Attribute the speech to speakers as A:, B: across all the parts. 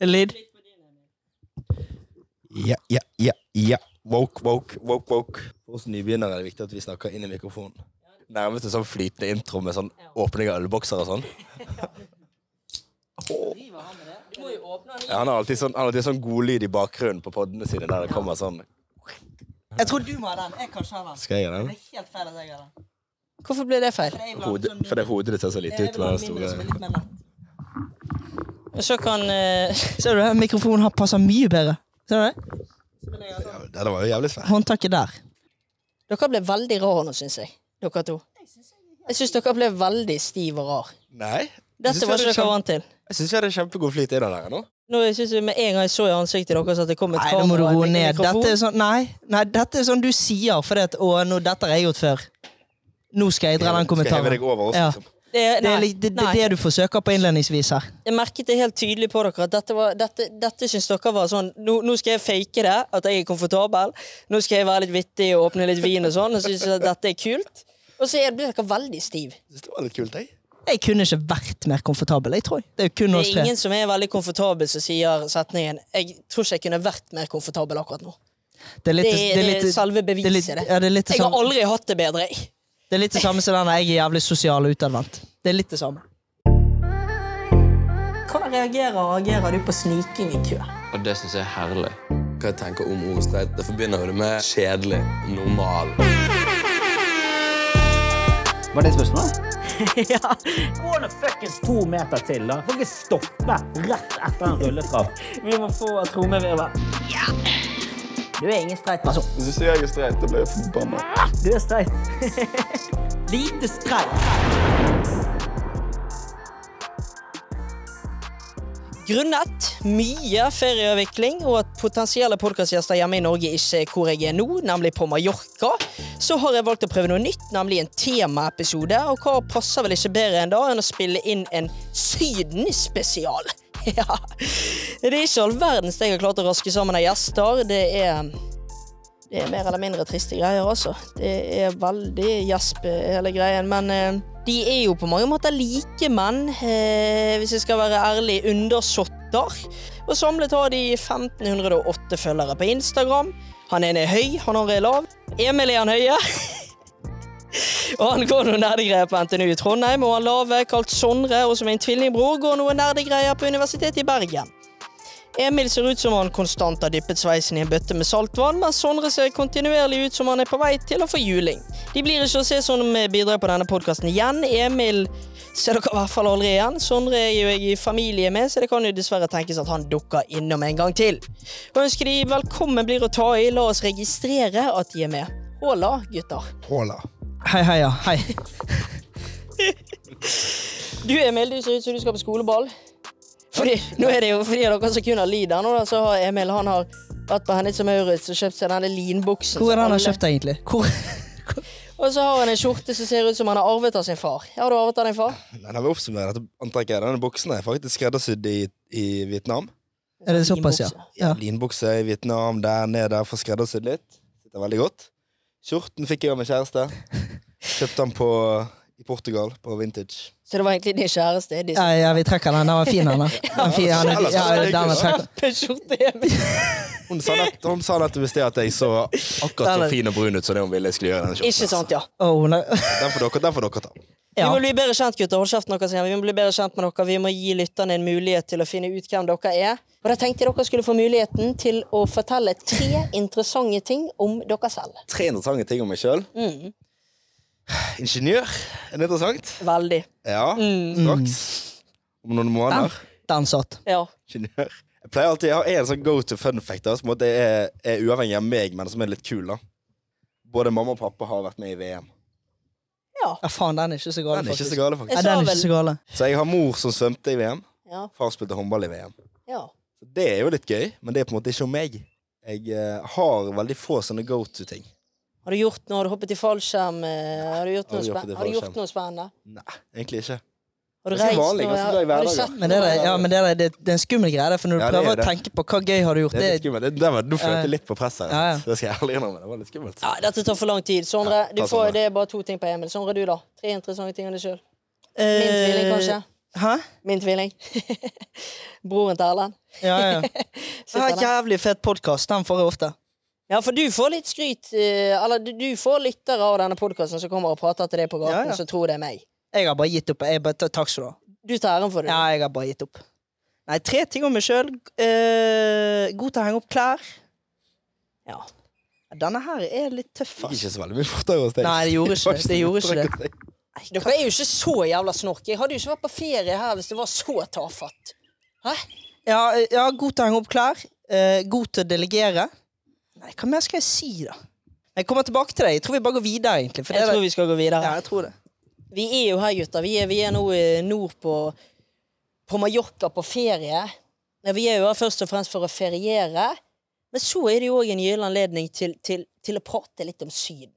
A: eller?
B: Ja, ja, ja, ja. Woke, woke, woke, woke. For oss nybegynnere er det viktig at vi snakker inn i mikrofonen. Nærmest en sånn flytende intro med sånn åpning av ølbokser og sånn.
A: Du må jo åpne den.
B: Ja, han har alltid sånn, han har alltid sånn godlyd i bakgrunnen på poddene sine der det kommer sånn
C: Jeg tror du må ha den. Jeg kan ikke ha den.
B: Skal jeg gjøre
C: Det
B: den?
C: er helt feil at jeg har den.
A: Hvorfor ble det feil?
C: For jeg vil ha en
B: Hodet,
C: sånn
B: for det hodet ditt ser så
C: Jeg
B: lite
C: vil
B: ut med
C: ha
B: den
C: en mindre som er
B: store
C: litt mer lett.
A: Så kan eh,
C: Ser du det? Mikrofonen har passet mye bedre. Ser du det?
B: Ja, Den var jo jævlig svær.
C: Håndtaket der.
A: Dere ble veldig rare nå, syns jeg. Dere to. Jeg syns dere ble veldig stiv og rar.
B: Nei. jeg synes
A: Dette
B: vi
A: var
B: hadde
A: ikke dere
B: kjempe-
A: vant til.
B: Jeg syns vi hadde kjempegod flyt i den der nå.
A: Nå synes jeg Med en gang jeg så i ansiktet deres at det kom et
C: Nei,
A: kamera
C: nå må du
A: og en
C: roe ned.
A: mikrofon.
C: Dette er sånn, nei, nei, dette er sånn du sier fordi at Å, nå, dette har jeg gjort før. Nå skal jeg dra den
B: Skal jeg heve
C: kommentaren.
B: deg over oss,
C: Ja.
B: liksom?
A: Det er,
C: Det
A: nei,
C: er litt- det, det,
A: nei.
C: det du forsøker på innledningsvis her.
A: Jeg merket det helt tydelig på dere at dette, var, dette, dette syns dere var sånn nå, nå skal jeg fake det, at jeg er komfortabel. Nå skal jeg være litt vittig og åpne litt vin og sånn. Og synes jeg at dette er kult. Og så er- blir dere veldig stiv.
B: Jeg synes det var litt kult, jeg.
C: Jeg kunne ikke vært mer komfortabel. jeg tror. Det er jo kun
A: Det
C: oss
A: er
C: tre.
A: ingen som er veldig komfortabel som sier setningen 'Jeg tror ikke jeg kunne vært mer komfortabel akkurat nå'.
C: Det er litt,
A: Det er,
C: det er litt,
A: selve
C: det er litt,
A: beviset, det.
C: ja, det er litt sånn- det
A: Jeg har
C: samme,
A: aldri hatt det bedre, jeg.
C: det er litt det samme som den 'jeg er jævlig sosial og utadvendt'. Det er litt det samme.
A: Hvordan reagerer, reagerer du på sniking i kø?
D: Og det syns jeg er herlig. Hva jeg tenker om ordstreit, det forbinder jo det med kjedelig, normal.
E: Var det spørsmålet?
F: Gå nå fuckings to meter til, da. Kan ikke stoppe rett etter en rulletrapp.
A: Vi må få trommevirvel.
C: Du er ingen streit person.
G: Hvis du sier jeg er streit, da blir jeg forbanna.
C: Du er streit. Lite streit.
A: Grunnet mye ferieavvikling og at potensielle podkastgjester hjemme i Norge ikke er hvor jeg er nå, nemlig på Mallorca, så har jeg valgt å prøve noe nytt, nemlig en temaepisode. Og hva passer vel ikke bedre enn da enn å spille inn en Syden-spesial? Ja. Det er ikke all verdens det jeg har klart å raske sammen av gjester. Det er det er mer eller mindre triste greier, altså. Det er veldig gjesp, hele greien. Men eh, de er jo på mange måter like menn, eh, hvis jeg skal være ærlig, undersåtter. Og samlet har de 1508 følgere på Instagram. Han ene er høy, han andre er lav. Emil er han høye. Og han går noen nerdegreier på NTNU i Trondheim, og han lave, kalt Sondre, og som er en tvillingbror, går noen nerdegreier på Universitetet i Bergen. Emil ser ut som han konstant har dyppet sveisen i en bøtte med saltvann, mens Sondre ser kontinuerlig ut som han er på vei til å få juling. De blir ikke å se sånn som bidrag på denne podkasten igjen. Emil ser dere i hvert fall aldri igjen. Sondre er jo jeg i familie med, så det kan jo dessverre tenkes at han dukker innom en gang til. Og ønsker de velkommen blir å ta i, la oss registrere at de er med. Håla, gutter.
B: Håla.
C: Hei, hei, ja. Hei.
A: Du Emil, du ser ut som du skal på skoleball. Fordi, nå er det jo fordi dere som kun har lyd her nå, da, så har Emil han har vært på Hennes og Maurits og kjøpt seg denne linbuksen.
C: Hvor er det han har
A: som alle-
C: kjøpt det, egentlig? Hvor?
A: Og så har han en skjorte som ser ut som han har arvet av sin far. Har du arvet av din far?
B: Nei, da må jeg oppsummere dette antrekket. Denne buksen er faktisk skreddersydd i, i Vietnam.
C: Er det såpass, ja? ja.
B: Linbukse i Vietnam, der nede der, får skreddersydd litt. Sitter veldig godt. Skjorten fikk jeg av min kjæreste. Kjøpte den på, i Portugal, på Vintage.
A: Så det var egentlig din kjæreste? Edith, som-
C: Ja, ja, vi trekker den. Den var fin, den. da. Den, er fin, den, er- ja, den er trekker.
A: Kjempe-skjorte, Emil.
B: Hun sa nett, hun sa nett hvis det at jeg så akkurat så fin og brun ut som det hun ville jeg skulle gjøre. i denne skjorten.
A: Ikke sant, ja.
C: Å, hun er-
B: Den får dere, den får dere ta.
A: Vi
C: Ja.
A: må bli bedre kjent, gutter. Hold kjeften deres igjen. Vi må bli bedre kjent med dere. Vi må gi lytterne en mulighet til å finne ut hvem dere er. Og da tenkte jeg dere skulle få muligheten til å fortelle tre interessante ting om dere selv.
B: Tre interessante ting om meg sjøl.
A: Mm.
B: Ingeniør. Er det interessant?
A: Veldig.
B: Ja.
A: Mm.
C: Mm.
B: Straks. Om noen måneder.
C: Den satt.
A: Ja.
B: ingeniør. Jeg pleier alltid, jeg har en sånn go to fun fact da, som på en måte er, er uavhengig av meg, men som er litt kul. da. Både mamma og pappa har vært med i VM.
C: Ja, faen, den er ikke så gal,
B: Den er ikke
C: faktisk.
B: så gale, faktisk.
C: Ja, den er ikke så gal.
B: Så jeg har mor som svømte i VM.
A: Ja.
B: Far spilte håndball i VM.
A: ja.
B: Så Det er jo litt gøy, men det er på en måte ikke om meg. Jeg eh, har veldig få sånne go to-ting.
A: Har du gjort noe? Har du hoppet i fallskjerm? eh, Har du gjort
B: Har
A: noe,
B: du hoppet i
A: spen har du gjort
B: fallskjerm?
A: noe spennende?
B: Nei, egentlig ikke.
A: Har du
B: Ganske
A: reist
B: vanlig,
A: noe?
B: ganske glad i
A: Har du
B: hverdagen.
A: sett
C: Men det, er, ja, men det, er, det, det er en skummel greie, det, for når du
B: Ja, det er
C: prøver å
B: det.
C: tenke på hva gøy har du gjort
B: Det er litt
C: det,
B: skummelt. Det- det var- Nå følte jeg litt på presset.
C: Ja, ja.
B: Det skal jeg ærlig innrømme. Det var litt skummelt.
A: Ja, dette tar for lang tid. Sondre,
B: Ja, ta
A: du får,
B: Sondre.
A: det er bare to ting på Emil. Sondre, du, da? Tre interessante ting om deg sjøl. Min
C: Eh,
A: tvilling, kanskje?
C: Hæ?
A: Min tvilling. Broren til Erlend.
C: Ja, ja. Jeg har
A: Sitter der.
C: jævlig fet podkast. Den får jeg ofte.
A: Ja, for du får litt skryt eh, Eller du, du får lyttere av denne podkasten som kommer og prater til deg på gaten,
C: Ja, ja.
A: så tror det er meg.
C: Jeg har bare gitt opp. Jeg bare, ta- takk skal du ha.
A: Du tar æren for det.
C: Ja, jeg har bare gitt opp. Nei, tre ting om meg sjøl. Eh, god til å henge opp klær.
A: Ja.
C: Denne her er litt tøff,
B: Gikk
C: ass.
B: ikke så veldig mye fortere hos deg.
C: Nei, det gjorde ikke det. Det gjorde ikke det.
A: Dere er jo ikke så jævla snork. Jeg hadde jo ikke vært på ferie her hvis det var så tafatt.
C: Ja, ja, god til å henge opp klær. Eh, god til å delegere. Nei, hva mer skal jeg si, da? Jeg kommer tilbake til deg. Jeg tror vi bare går videre, egentlig. For
A: Jeg
C: det er-
A: tror vi skal gå
C: ja,
A: videre.
C: jeg tror det.
A: Vi er jo her, gutter. Vi er, vi er nå eh, nord på, på Mallorca på ferie. Nei, Vi er jo her først og fremst for å feriere. Men så er det jo òg en gyllen anledning til, til, til å prate litt om Syden.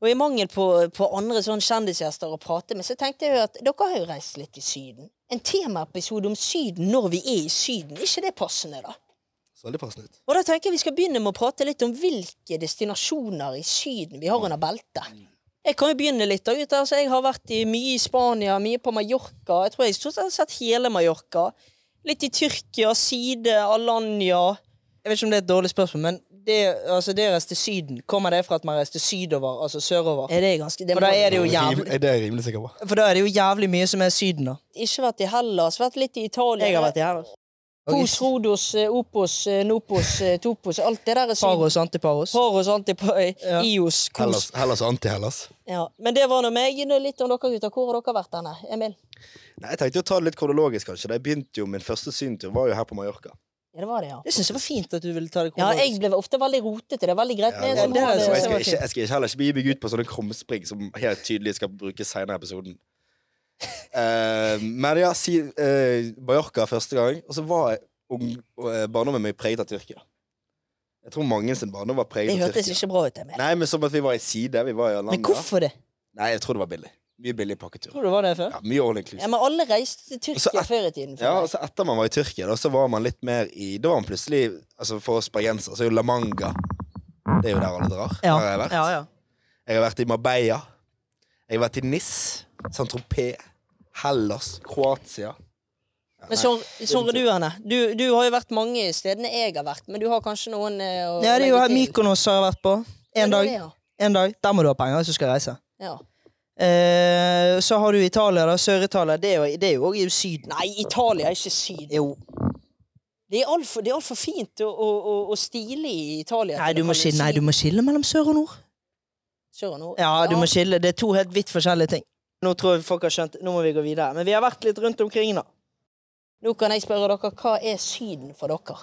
A: Og i mangel på, på andre sånn kjendisgjester å prate med, så tenkte jeg jo at dere har jo reist litt i Syden. En temaepisode om Syden når vi er i Syden, er ikke det passende, da?
B: Så veldig passende ut.
A: Og da tenker jeg vi skal begynne med å prate litt om hvilke destinasjoner i Syden vi har under beltet. Jeg kan jo begynne litt da, gutter. Altså, jeg har vært i mye i Spania, mye på Mallorca. Jeg tror jeg stort sett har sett hele Mallorca. Litt i Tyrkia, Side, Alanya.
C: Jeg vet ikke om det er et dårlig spørsmål, men det, altså, det å reise til Syden, kommer det fra at man reiste sydover, altså sørover?
A: Er det ganske, det
C: For da
A: må-
C: er det jo
B: Det er
C: jævlig
B: rimelig- det er jeg rimelig sikker på.
C: For da er det jo jævlig mye som er Syden, da.
A: Ikke vært i Hellas, vært litt i Italia.
C: i Hellas.
A: Kos, Rodos, eh, Opos, eh, Nopos, eh, Topos. Alt det der er Syden.
C: Paros, antiparos.
A: Paros, Antipa, eh,
C: Ja.
A: Ios, Kos.
B: Hellas, Hellas og anti-Hellas.
A: Ja. Men det var nå meg. Nå Litt om dere gutter. Hvor har dere vært henne? Emil?
B: Nei, Jeg tenkte å ta det litt kronologisk, kanskje. Da Jeg begynte jo, Min første syntur var jo her på Mallorca.
A: Ja, det var det, ja.
C: Jeg syns det var fint at du ville ta det
A: Ja, jeg
C: kronologisk.
A: ble ofte veldig rotete. Det er veldig greit
B: Ja,
A: med
B: det
A: en
B: var
A: sånn
B: det.
C: det
B: Og jeg
C: synes
B: skal,
A: det,
C: var
B: ikke, jeg skal ikke heller ikke begi meg ut på sånne krumspring som helt tydelig skal brukes senere i episoden. Eh, men ja, si, eh, Mallorca første gang. Og så var jeg ung, eh, barndommen min preget av Tyrkia. Jeg tror mange sin barndom var preget av
A: hørtes
B: Tyrkia.
A: ikke bra ut, Emil.
B: Nei, men som at vi var i side. Vi var i
C: Men
B: landet.
C: hvorfor det?
B: Nei, jeg tror det var billig. Mye billig pakketur.
C: Tror du det var det før?
B: Ja, mye all inclusive.
A: Ja, men alle reiste til
B: Og så
A: Tyrkia
B: et-
A: før i tiden.
B: Ja, altså, og
A: føler jeg.
B: så etter man var i Tyrkia, da, så var man litt mer i Da var man plutselig altså For oss bergensere så er jo La Manga Det er jo der alle drar. Der har jeg vært.
C: Ja, ja.
B: Jeg har vært i Marbella. Jeg har vært i Nis, Saint-Tropez, Hellas, Kroatia.
A: Men Sor- Sorry, du, Anne. Du, du har jo vært mange stedene jeg har vært, men du har kanskje noen eh, å
C: Ja, det er jo
A: legge
C: her
A: til.
C: Mykonos har jeg vært på.
A: Ja,
C: En
A: det er
C: dag.
A: det, ja.
C: En dag. Der må du ha penger hvis du skal reise.
A: Ja.
C: Eh, så har du Italia, da. Sør-Italia. Det er jo- det er jo òg i Syden.
A: Nei, Italia er ikke syd.
C: Jo.
A: Det er altfor alt for fint og, og, og, og stilig i Italia.
C: Nei
A: til
C: du,
A: å
C: må
A: kalle det
C: skille, nei, du
A: syd.
C: må skille mellom sør og nord.
A: Sør og nord.
C: Ja, du må skille. Det er to helt vidt forskjellige ting. Nå tror jeg folk har skjønt Nå må vi gå videre. Men vi har vært litt rundt omkring, da.
A: Nå kan jeg spørre dere, hva er Syden for dere?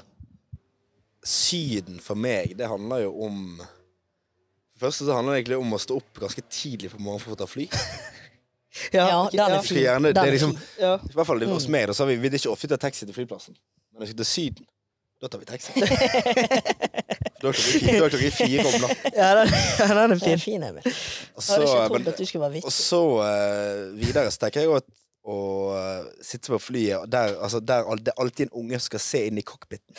B: Syden for meg, det handler jo om For det første så handler det egentlig om å stå opp ganske tidlig på morgenen for å ta fly.
A: Ja, den er
B: Jeg
A: fin.
B: skulle gjerne, det
A: Den
B: er
A: er
B: liksom,
A: fin.
C: ja.
B: I hvert fall
A: Mm.
B: hos meg, da, så har vi, vi hadde ikke ofte tatt taxi til flyplassen. Men når vi skal til Syden, da tar vi taxi. da er klokka fire- da er klokka fire om natten.
C: Ja, den, den er
A: Det
C: fin.
A: er fin, Emil. Jeg
B: Og så,
A: hadde ikke
B: men-
A: trodd at du skulle være
B: Og
A: vittig.
B: så eh, videre så tenker jeg jo at å eh, sitte på flyet og der, altså, der al- det er alltid en unge som skal se inn i cockpiten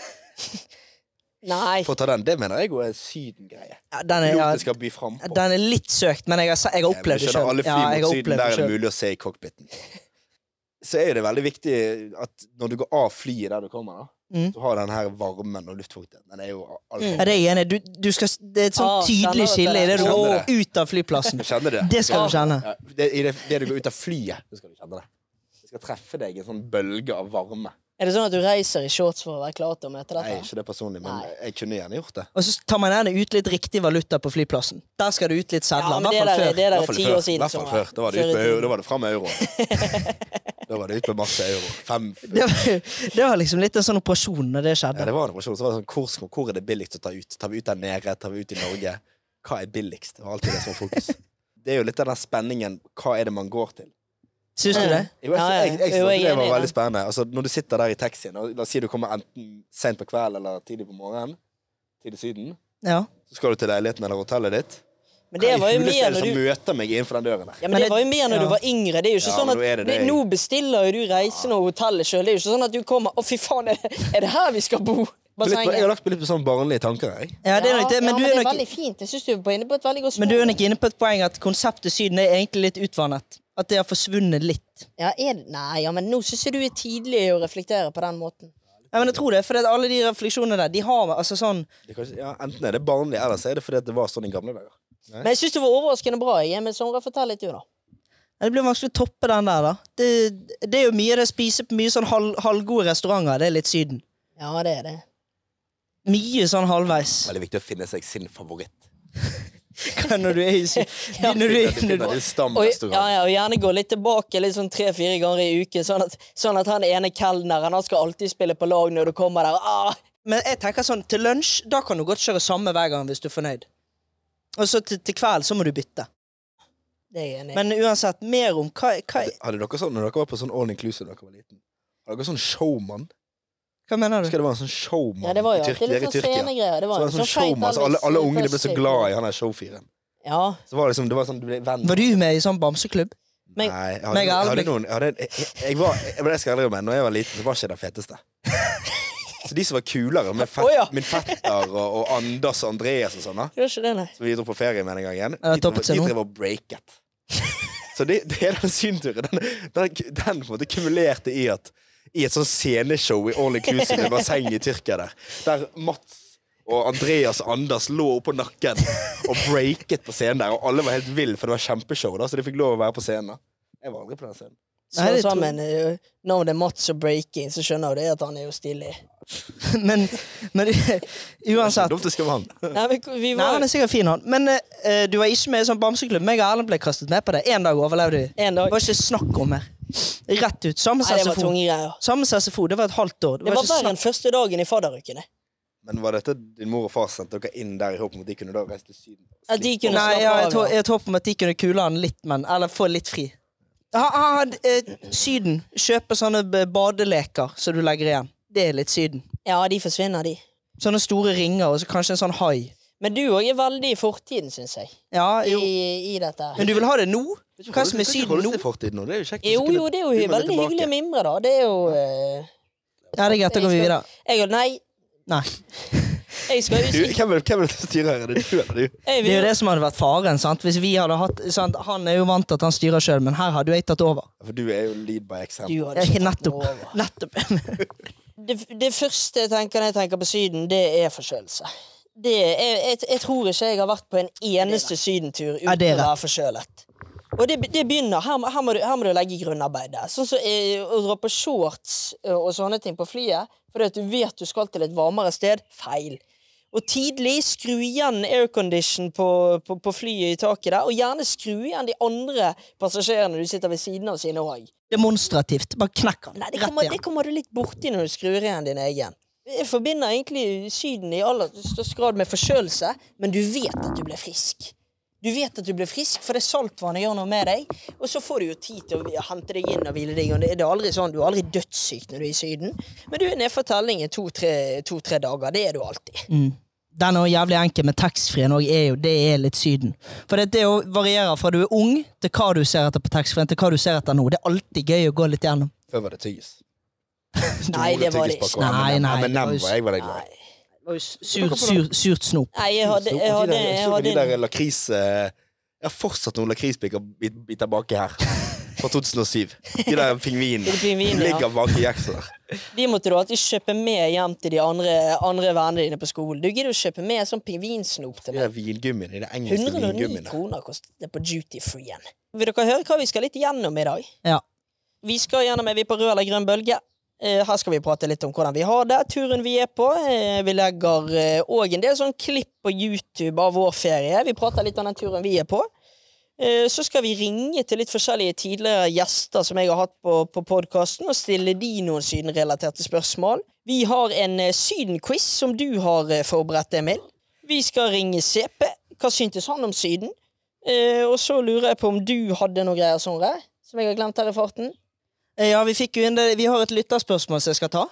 A: Nei.
B: for å ta den. Det mener jeg jo er Syden-greie.
C: Ja, den, er,
B: Piloten
C: ja,
B: skal by frem på.
C: den er litt søkt, men jeg har, se- jeg har
B: Ja, men
C: opplevd
B: du
C: det
B: skjønner,
C: sjøl.
B: Alle fly
C: Ja, jeg
B: mot
C: har
B: Syden,
C: opplevd
B: der
C: det
B: er det
C: selv.
B: mulig å se i cockpiten. Så er jo det veldig viktig at når du går av flyet der du kommer, da,
C: Mm.
B: så har den her varmen og luftfukten. Den er jo altså,
C: Ja,
B: altfor
C: det er jeg enig i. Du, du skal, det er et sånn
A: Ah,
C: tydelig
A: skjønner
C: skille i det du
B: dette.
C: går
B: Skjønner det.
C: ut av flyplassen.
B: Du kjenner det.
C: Det skal du kjenne.
B: Ja, det, i det, det du går ut av flyet, så skal du kjenne det. Det skal treffe deg i en sånn bølge av varme.
A: Er det sånn at du reiser i shorts for å være klar til å møte
B: Nei,
A: dette?
B: ikke det personlig, men
A: Nei.
B: jeg kunne gjerne gjort det.
C: Og så tar man gjerne ut litt riktig valuta på flyplassen. Der skal det ut litt
A: Ja,
C: sedler.
A: men
C: I hvert
A: det der,
C: fall
A: er-
C: før.
A: det der
B: I hvert
A: er
B: fall
A: ti
B: før.
A: år siden.
B: I hvert fall
A: som
B: før. Da var det ut
A: før i
B: med,
A: tiden.
B: da var det fram med euro. da var det ut med masse euro. Fem
C: Det var, det var liksom litt en sånn operasjon når det
B: ja,
C: skjedde.
B: det var en operasjon. Så var det sånn, hvor, skal- hvor er det billigst å ta ut? Tar vi ut der nede? Tar vi ut i Norge? Hva er billigst? Det var alltid det som var fokus. Det er jo litt av den spenningen. Hva er det man går til?
C: Syns du det?
B: Jo, jeg,
A: Ja, ja.
B: jeg, jeg,
A: Jo,
B: synes
A: jeg er
B: det var
A: enig i
B: veldig
A: det.
B: spennende. Altså, når du sitter der i taxien, og la oss si du kommer enten sent på kvelden eller tidlig på morgenen, tidlig syden,
C: Ja.
B: så skal du til leiligheten eller hotellet ditt.
A: Men det
B: Hva i
A: var jo
B: huleste
A: mer
B: er det
A: når
B: som
A: du
B: møter meg innenfor den døren der?
A: ja, men
C: Men
A: det
C: det-
A: var jo mer når du
C: ja.
A: var yngre. Det er jo ikke
B: Ja,
A: sånn
B: men
A: at
B: nå er det
A: det-
B: det.
A: Nå bestiller jo du reisen og hotellet sjøl. Det er jo ikke sånn at du kommer Å, fy faen, er det, er det her vi skal bo?
B: Litt på- Jeg
A: Bassenget.
B: har lagt meg litt på sånne barnlige tanker, jeg.
C: ja, det er nok det.
A: ja,
C: Men du
A: det
C: er
A: er
C: nok
A: veldig fint. Jeg syns du er på- inne på et veldig godt
C: Men du er
A: spor.
C: nok inne på et poeng at konseptet Syden er egentlig litt utvannet. At det har forsvunnet litt.
A: Ja, er, nei, ja, men nå syns jeg du er tidlig å reflektere på den måten.
C: Nei, men jeg tror det, for at alle de refleksjonene der, de har altså sånn
B: Det er kanskje, ja, enten er det barnlig, eller så er det fordi at det var sånn i gamle dager.
A: Men jeg syns det var overraskende bra. Jeg, men Sondre, fortell litt, du, da.
C: Ja, Det blir vanskelig å toppe den der, da. Det, det er jo mye det spiser på mye sånn halv, halvgode restauranter. Det er litt Syden.
A: Ja, det er det.
C: Mye sånn halvveis.
B: Veldig viktig å finne seg sin favoritt.
C: Når du er i Syden. Når du
B: Du
C: er når du,
B: finner din
A: Og, ja,
B: stamrestaurant.
A: ja, og gjerne gå litt tilbake litt sånn tre-fire ganger i uken, sånn at, sånn at han ene kelneren han skal alltid spille på lag når du kommer der. Ah,
C: Men jeg tenker sånn, til lunsj da kan du godt kjøre samme hver gang hvis du er fornøyd. Og så til, til kveld så må du bytte.
A: det er jeg enig i.
C: Men uansett, mer om hva, hva,
B: Hadde- Hadde dere sånn, når dere var på sånn all inclusive da dere var liten, hadde dere sånn showman?
C: hva mener du?
B: Husker det var en sånn showman
A: Ja, det var
B: i
A: jo alltid
B: Tyrkia.
A: litt
B: i
A: sånn
B: Tyrkia.
A: scenegreier. Det
B: Så
A: var
B: var det
A: en
B: en sånn showman, så alle, alle ungene ble så glad i han der showfyren.
A: Ja,
B: Så var det liksom, det var sånn, du ble venn.
C: Var du med i sånn bamseklubb?
B: Nei,
A: men-
C: meg
B: jeg hadde,
C: og
B: jeg hadde
C: Albert.
B: noen jeg, hadde, jeg, jeg var, jeg, men jeg skal ærlig innrømme, når jeg var liten, så var ikke jeg den feteste. Så de som var kulere, med fett,
A: Å, ja.
B: min fetter og, og Anders og Andreas og sånn, da,
A: det var ikke det, nei.
B: som vi dro på ferie med den gangen,
C: Ja,
B: de
C: det toppet seg
B: drev- de
C: nå.
B: drev og breaket. Så det, det er den synturen. Den, den, den på en måte kumulerte i at i et sånn sceneshow i All Inclusive i basseng i Tyrkia der, der Mats og Andreas og Anders lå oppå nakken og breaket på scenen der, og alle var helt ville, for det var kjempeshow, da, så de fikk lov å være på scenen. da. Jeg var aldri på den scenen.
A: Så
C: Nei, det tror-
A: sammen, eh, når det er Mats og Breaking, så skjønner jo det at han er jo stilig.
C: men men uansett.
B: Dumt det skal være han.
A: Nei, men vi
C: Nei,
A: var
C: han er sikkert fin, han. Men eh, du var ikke med i sånn bamseklubb. Meg og Erlend ble kastet med på det. Én dag overlevde vi.
A: En dag.
C: Det var ikke snakk om mer. Rett ut. Samme
A: Nei, det var
C: SFO.
A: tunge greier.
C: Samme SFO. Det var et halvt år.
A: Det var
C: ikke
A: verre
C: snakk-
A: enn første dagen i fadderukene.
B: Men var dette din mor og far sendte dere inn der i håp om at de kunne da reise til Syden?
A: At de kunne
C: Nei,
A: slappe
C: ja, jeg,
A: av,
C: tror,
A: ja.
C: jeg tror på at de kunne kule han litt, men Eller få litt fri. Ha, ha, ha, d- eh, syden. Kjøpe sånne b- badeleker som du legger igjen. Det er litt Syden.
A: Ja, de forsvinner, de.
C: Sånne store ringer og så kanskje en sånn hai.
A: Men du òg er veldig i fortiden, syns jeg.
C: Ja,
A: I,
C: jo.
A: I dette her.
C: Men du vil ha det nå? Hva som er Syden nå?
B: Fortiden, nå. Det er jo kjekt.
A: Jo, jo, det er jo veldig hyggelig å mimre, da. Det er jo eh,
C: Ja, det er greit, da går vi videre.
A: Jeg og Nei,
C: Nei.
A: jeg skal jo
B: Du, hvem vil, hvem vil styre her? Er det du eller du?
A: jeg
C: Det er jo
A: vil,
C: det som hadde vært faren. sant? Hvis vi hadde hatt, sant? Han er jo vant til at han styrer sjøl, men her hadde jo jeg tatt over.
B: For du er jo lead by
A: du
B: example.
A: hadde
C: Jeg,
A: ikke tatt
C: nettopp.
A: noe over.
C: nettopp.
A: Det, det første jeg tenker når jeg tenker på Syden, det er forkjølelse. Det, jeg, jeg, jeg tror ikke jeg har vært på en eneste sydentur uten
C: Ja, det er
A: å være forkjølet. Og det, det begynner, her, må- her, må du, her må du legge grunnarbeidet. Sånn som eh, å dra på shorts eh, og sånne ting på flyet, fordi at du vet du skal til et varmere sted, feil. Og tidlig skru igjen aircondition på, på, på flyet i taket der, og gjerne skru igjen de andre passasjerene du sitter ved siden av sine òg.
C: Demonstrativt. Bare knekk han.
A: Nei, det
C: Rett
A: kommer, det
C: igjen.
A: kommer du litt borti når du skrur igjen din egen. Jeg forbinder egentlig Syden i aller størst grad med forkjølelse, men du vet at du blir frisk. Du vet at du blir frisk, for det saltvannet gjør noe med deg. Og så får du jo tid til å hente deg inn og hvile deg. Og det det er aldri sånn, Du er aldri dødssyk når du er i Syden, men du er nede for telling i to-tre to, tre dager. Det er du alltid.
C: Mm. Den er jo jævlig enkel, men taxfree-en òg er jo det er litt Syden. For det, det jo varierer fra du er ung, til hva du ser etter på taxfree-en, til hva du ser etter nå. Det er alltid gøy å gå litt gjennom.
B: Før var det tyggis.
A: Nei, det var det ikke.
C: Nei, nei,
B: Men
C: det var jo
B: var jeg veldig glad i.
C: Sur, sur, surt snop.
A: Nei, jeg hadde, jeg
B: Og de
A: hadde,
B: der-
A: jeg
B: så på
A: hadde,
B: de der lakris... eh, Jeg har fortsatt noen lakrisbiter baki her. Fra 2007. De der pingvinene.
A: De pingvinene, ja.
B: Ligger baki jeksen der.
A: De måtte du alltid kjøpe med hjem til de andre, andre vennene dine på skolen. Du gidder å kjøpe med sånn pingvinsnop til
B: De
A: meg.
B: der vingummiene. De engelske
A: 109
B: vingummiene.
A: kroner kostet det på duty free-en. Vil dere høre hva vi skal litt gjennom i dag?
C: Ja.
A: Vi skal gjennom Er vi på rød eller grønn bølge? Eh, Her skal vi prate litt om hvordan vi har det, turen vi er på. Eh, Vi legger òg en del sånn klipp på YouTube av vår ferie. Vi prater litt om den turen vi er på. Eh, Så skal vi ringe til litt forskjellige tidligere gjester som jeg har hatt på, på podkasten, og stille de noen sydenrelaterte spørsmål. Vi har en eh, sydenquiz som du har eh, forberedt, Emil. Vi skal ringe CP. Hva syntes han om Syden? Eh, og så lurer jeg på om du hadde noe greier, Sondre, som jeg har glemt her i farten.
C: Eh, Ja, vi fikk jo inn det. Vi har et lytterspørsmål som jeg skal ta.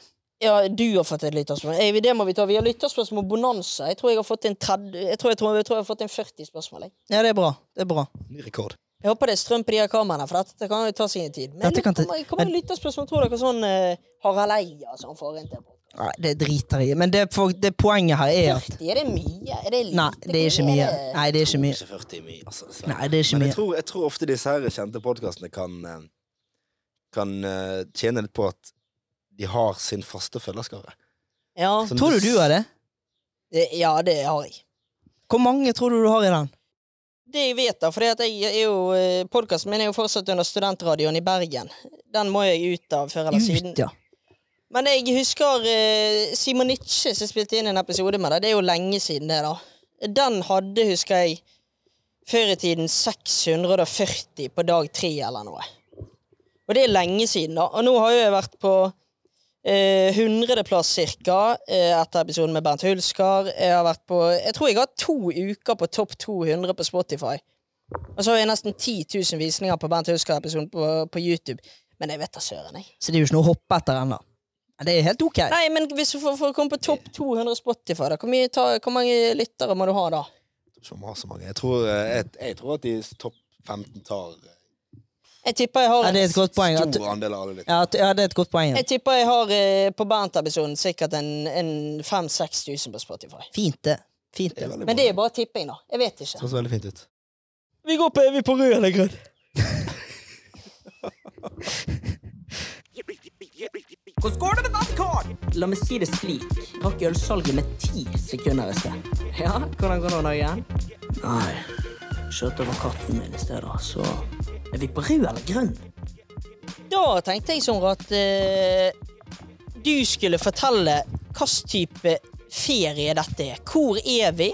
A: Ja, du har fått et lytterspørsmål. Eh, det må vi ta. Vi har lytterspørsmål om bonanza. Jeg tror jeg har fått en, 30, jeg tror, jeg tror, jeg tror jeg har fått en 40 spørsmål. Jeg.
C: Ja, det er bra. Det er bra.
B: Ny rekord.
A: jeg håper det er strøm på de her kameraene, for dette kan jo ta sin tid. Men
C: Dette kan ta-
A: kommer, kommer
C: men-
A: lytterspørsmål, tror dere sånn eh, Harald Eia som får inn til?
C: Nei, det driter jeg i. Men det, for, det poenget her er at
A: 40, er det mye? Er det lite?
C: Nei, det er ikke mye. Nei, det er ikke mye.
B: Ikke 40 mye, altså. dessverre.
C: Nei, det er ikke
B: Men jeg
C: mye.
B: tror, jeg tror ofte disse her kjente podkastene kan, eh, kan eh, tjene litt på at de har sin faste følgerskare.
A: Ja,
B: Som
C: Tror du du har det?
A: det, ja, det har jeg.
C: Hvor mange tror du du har i den?
A: Det jeg vet, da, for det at jeg er jo podkasten min er jo fortsatt under studentradioen i Bergen. Den må jeg ut av før eller siden.
C: Ut, ja.
A: Men jeg husker eh, Simon Nitsche som spilte inn en episode med deg. Det er jo lenge siden det, da. Den hadde, husker jeg, før i tiden 640 på dag tre eller noe. Og det er lenge siden, da. Og nå har jo jeg vært på eh, 100.-plass cirka eh, etter episoden med Bernt Hulsker. Jeg har vært på Jeg tror jeg har hatt to uker på topp 200 på Spotify. Og så har jeg nesten 10 000 visninger på Bernt Hulsker-episoden på, på YouTube. Men jeg vet da søren, jeg.
C: Så det er jo ikke noe å hoppe etter ennå. Men Det er helt ok.
A: Nei, men hvis du får, får komme på topp 200 Spotify, da, hvor, mye ta, hvor mange lyttere må du ha da?
B: Som har så mange. Jeg tror, eh, jeg, jeg tror at de topp 15 tar eh,
A: Jeg tipper jeg har,
C: Ja, det er et godt poeng. At,
B: stor andel av alle litt.
C: ja, at, ja, det er et godt poeng. ja.
A: jeg tipper jeg har eh, på Bernt-episoden sikkert en, en 5000-6000 på Spotify.
C: Fint, det. Fint, det.
A: Men det er bare tipping, da. Jeg vet ikke.
B: høres veldig fint ut.
A: Vi går på Evig på rød eller grønn.
F: Hvordan går det med vannkaren?
A: La meg si det slik. Rakk ølsalget med ti sekunder i sted. Ja, hvordan går det nå igjen? Nei, skjøt over katten min i sted, da, så Er vi på rød eller grønn? Da tenkte jeg sånn at eh, du skulle fortelle hvilken type ferie dette er. Hvor er vi?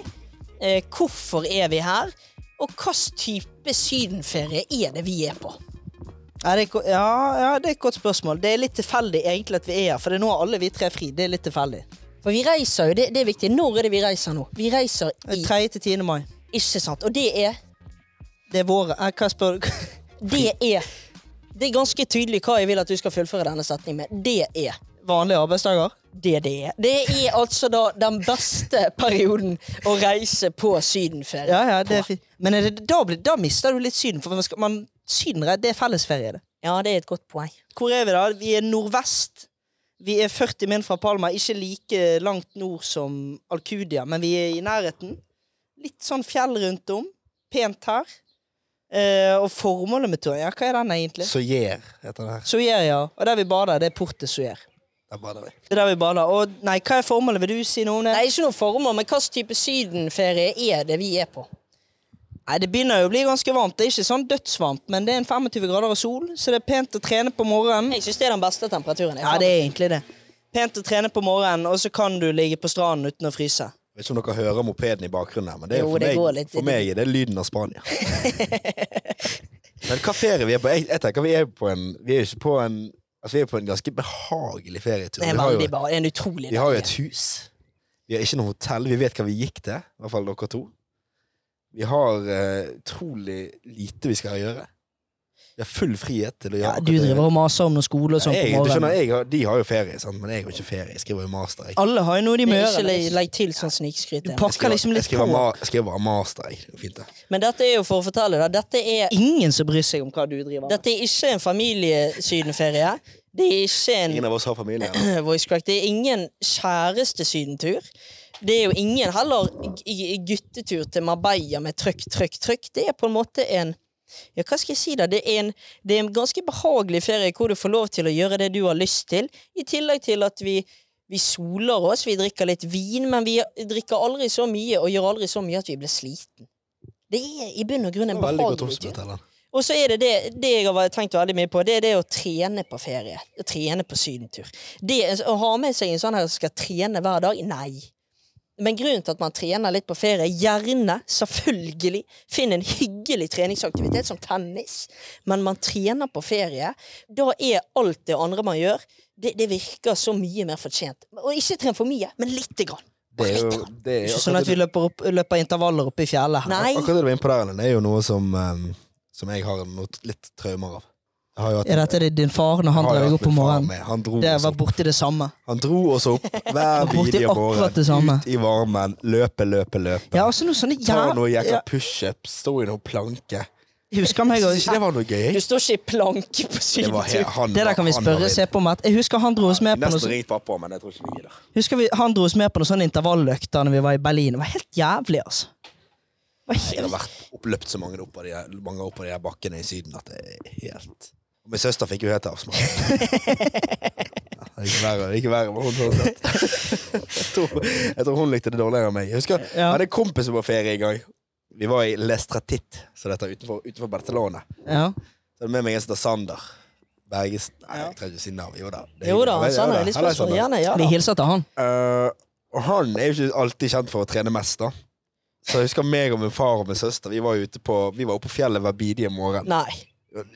A: Eh, hvorfor er vi her? Og hvilken type sydenferie er det vi er på?
C: Ja, det er, ko- ja, ja, det er et godt spørsmål. Det er litt tilfeldig egentlig at vi er her, for det er nå alle vi tre er fri. Det er litt tilfeldig.
A: For vi reiser jo, det, det er viktig. Når er det vi reiser nå? Vi reiser i
C: 3. til 10. mai.
A: Ikke sant? Og det er
C: Det er våre eh, Hva spør du?
A: Det er Det er ganske tydelig hva jeg vil at du skal fullføre denne setningen med. Det er
C: Vanlige arbeidsdager?
A: det det er. Det er altså da den beste perioden å reise på sydenferie.
C: Ja, ja, det er fint. Men er det, da, blir, da mister du litt Syden, for man skal, man, Syden det er fellesferie, det.
A: Ja, det er et godt poeng.
C: Hvor er vi da? Vi er nordvest. Vi er 40 min fra Palma, ikke like langt nord som Alcudia, men vi er i nærheten. Litt sånn fjell rundt om. Pent her. Eh, og formålet med turen, ja, hva er den egentlig?
B: Soyer heter det her.
C: Soyer, ja. Og der vi bader, det er Porte Soyer.
B: Der bader vi.
C: Det er der vi bader. Og nei, hva er formålet? Vil du si noe om det?
A: Nei, ikke noe formål, men hvilken type sydenferie er det vi er på?
C: Nei, det begynner jo å bli ganske varmt. Det er ikke sånn dødsvarmt, men det er en 25 grader av sol, så det er pent å trene på morgenen.
A: Jeg syns det er den beste temperaturen. jeg
C: Ja,
A: har.
C: det er egentlig det. Pent å trene på morgenen, og så kan du ligge på stranden uten å fryse.
B: Vet ikke om dere hører mopeden i bakgrunnen her, men det er jo,
A: Jo,
B: for,
A: det går
B: meg,
A: litt-
B: for meg er det lyden av Spania. men hva ferie vi er på? Jeg, jeg tenker vi er på en Vi er jo ikke på en Altså, vi er på en ganske behagelig ferietur.
A: det er
B: Vi har jo-
A: veldig bra. Det er en utrolig
B: Vi har jo
A: deilig.
B: et hus. Vi har ikke noe hotell. Vi vet hva vi gikk til. I hvert fall dere to. Vi har eh, utrolig lite vi skal gjøre. Vi har full frihet til å gjøre
C: Ja,
B: akkurat
C: du
B: det vi
C: driver
B: vil.
C: og maser om noen skole og sånn
B: jeg,
C: på
B: du skjønner,
C: morgenen. Ah,
B: jeg har, De har jo ferie, sant? men jeg har ikke ferie. Jeg skriver jo master. Jeg,
C: Alle har jo noe de må
A: Men
C: gjøre.
A: Ikke legg,
C: liksom.
A: legg til sånn snikskryt.
C: Du
A: igjen.
B: jeg, skriver,
C: pakker liksom
B: jeg,
C: litt
B: skriver,
C: på.
B: ma, jeg skriver bare master. Jeg. Det er Fint, det.
A: Men dette er jo for å fortelle deg. Dette er
C: Ingen som bryr seg om hva du driver med.
A: Dette er ikke en familiesydenferie. Det er ikke
B: Ingen
A: en
B: av oss har familie. eller?
A: voice crack. Det er ingen kjærestesydentur. Det er jo ingen heller g- g- guttetur til Marbella med trykk, trykk, trykk. Det er på en måte en ja, hva skal jeg si da? Det er, en, det er en ganske behagelig ferie hvor du får lov til å gjøre det du har lyst til, i tillegg til at vi, vi soler oss, vi drikker litt vin, men vi drikker aldri så mye og gjør aldri så mye at vi blir sliten. Det er i bunn og grunn
B: Det
A: en
B: var Veldig godt
A: behagelig tur.
B: oppsummert. Ellen.
A: Og så er det det, det jeg har tenkt veldig mye på, det er det å trene på ferie. Å trene på sydentur. Det å ha med seg en sånn her som skal trene hver dag, nei. Men grunnen til at man trener litt på ferie, gjerne, selvfølgelig, finn en hyggelig treningsaktivitet som tennis, men man trener på ferie, da er alt det andre man gjør, det, det virker så mye mer fortjent. Og ikke tren for mye, men lite grann.
B: Det er jo det er
C: Ikke
B: akkurat
C: sånn at
B: det-
C: vi løper, opp, løper intervaller oppe i fjellet her.
A: Nei.
B: Akkurat det du var inne på der, Ellen, det er jo noe som, eh, som jeg har noe, litt traumer av. Jeg har jo hatt-
C: Er dette det din far når han
B: har jo
C: drar deg
B: hatt
C: opp på
B: min far
C: morgenen?
B: med. Han dro
C: Det
B: oss
C: var
B: opp.
C: borti det samme.
B: Han dro oss opp hver
C: borti
B: bidige
C: akkurat det samme.
B: morgen. Ut i varmen. Løpe, løpe, løpe.
C: Ja, altså noe sånne
B: Ta
C: jæv-
B: noe
C: ja, Oh
B: jækla pushups. Stå i noen planke.
C: Jeg husker meg
B: Syns ikke det var noe gøy.
A: Du står ikke i planke på
B: Det var he-
A: sydentur.
B: han,
C: Det der
B: var-
C: kan vi
B: han
C: spørre
B: var
C: se på om at Jeg husker han dro oss med på noe
B: Nesten
C: sånn-
B: ringt pappa, men jeg tror ikke vi gidder.
C: Husker vi, han dro oss med på noen sånne intervalløkter Når vi var i Berlin. Det var helt jævlig, altså. Det var
B: Jeg har
C: helt-
B: vært oppløpt så mange opp av de, her- mange opp av de her bakkene i Syden at det er helt Og Min søster fikk jo helt avsmak. ja, det er ikke verre, det er ikke verre men hun har sett. Jeg tror- Jeg tror hun likte det dårligere enn meg. Jeg husker jeg
C: Ja.
B: hadde en kompis som var på ferie en gang. Vi var i Lestratit, så dette er utenfor, utenfor Barcelona.
C: Ja.
B: Så hadde jeg med meg en som heter Sander. Bergesen. Nei, jeg trenger ikke si navn. Jo da. det er
A: Jo da,
B: hyggelig.
A: sånn
B: Ja
A: er litt
B: Halla,
A: spørsmål.
B: Sander.
A: Gjerne, ja
C: Vi
A: da.
C: hilser til han.
B: Eh, og han er jo ikke alltid kjent for å trene mest, da. Så jeg husker meg og min far og min søster Vi var, ute på, vi var oppe på fjellet hver bidige morgen.
A: Nei.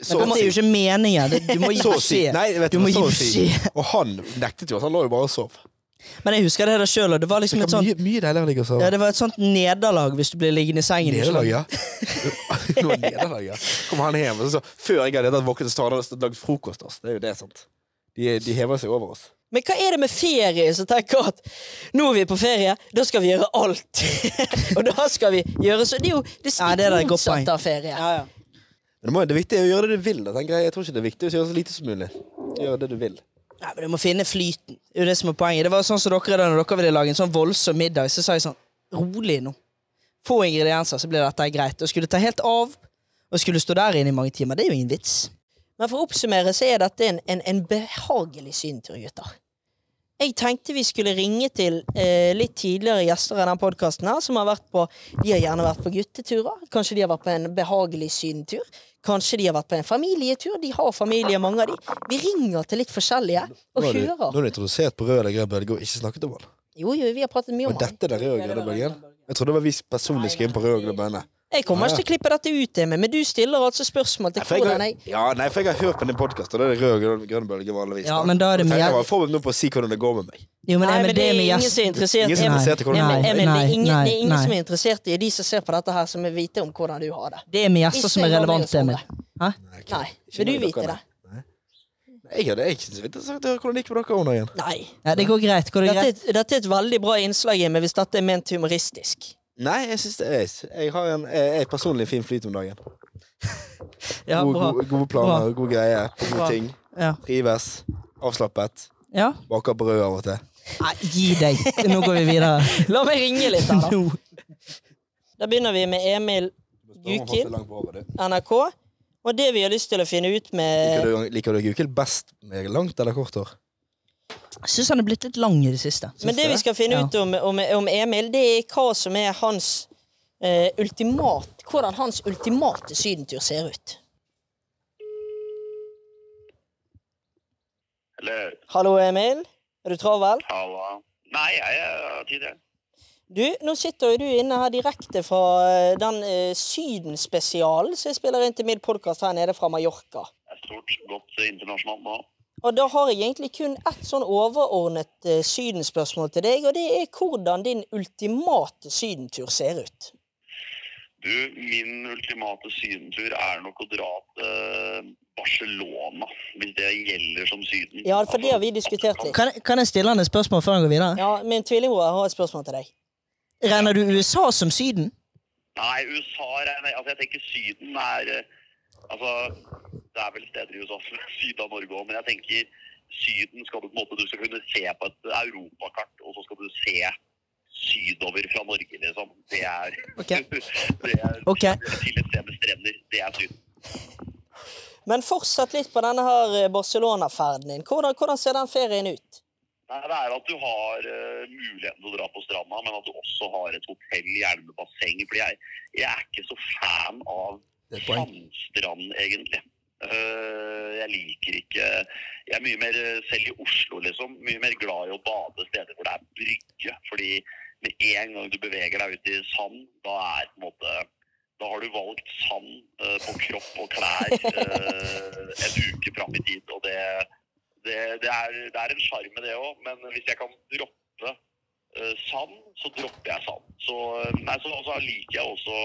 B: Så
C: Men det er jo ikke meningen. Det, du må gi
B: Så å si.
C: beskjed.
B: Nei, vet
C: Du
B: du,
C: må
B: så
C: gi
B: å si.
C: beskjed.
B: Og han nektet jo at han lå jo bare og sov.
C: Men jeg husker det der sjøl, og det var liksom
B: Det
C: et
B: var
C: sånt
B: mye, mye deiligere å ligge og
C: ja,
B: sove.
C: det var et sånt nederlag hvis du ble liggende i sånn- sengen.
B: Nederlag, ja. Det var nederlag, ja. Kom han hjem, og så, så før jeg hadde våknet, så hadde han lagd frokost til oss. Det er jo det, sant. De, de hever seg over oss.
A: Men hva er det med ferie som tenker at nå er vi på ferie, da skal vi gjøre alt? og da skal vi gjøre så Det er jo det
C: Ja, det er et
A: stikk
C: godt poeng.
A: motsatte av ferie.
C: Ja, ja.
B: Men det, må, det viktige er å gjøre det du vil. Da, tenker jeg. jeg tror ikke det er viktig å gjøre så lite som mulig. Gjøre det du vil.
C: Nei, men Du må finne flyten. Det er jo det som er poenget. Det var sånn som dere da når dere ville lage en sånn voldsom middag, så sa jeg sånn Rolig nå. Få ingredienser, så blir dette greit. Og skulle ta helt av, og skulle stå der inne i mange timer. Det er jo ingen vits.
A: Men for å oppsummere så er dette en, en, en behagelig syntur, gutter. Jeg tenkte vi skulle ringe til eh, litt tidligere gjester i denne podkasten her, som har vært på De har gjerne vært på gutteturer. Kanskje de har vært på en behagelig syntur. Kanskje de har vært på en familietur. De har familie, mange av de. Vi ringer til litt forskjellige og
B: Nå er du, nå
A: hører.
B: er du introdusert på rød eller grønn bølge og ikke snakket om den.
A: Jo, jo, vi har pratet mye
B: Og
A: om han.
B: dette er den røde og grønne bølgen? Jeg trodde det var vi personlig skulle inn på rød og grønn bølge.
A: Jeg kommer ikke til å klippe dette ut, Emil, men du stiller altså spørsmål til hvordan jeg
B: Ja, nei, for jeg har hørt på din podkast, og det er det rød og grønn- grønn bølge vanligvis.
C: Ja, men da er det
B: Og tenker
C: mer-
B: Jeg var forberedt nå på å si hvordan det går med meg.
C: Jo, men,
A: Nei,
C: Emil,
A: men det er
C: med
A: ingen
C: gjest-
A: som er interessert
B: Ingen som er
A: Emil,
B: interessert i hvordan
A: Emil,
C: Nei,
A: Emil, det er ingen,
C: nei,
A: det er ingen
C: nei.
A: som er interessert i de som ser på dette her, som vil vite om hvordan du har det.
C: Det er med gjester som er
A: Ikke
C: relevante, Emil.
A: vanlige
C: Hæ?
A: Nei, vil du
B: noe
A: vite
B: dere,
A: det?
B: Nei, Jeg hadde ikke så interessant å høre hvordan det gikk med dere om dagen.
A: Nei.
C: Ja, det går greit. Går det
A: Dette,
C: greit?
A: er- dette er et veldig bra innslag, Emil, hvis dette er ment humoristisk.
B: Nei, jeg syns det er Jeg har en jeg er personlig fin flyt om dagen.
C: Ja,
B: Gode,
C: bra.
B: gode, gode planer, gode greier, gode ting.
C: Ja.
B: Trives. Avslappet.
C: ja?
B: Baker brød av og til.
C: Nei, gi deg. Nå går vi videre.
A: La meg ringe litt her, da.
C: Nå.
A: Da begynner vi med Emil Gukild, NRK. Og det vi har lyst til å finne ut med
B: Liker du- Liker du Gukild best med langt eller kort hår?
C: Jeg syns han er blitt litt lang i det siste.
A: Men det vi skal finne
C: Ja.
A: ut om, om, om Emil, det er hva som er hans eh, ultimat Hvordan hans ultimate sydentur ser ut.
H: Eller
A: Hallo, Emil. Er du travel?
H: halla. Nei, jeg har tid, jeg.
A: Du, nå sitter jo du inne her direkte fra eh, den eh, Syden-spesialen som jeg spiller inn til min podkast her nede fra Mallorca.
H: Det er stort, godt eh, internasjonalt nå.
A: Og da har jeg egentlig kun ett sånn overordnet eh, Syden-spørsmål til deg, og det er hvordan din ultimate sydentur ser ut.
H: Du, min ultimate sydentur er nok å dra til eh, Barcelona, hvis det gjelder som Syden.
A: Ja, for det har vi diskutert litt.
C: Kan, jeg- kan jeg stille han et spørsmål før han går videre?
A: Ja, Min tvillingbror har et spørsmål til deg.
C: Regner du USA som Syden?
H: Nei, USA regner jeg Altså, jeg tenker Syden er eh, Altså, det er vel steder i USA som er syd av Norge òg, men jeg tenker Syden skal du på en måte Du skal kunne se på et europakart, og så skal du se sydover fra Norge, liksom. Det er
C: Ok.
H: det er
C: Ok.
H: til et sted med strender. Det er Syden.
A: Men fortsett litt på denne her eh, Barcelona-ferden din. Hvordan, hvordan ser den ferien ut?
H: Nei, det er at du har eh, muligheten til å dra på stranda, men at du også har et hotell, gjerne med basseng. For jeg, jeg er ikke så fan av
B: Det er et poeng.
H: sandstrand, egentlig. Eh, jeg liker ikke Jeg er mye mer, eh, selv i Oslo, liksom, mye mer glad i å bade steder hvor det er brygge. Fordi med en gang du beveger deg ut i sand, da er på en måte da har du valgt sand eh, på kropp og klær eh, en uke fram i tid, og det, det, det, er, det er en sjarm med det òg. Men hvis jeg kan droppe eh, sand, så dropper jeg sand. Så, eh, nei, så, så liker jeg også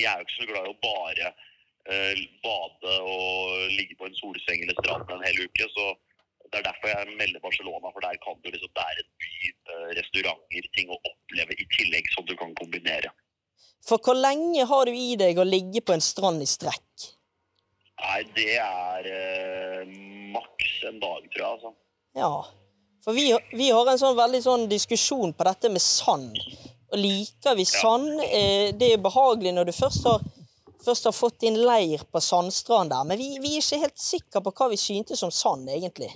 H: Jeg er jo ikke så glad i å bare eh, bade og ligge på en solseng eller strand en hel uke. så det er derfor jeg melder Barcelona, for der kan du liksom, det er en by, eh, restauranter, ting å oppleve i tillegg som du kan kombinere.
A: For hvor lenge har du i deg å ligge på en strand i strekk?
H: Nei, det er eh, maks en dag, tror jeg, altså.
A: Ja. For vi, vi har en sånn veldig sånn diskusjon på dette med sand. Og liker vi sand? Eh, det er behagelig når du først har, først har fått din leir på sandstrand der. Men vi, vi er ikke helt sikre på hva vi syntes om sand, egentlig.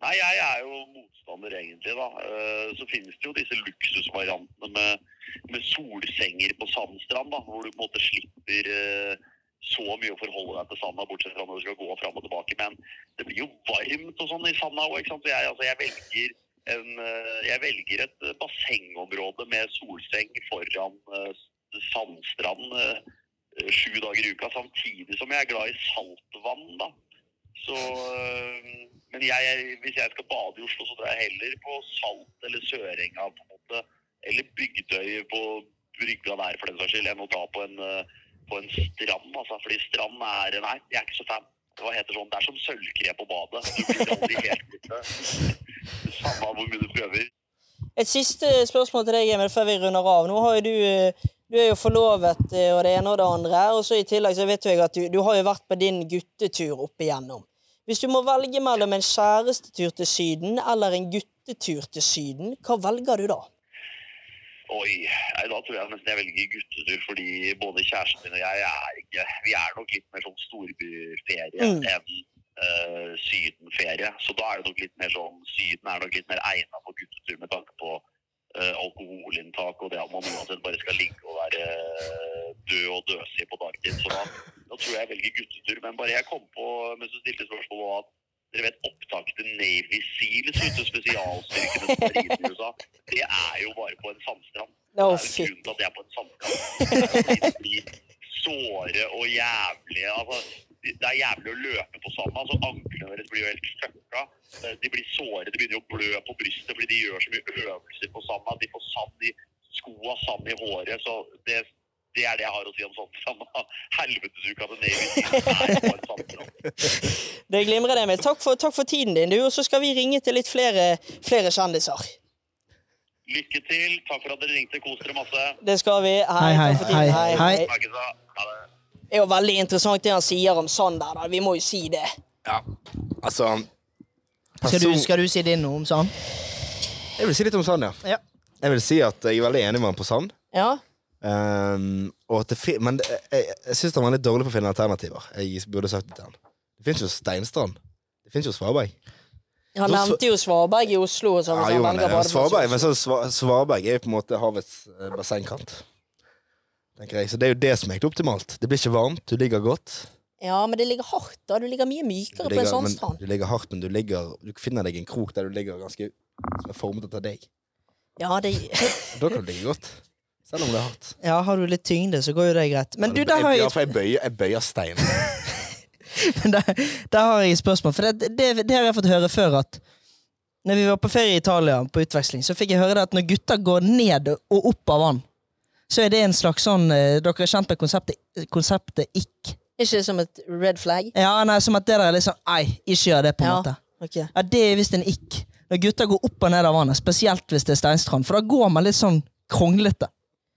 H: Nei, jeg er jo motstander egentlig, da. Eh, Så finnes det jo disse luksusvariantene med, med solsenger på sandstrand, da, hvor du på en måte slipper eh, så mye å forholde deg til sanda, bortsett fra når du skal gå fram og tilbake. Men det blir jo varmt og sånn i sanda òg, ikke sant. Så jeg, altså, jeg velger en, eh, jeg velger et eh, bassengområde med solseng foran eh, s- sandstrand eh, sju dager i uka, samtidig som jeg er glad i saltvann, da. Så, øh, men jeg, jeg- hvis jeg skal bade i Oslo, så drar jeg heller på Salt eller Sørenga på en måte, eller Bygdøy på brygga der for den saks skyld, enn å dra på en, øh, på en strand. Altså, fordi strand er Nei, jeg er ikke så fan. Hva heter sånn? Det er som sølvkre på badet. Du blir aldri helt kvitt det. Samme hvor mye du prøver.
A: Et siste spørsmål til deg, Emil, før vi runder av. Nå har jo du eh, du er jo forlovet eh, og det ene og det andre. Og så i tillegg så vet jo jeg at du, du har jo vært på din guttetur opp igjennom. Hvis du må velge mellom en kjærestetur til Syden eller en guttetur til Syden, hva velger du da?
H: Oi, nei, da tror jeg nesten jeg velger guttetur, fordi både kjæresten min og jeg er ikke Vi er nok litt mer sånn storbyferie
A: Mm.
H: enn eh, sydenferie. Så da er det nok litt mer sånn Syden er nok litt mer egnet for guttetur med tanke på eh, alkoholinntak og det at man uansett bare skal ligge og være eh, død og døsig på dagtid. Så da, da tror jeg jeg velger guttetur. Men bare jeg kom på mens du stilte spørsmålet at dere vet opptaket til Navy Seals ute spesialstyrkene som er i USA. Det er jo bare på en sandstrand.
A: Å,
H: Det er jo
A: fy.
H: grunnen til at det er på en sandstrand. De blir såre og jævlige. Altså, de- det er jævlig å løpe på sanda. Altså, Anklene deres blir jo helt fucka. Eh, De blir såre, de begynner å blø på brystet fordi de gjør så mye øvelser på sanda. De får sand i skoa, sand i håret. Så det, det er det jeg har å si om sandstrand. Helvetesuka til Navy Seals er på en sandstrand.
A: Det glimrer det med. Takk for, takk for tiden din, du. Og så skal vi ringe til litt flere, flere kjendiser.
H: Lykke til. Takk for at dere ringte. Kos dere masse.
A: Det skal vi. Hei,
C: Hei, hei,
A: takk for tiden.
C: hei, hei.
H: Snakkes da. Ha det.
A: Det er jo veldig interessant det han sier om sand der, da. Vi må jo si det.
B: Altså
C: Skal du,
B: person-
C: skal du si din nå om sånn? sand?
B: Jeg vil si litt om sand, ja.
C: Ja.
B: Jeg vil si at jeg er veldig enig med han på sand.
A: Ja.
B: Ehm, og at det fin men det- jeg, jeg, jeg syns han var litt dårlig på å finne alternativer. Jeg burde sagt det til han. Det fins jo Steinstrand. Det fins jo Svaberg.
A: Han
B: Nå så-
A: nevnte jo Svaberg i Oslo. Så hvis
B: Ja, jo, men,
A: han velger
B: eh,
A: badeplass i
B: Svaberg,
A: Oslo.
B: men så Sva- Svaberg er jo på en måte havets eh, bassengkant. Tenker jeg. Så det er jo det som er helt optimalt. Det blir ikke varmt, du ligger godt.
A: Ja, men det ligger hardt, da. Du ligger mye
B: Du
A: mykere på
B: ligger,
A: en sånn
B: men,
A: sandstrand.
B: du ligger hardt, men du, ligger, du finner deg en krok der du ligger ganske som er formet etter deg.
A: Ja, det
B: Da kan du ligge godt. Selv om det er hardt.
C: Ja, har du litt tyngde, så går jo det greit. Men du,
B: Ja,
C: der har
B: jeg, ja,
C: jeg,
B: for jeg bøyer, jeg bøyer stein.
C: der, der har jeg et spørsmål. For det, det, det har jeg fått høre før at når vi var på ferie i Italia, på utveksling, så fikk jeg høre det at når gutter går ned og opp av vann, så er det en slags sånn eh, Dere er kjent med konseptet, konseptet ikk.
A: Ikke som et red flag?
C: Ja, nei, som at det der er litt sånn Nei, ikke gjør det, på en
A: Ja.
C: måte.
A: Ok.
C: Ja, Det er visst en ikk. Når gutter går opp og ned av vannet, spesielt hvis det er steinstrand, for da går man litt sånn kronglete.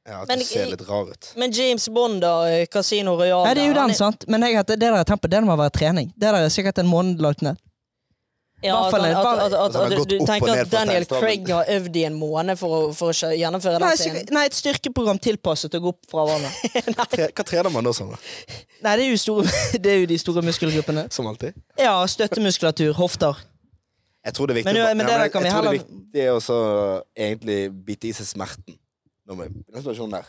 B: Ja, at
A: Men-
B: du ser litt rar ut.
A: Men James Bond, da? eh, Casino Royale?
C: Nei, det er jo
A: der, han
C: den, sant? Men jeg, heter- det der er tempo, det må være trening. Det der er sikkert en måned lagt ned.
A: Ja,
C: hvert
A: at,
C: fall
A: han-
C: en-
A: at, at, at,
B: Altså, han har
A: at,
B: gått
A: du
B: opp og
A: tenker
B: ned
A: at
B: på
A: Daniel
B: steinstaven.
A: Craig har øvd i en måned for å, for å kjø- gjennomføre
C: Nei,
A: den
C: sikkert-
A: scenen?
C: nei, et styrkeprogram tilpasset å gå opp fra vannet.
B: Tre, hva trener man da sånn? da?
C: Nei, det er jo, store, det er jo de store muskelgruppene.
B: Som alltid?
C: Ja, støttemuskulatur, hofter.
B: Jeg tror det er viktig
C: Men jo,
B: å-
C: men
B: Nei,
C: det der
B: jeg,
C: kan vi
B: jeg tror det er
C: heller-
B: viktig å så egentlig bite i seg smerten. Når man, i den situasjonen der.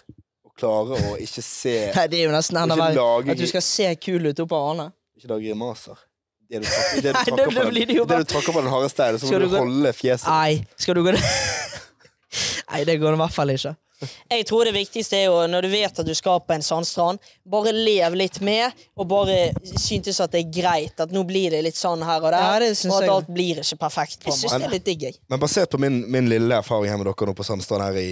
B: Å klare å ikke se
C: Nei, det er jo nesten enda
B: Ikke
C: verre.
B: lage-
C: At du skal se kul ut opp av vannet.
B: Ikke lage grimaser. Det du tråkker det du
C: Nei, da-
B: tråkker
C: da
B: på den-
C: blir det jo
B: det
C: bare-
B: du tråkker på den harde steinen, så
C: Skal
B: må
C: du
B: du
C: gå-
B: holde fjeset.
C: Nei, skal du gå ned? Nei, det går i hvert fall ikke.
A: Jeg tror det viktigste er jo, når du vet at du skal på en sandstrand, bare lev litt med, og bare syntes at det er greit at nå blir det litt sånn her og der,
C: Ja, det syns
A: og at
C: jeg.
A: alt blir ikke perfekt. på
C: Jeg
A: en
C: syns
A: måte.
C: det er litt digg, jeg.
B: Men basert på min, min lille erfaring her med dere nå på Sandstrand her i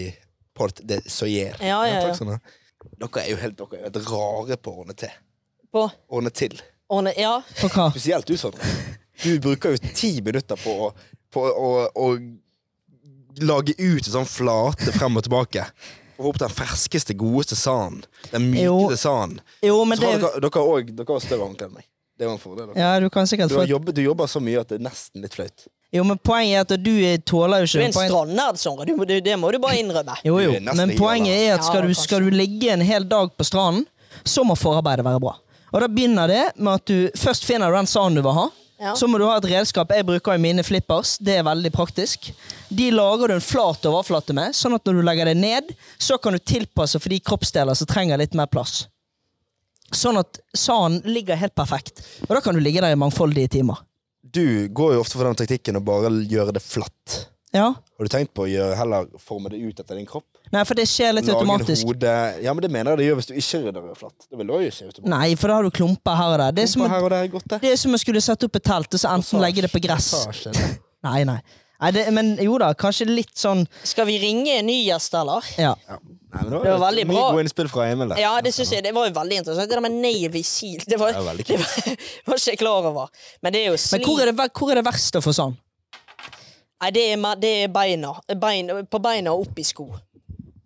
B: Port de Soyer
A: Ja, ja,
B: takk
A: ja.
B: skal dere ha. Dere er jo helt, dere er jo helt rare på å ordne til.
A: På,
B: Ordne til.
A: og, ne- ja.
C: For hva?
B: Spesielt du, Sondre. Du bruker jo ti minutter på å, på å, å lage ut en sånn flate frem og tilbake. få opp den ferskeste, godeste sanden. Den mykeste
C: Jo,
B: sanden.
C: Jo, men
B: Så har
C: det
B: dere- Dere har også- dere har større håndkle enn meg. Det var en fordel. dere.
C: Ja, du kan sikkert
B: Du, har
C: få
B: jobbet, du jobber så mye at det er nesten litt flaut.
C: Jo, men poenget er at du eh, tåler jo
A: Du
C: ikke
A: er en
C: poenget-
A: strandnerd, Sondre. Du må- du- Det må du bare innrømme.
C: Jo, jo,
B: Du er nesten
C: men
B: ikke
C: poenget
B: gammel.
C: er at skal
A: Ja,
C: du,
A: kanskje.
C: skal du ligge en hel dag på stranden, så må forarbeidet være bra. Og da begynner det med at du først finner den sanden du vil ha.
A: Ja.
C: Så må du ha et redskap. Jeg bruker jo mine flippers. Det er veldig praktisk. De lager du en flat overflate med, sånn at når du legger det ned, så kan du tilpasse for de kroppsdeler som trenger litt mer plass. Sånn at sanden ligger helt perfekt. Og da kan du ligge der i mangfoldige timer.
B: Du går jo ofte for den taktikken å bare gjøre det flatt.
C: Ja.
B: Har du tenkt på å gjøre, heller forme det ut etter din kropp?
C: Nei, for det skjer litt automatisk.
B: hode Ja, men det mener jeg det gjør hvis du ikke rydder det flatt. Det vil du også gjøre automatisk.
C: Nei, for da har du klumper her og der. Det er som
B: På
C: en
B: her og der er godt, det.
C: Det er som om jeg skulle sette opp et telt og så enten legge det på gress.
B: Massasje, det.
C: Nei, nei. nei det, men jo da, kanskje litt sånn
A: Skal vi ringe en ny gjest, eller?
C: Ja.
B: Ja. Nei, men det var,
A: Det var veldig
B: mye
A: bra.
B: gode innspill fra Emil der.
A: Ja, det synes jeg. Det var jo veldig interessant. Det der med Navy Seal, det var,
B: Det var veldig
A: det var, var ikke jeg klar over. Men det er jo
C: Men
A: sli...
C: hvor er det, ver- hvor er det verst å få sånn?
A: Nei, det er, ma- det er beina. Bein, på beina og opp i sko.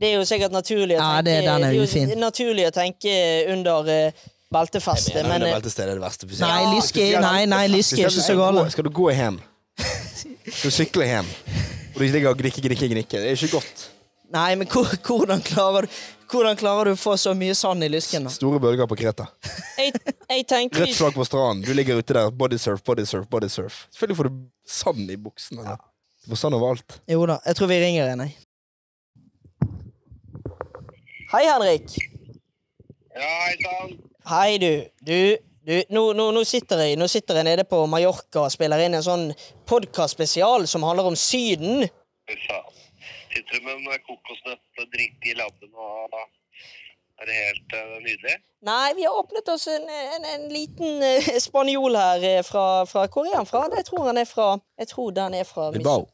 A: Det er jo sikkert naturlig å
C: Ja,
A: tenke
C: det- den er
A: jo
C: ufin.
A: naturlig å tenke under eh, beltefestet,
B: men
A: men
B: det
A: eh,
B: beltestedet er det verste. på
C: Nei,
B: siden.
C: lyske, nei, nei, lyske er ikke så gal.
B: Skal du gå hjem? Skal du sykle hjem? Og du ligger og gnikker, gnikker, gnikker. Det er ikke godt.
C: Nei, men hvor, hvordan, klarer du, hvordan klarer du å få så mye sand i lysken? da?
B: Store bølger på Kreta.
A: eh, jeg, jeg tenker
B: Rødt flagg på stranden. Du ligger ute der. Bodysurf, bodysurf, bodysurf. Selvfølgelig får du sand i buksene. Ja. Du får sand overalt.
C: Jo da, jeg tror vi ringer en, jeg.
A: Hei, Henrik.
H: Ja, hei sann.
A: Hei, du. Du, du nå, nå, nå, sitter jeg, nå sitter jeg nede på Mallorca og spiller inn en sånn podkastspesial som handler om Syden.
H: Fy faen. Sitter du med en kokosnøtt og drikke i labben og er det helt eh, nydelig?
A: Nei, vi har åpnet oss en, en, en liten eh, spanjol her eh, fra, fra Hvor er han fra? Jeg tror han er fra Jeg tror den er fra
B: Bilbao.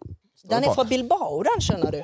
A: Den er fra Bilbao, den, skjønner du.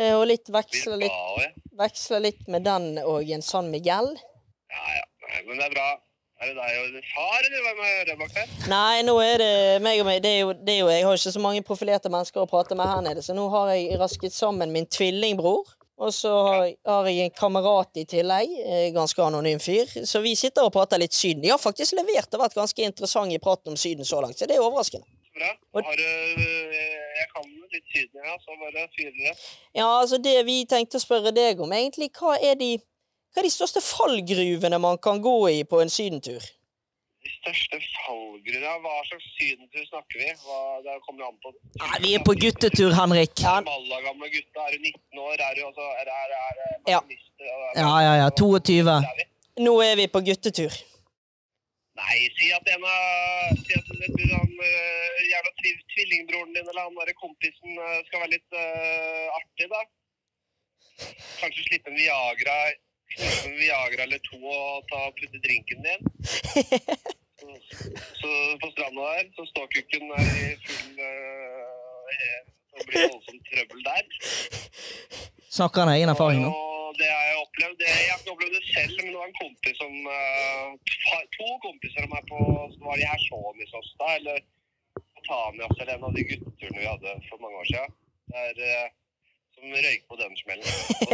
A: Eh, Og litt veksler litt,
H: Bilbao, ja.
A: veksler litt med den og en San Miguel.
H: Ja, ja. Nei, Men det er bra. Er det deg og din far, eller hvem er det bak der?
A: Nei, nå er det meg og meg. Det er jo, det er jo, jeg har ikke så mange profilerte mennesker å prate med her nede, så nå har jeg rasket sammen min tvillingbror. Og så har, jeg- har jeg en kamerat i tillegg, eh, ganske anonym fyr. Så vi sitter og prater litt Syden. De har faktisk levert og vært ganske interessant i praten om Syden så langt, så det er overraskende.
H: Så Bra. Har du eh, Jeg kan litt syden, ja, så bare fyrer det.
A: Ja, altså det vi tenkte å spørre deg om, egentlig, hva er de, hva er de største fallgruvene man kan gå i på en sydentur?
H: De største fallgrunnene Hva slags sydentur snakker vi? Hva, det kommer jo an på
C: Nei, vi er på guttetur, Henrik.
H: Ja. Malaga med gutta. Er du 19 år? Er du altså er, er, er, er,
A: Ja.
H: pensjonister? Er- er-
C: Ja, ja, ja. 22.
H: er vi?
A: Nå er vi på guttetur.
H: Nei, si at en av Si at det blir han eh, jævla triv, tvillingbroren din eller han derre kompisen eh, skal være litt eh, artig, da. Kanskje slippe en Viagra slippe en Viagra eller to og ta putte drinken din. Så, så på stranda der, så ståkukken er i full eh, Det blir voldsomt trøbbel der.
C: Snakker han av egen erfaring nå?
H: Og det har jeg opplevd. Det, jeg har ikke opplevd det selv, men det var en kompis som eh, fa- To kompiser av meg på som var i Hershonis hos da, eller Tanias eller en av de gutteturene vi hadde for mange år siden. Der, eh, som røyk på den smellen.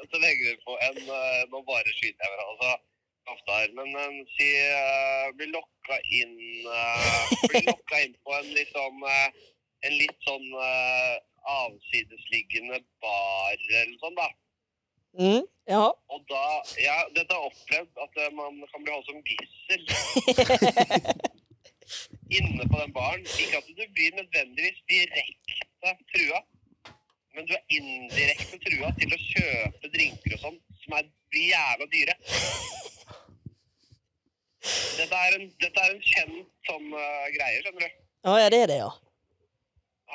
H: Og Så legger vi på en eh, Nå bare skyter jeg hverandre. Altså, ofte her, men eh, si eh, blir lokka inn eh, Blir lokka inn på en litt sånn eh, en litt sånn eh, avsidesliggende bar eller sånn, da.
A: Mm, ja.
H: Og da Ja, dette har jeg opplevd, at eh, man kan bli holdt som gissel. Inne på den baren. Ikke at du blir nødvendigvis direkte trua, men du er indirekte trua til å kjøpe drinker og sånn som er jævla dyre. Dette er en, dette er en kjent sånn eh, greie, skjønner du.
A: Å ja, det er det, ja.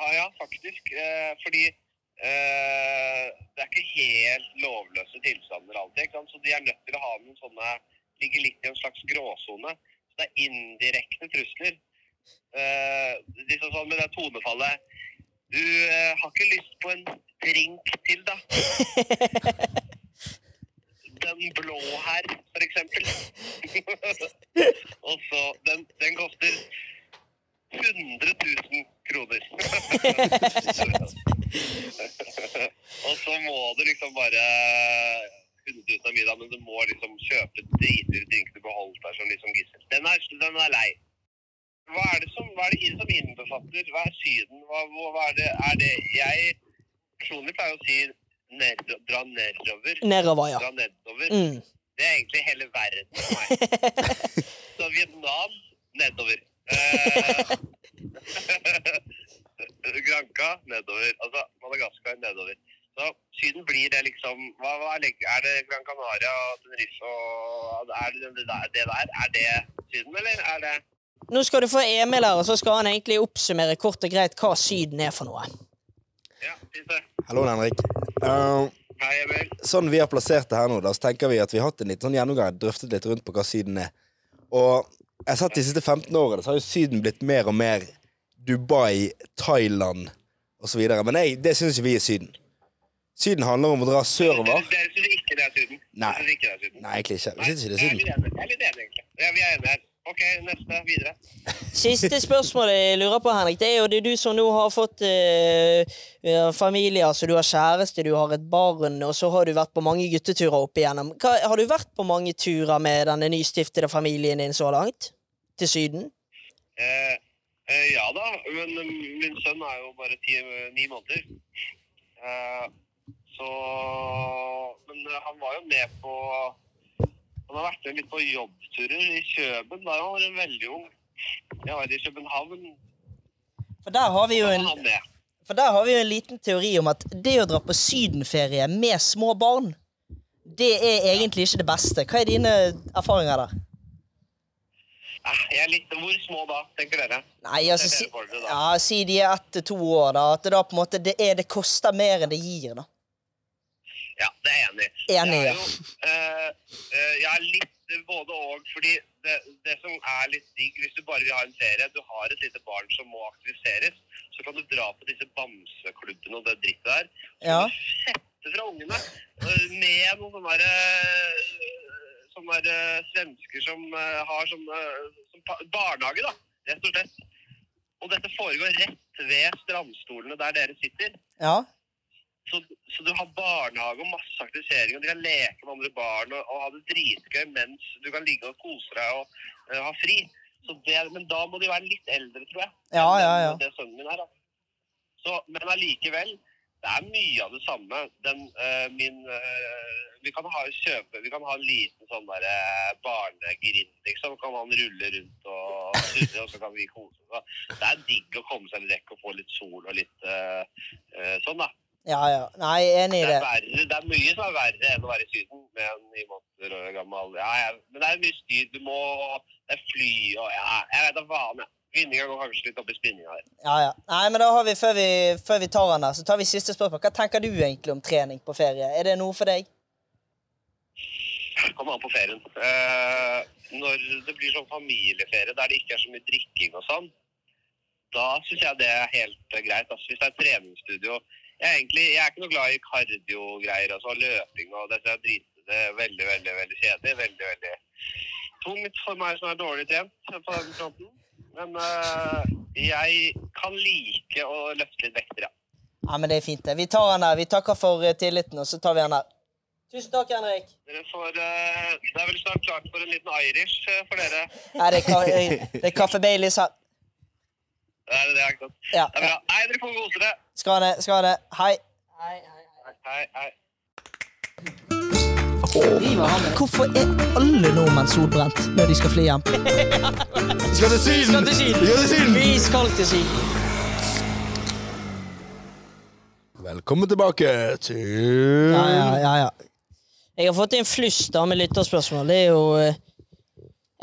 H: Ja, ja, faktisk. Eh, fordi eh, det er ikke helt lovløse tilstander alltid. Ikke sant? Så de er nødt til å ha noen sånne Ligger litt i en slags gråsone. Så det er indirekte trusler. Eh, liksom sånn med det tonefallet Du eh, har ikke lyst på en drink til, da? Den blå her, for eksempel. Og så den, den koster 100 000 kroner. og så må du liksom bare 100 000 av middag, men du må liksom kjøpe dritdyre ting du beholdt deg som liksom gissel. Den er, den er lei. Hva er det som, hva er det som innbefatter? Hva er Syden? Hva, hva hva er det? Er det jeg personlig pleier å si ned, dra nedover.
A: Nedover, ja.
H: Dra nedover.
A: Mm.
H: Det er egentlig hele verden for meg. Så Vietnam nedover. Eh, Granca nedover. Altså Madagaskar nedover. Så Syden blir det liksom hva, hva er, leg- er det Gran Canaria og Tenerife og Er det det der, det der? Er det Syden, eller er det
A: Nå skal du få Emil her, og så skal han egentlig oppsummere kort og greit hva Syden er for noe.
H: Ja, Tisse.
B: Hallo, Henrik. Eh,
H: Hei, Emil.
B: sånn vi har plassert det her nå, da, så tenker vi at vi har hatt en litt sånn gjennomgang, drøftet litt rundt på hva Syden er. Og jeg har sett de siste 15 årene, så har jo Syden blitt mer og mer Dubai, Thailand osv. Men nei, det syns ikke vi er Syden. Syden handler om å dra sørover.
H: Dere syns ikke det er Syden? Dere
B: Nei.
H: synes ikke det er syden.
B: Nei, egentlig ikke. Vi syns ikke det er
H: Jeg er litt
B: Syden.
H: enig, Jeg er litt enig, egentlig. Ja, vi er enige her. OK, neste. Videre.
A: Siste spørsmålet jeg lurer på, Henrik, det er jo det er du som nå har fått eh, eh, familie, altså du har kjæreste, du har et barn, og så har du vært på mange gutteturer opp igjennom. Hva, har du vært på mange turer med denne nystiftede familien din så langt? Til Syden?
H: Eh, eh, ja da, men eh, min sønn er jo bare ti, ni måneder. Eh, så Men eh, han var jo med på Han har vært med litt på jobbturer i Kjøben. Da var han veldig ung. Jeg var i København.
C: For der har vi jo
H: Da
C: en
H: var han med.
C: For der har vi jo en liten teori om at det å dra på sydenferie med små barn, det er egentlig ikke det beste. Hva er dine erfaringer der?
H: Eh, jeg er litt Hvor små da, tenker dere?
C: Nei, altså, si,
H: Det er det for det, da.
C: ja, si de er ett til to år, da. At det da på en måte det, er, det koster mer enn det gir, da.
H: Ja, det er jeg enig. i.
C: Enig,
H: Det er
C: ja.
H: jo, eh, eh, jeg er litt både og, fordi det, det som er litt digg hvis du bare vil ha en ferie, du har et lite barn som må aktiviseres, så kan du dra på disse bamseklubbene og det drittet der. Så
C: Ja.
H: kan du Fette fra ungene eh, med noen sånne der, eh, sånne der eh, svensker som eh, har sånn eh, som pa- barnehage, da, rett og slett. Og dette foregår rett ved strandstolene der dere sitter.
C: Ja.
H: Så, så du har barnehage og masse aktivisering, og du kan leke med andre barn og, og ha det dritgøy mens du kan ligge og kose deg og eh, ha fri. Så det, men da må de være litt eldre, tror jeg.
C: Ja, ja, ja.
H: enn Det sønnen min er, da. Så, men allikevel, det er mye av det samme. Den, eh, min, eh, vi kan ha kjøpe, vi kan ha en liten sånn der eh, barnegrind, liksom. Kan han rulle rundt og surre, og så kan vi kose oss. Det er digg å komme seg litt vekk og få litt sol og litt eh, eh, sånn, da.
C: Ja, ja. Nei, enig i
H: Det
C: det.
H: er, verre, det er mye som er verre enn å være i Syden med en ni måneder og gammel. Ja, ja. Men det er mye styr. Du må det er fly og ja, Jeg vet da faen, jeg. Vinninga går kanskje litt opp i spinninga her.
C: Ja, ja. Nei, men da har vi før, vi, før vi tar den der, så tar vi siste spørsmål. Hva tenker du egentlig om trening på ferie? Er det noe for deg?
H: Kommer an på ferien. Eh, når det blir sånn familieferie der det ikke er så mye drikking og sånn, da syns jeg det er helt eh, greit. Altså, hvis det er treningsstudio Jeg er, egentlig, jeg er ikke noe glad i kardiogreier, altså løping og det. så Jeg driter det er veldig, veldig veldig kjedelig. Veldig, veldig tungt for meg som er dårlig trent på den fronten. Men eh, jeg kan like å løfte litt vekter, ja.
C: Ja, men det er fint, det. Vi tar den der. Vi takker for eh, tilliten, og så tar vi den der. Tusen takk, Henrik.
H: Dere får, eh, det er vel snart klart for en liten Irish eh, for dere.
C: Nei, det er, ka eh, det er kaffe Baileys her.
H: Det er det, akkurat.
C: Ja.
H: Det er bra. Nei, dere får kose dere.
C: Skal ha det. Skal ha det. Hei.
H: Hei, hei.
C: Hvorfor er alle nordmenn solbrent når de skal fly hjem?
B: Vi skal til Syden!
A: til
B: Vi skal til Syden!
A: Syden! Vi skal til Syden!
B: Velkommen tilbake til
C: Ja, ja, ja. ja.
A: Jeg har fått inn flust da med lytterspørsmål. Det er jo eh,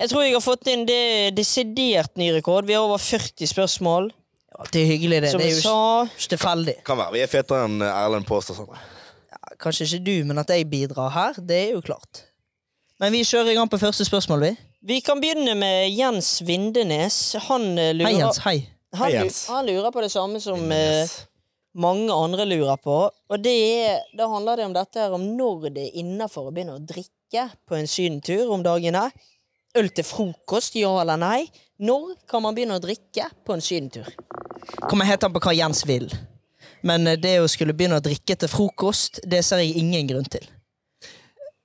A: Jeg tror jeg har fått inn det desidert ny rekord. Vi har over 40 spørsmål,
C: Ja, Det er hyggelig, det.
A: som
C: det
A: vi
C: er jo
A: sa.
C: ikke- ikke tilfeldig.
B: Kan være vi er fetere enn Erlend påstår. Sånn.
C: Kanskje ikke du, men at jeg bidrar her, det er jo klart. Men vi kjører i gang på første spørsmål, vi.
A: Vi kan begynne med Jens Vindenes. Han eh, lurer,
C: Hei, Jens. Hei.
A: Han,
B: Hei, Jens.
A: lu- han lurer på det samme som eh, mange andre lurer på. Og det er, da handler det om dette her om når det er innafor å begynne å drikke på en sydentur om dagene. Øl til frokost, ja eller nei? Når kan man begynne å drikke på en sydentur?
C: Kommer helt an på hva Jens vil. Men eh, det å skulle begynne å drikke til frokost, det ser jeg ingen grunn til.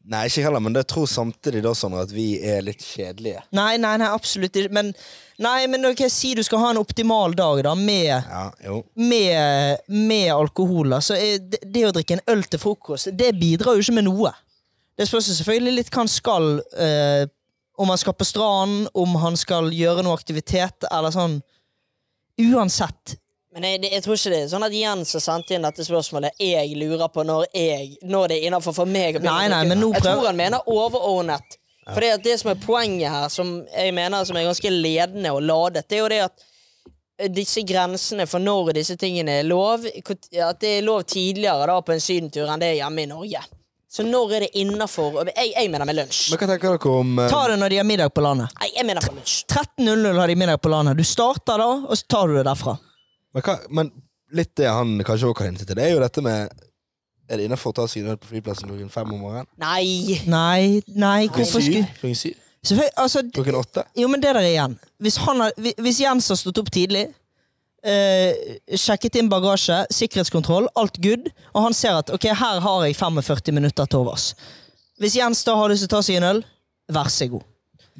B: Nei, ikke heller, men jeg tror samtidig da sånn at vi er litt kjedelige.
C: Nei, nei, nei, absolutt ikke. Men, nei, men ok, si du skal ha en optimal dag, da, med
B: Ja, jo.
C: med, med alkohol. da, så er det, det å drikke en øl til frokost, det bidrar jo ikke med noe. Det spørs jo selvfølgelig litt hva han skal. eh, om han skal på stranden, om han skal gjøre noe aktivitet, eller sånn. Uansett.
A: Men jeg, jeg tror ikke det er sånn at Jens har sendt inn dette spørsmålet jeg lurer på når, jeg, når det er innafor for meg. å begynne
C: Nei,
A: å
C: nei,
A: drikke.
C: men nå
A: jeg
C: prøv-
A: tror han mener overordnet. For det, at det som er poenget her, som jeg mener som er ganske ledende og ladet, det er jo det at disse grensene for når disse tingene er lov, at det er lov tidligere da på en sydentur enn det er hjemme i Norge. Så når er det innafor? Jeg, jeg mener med lunsj.
B: Men hva tenker dere om eh,
C: Ta det når de har middag på landet.
A: Nei, jeg mener med lunsj.
C: 13.00 har de middag på landet. Du starter da, og så tar du det derfra.
B: men, hva, men litt det han kanskje også kan hinte til, det er jo dette med Er det innafor å ta seg en øl på flyplassen klokken fem om morgenen?
A: Nei!
C: Nei, nei, hvorfor skulle
B: Klokken syv?
C: Selvfølgelig, altså,
B: Klokken åtte?
C: Jo, men det der igjen. Hvis, han har, hvi- hvis Jens har stått opp tidlig, eh, sjekket inn bagasje, sikkerhetskontroll, alt good, og han ser at ok, her har jeg 45 minutter til overs. Hvis Jens da har lyst til å ta seg en øl, vær så god.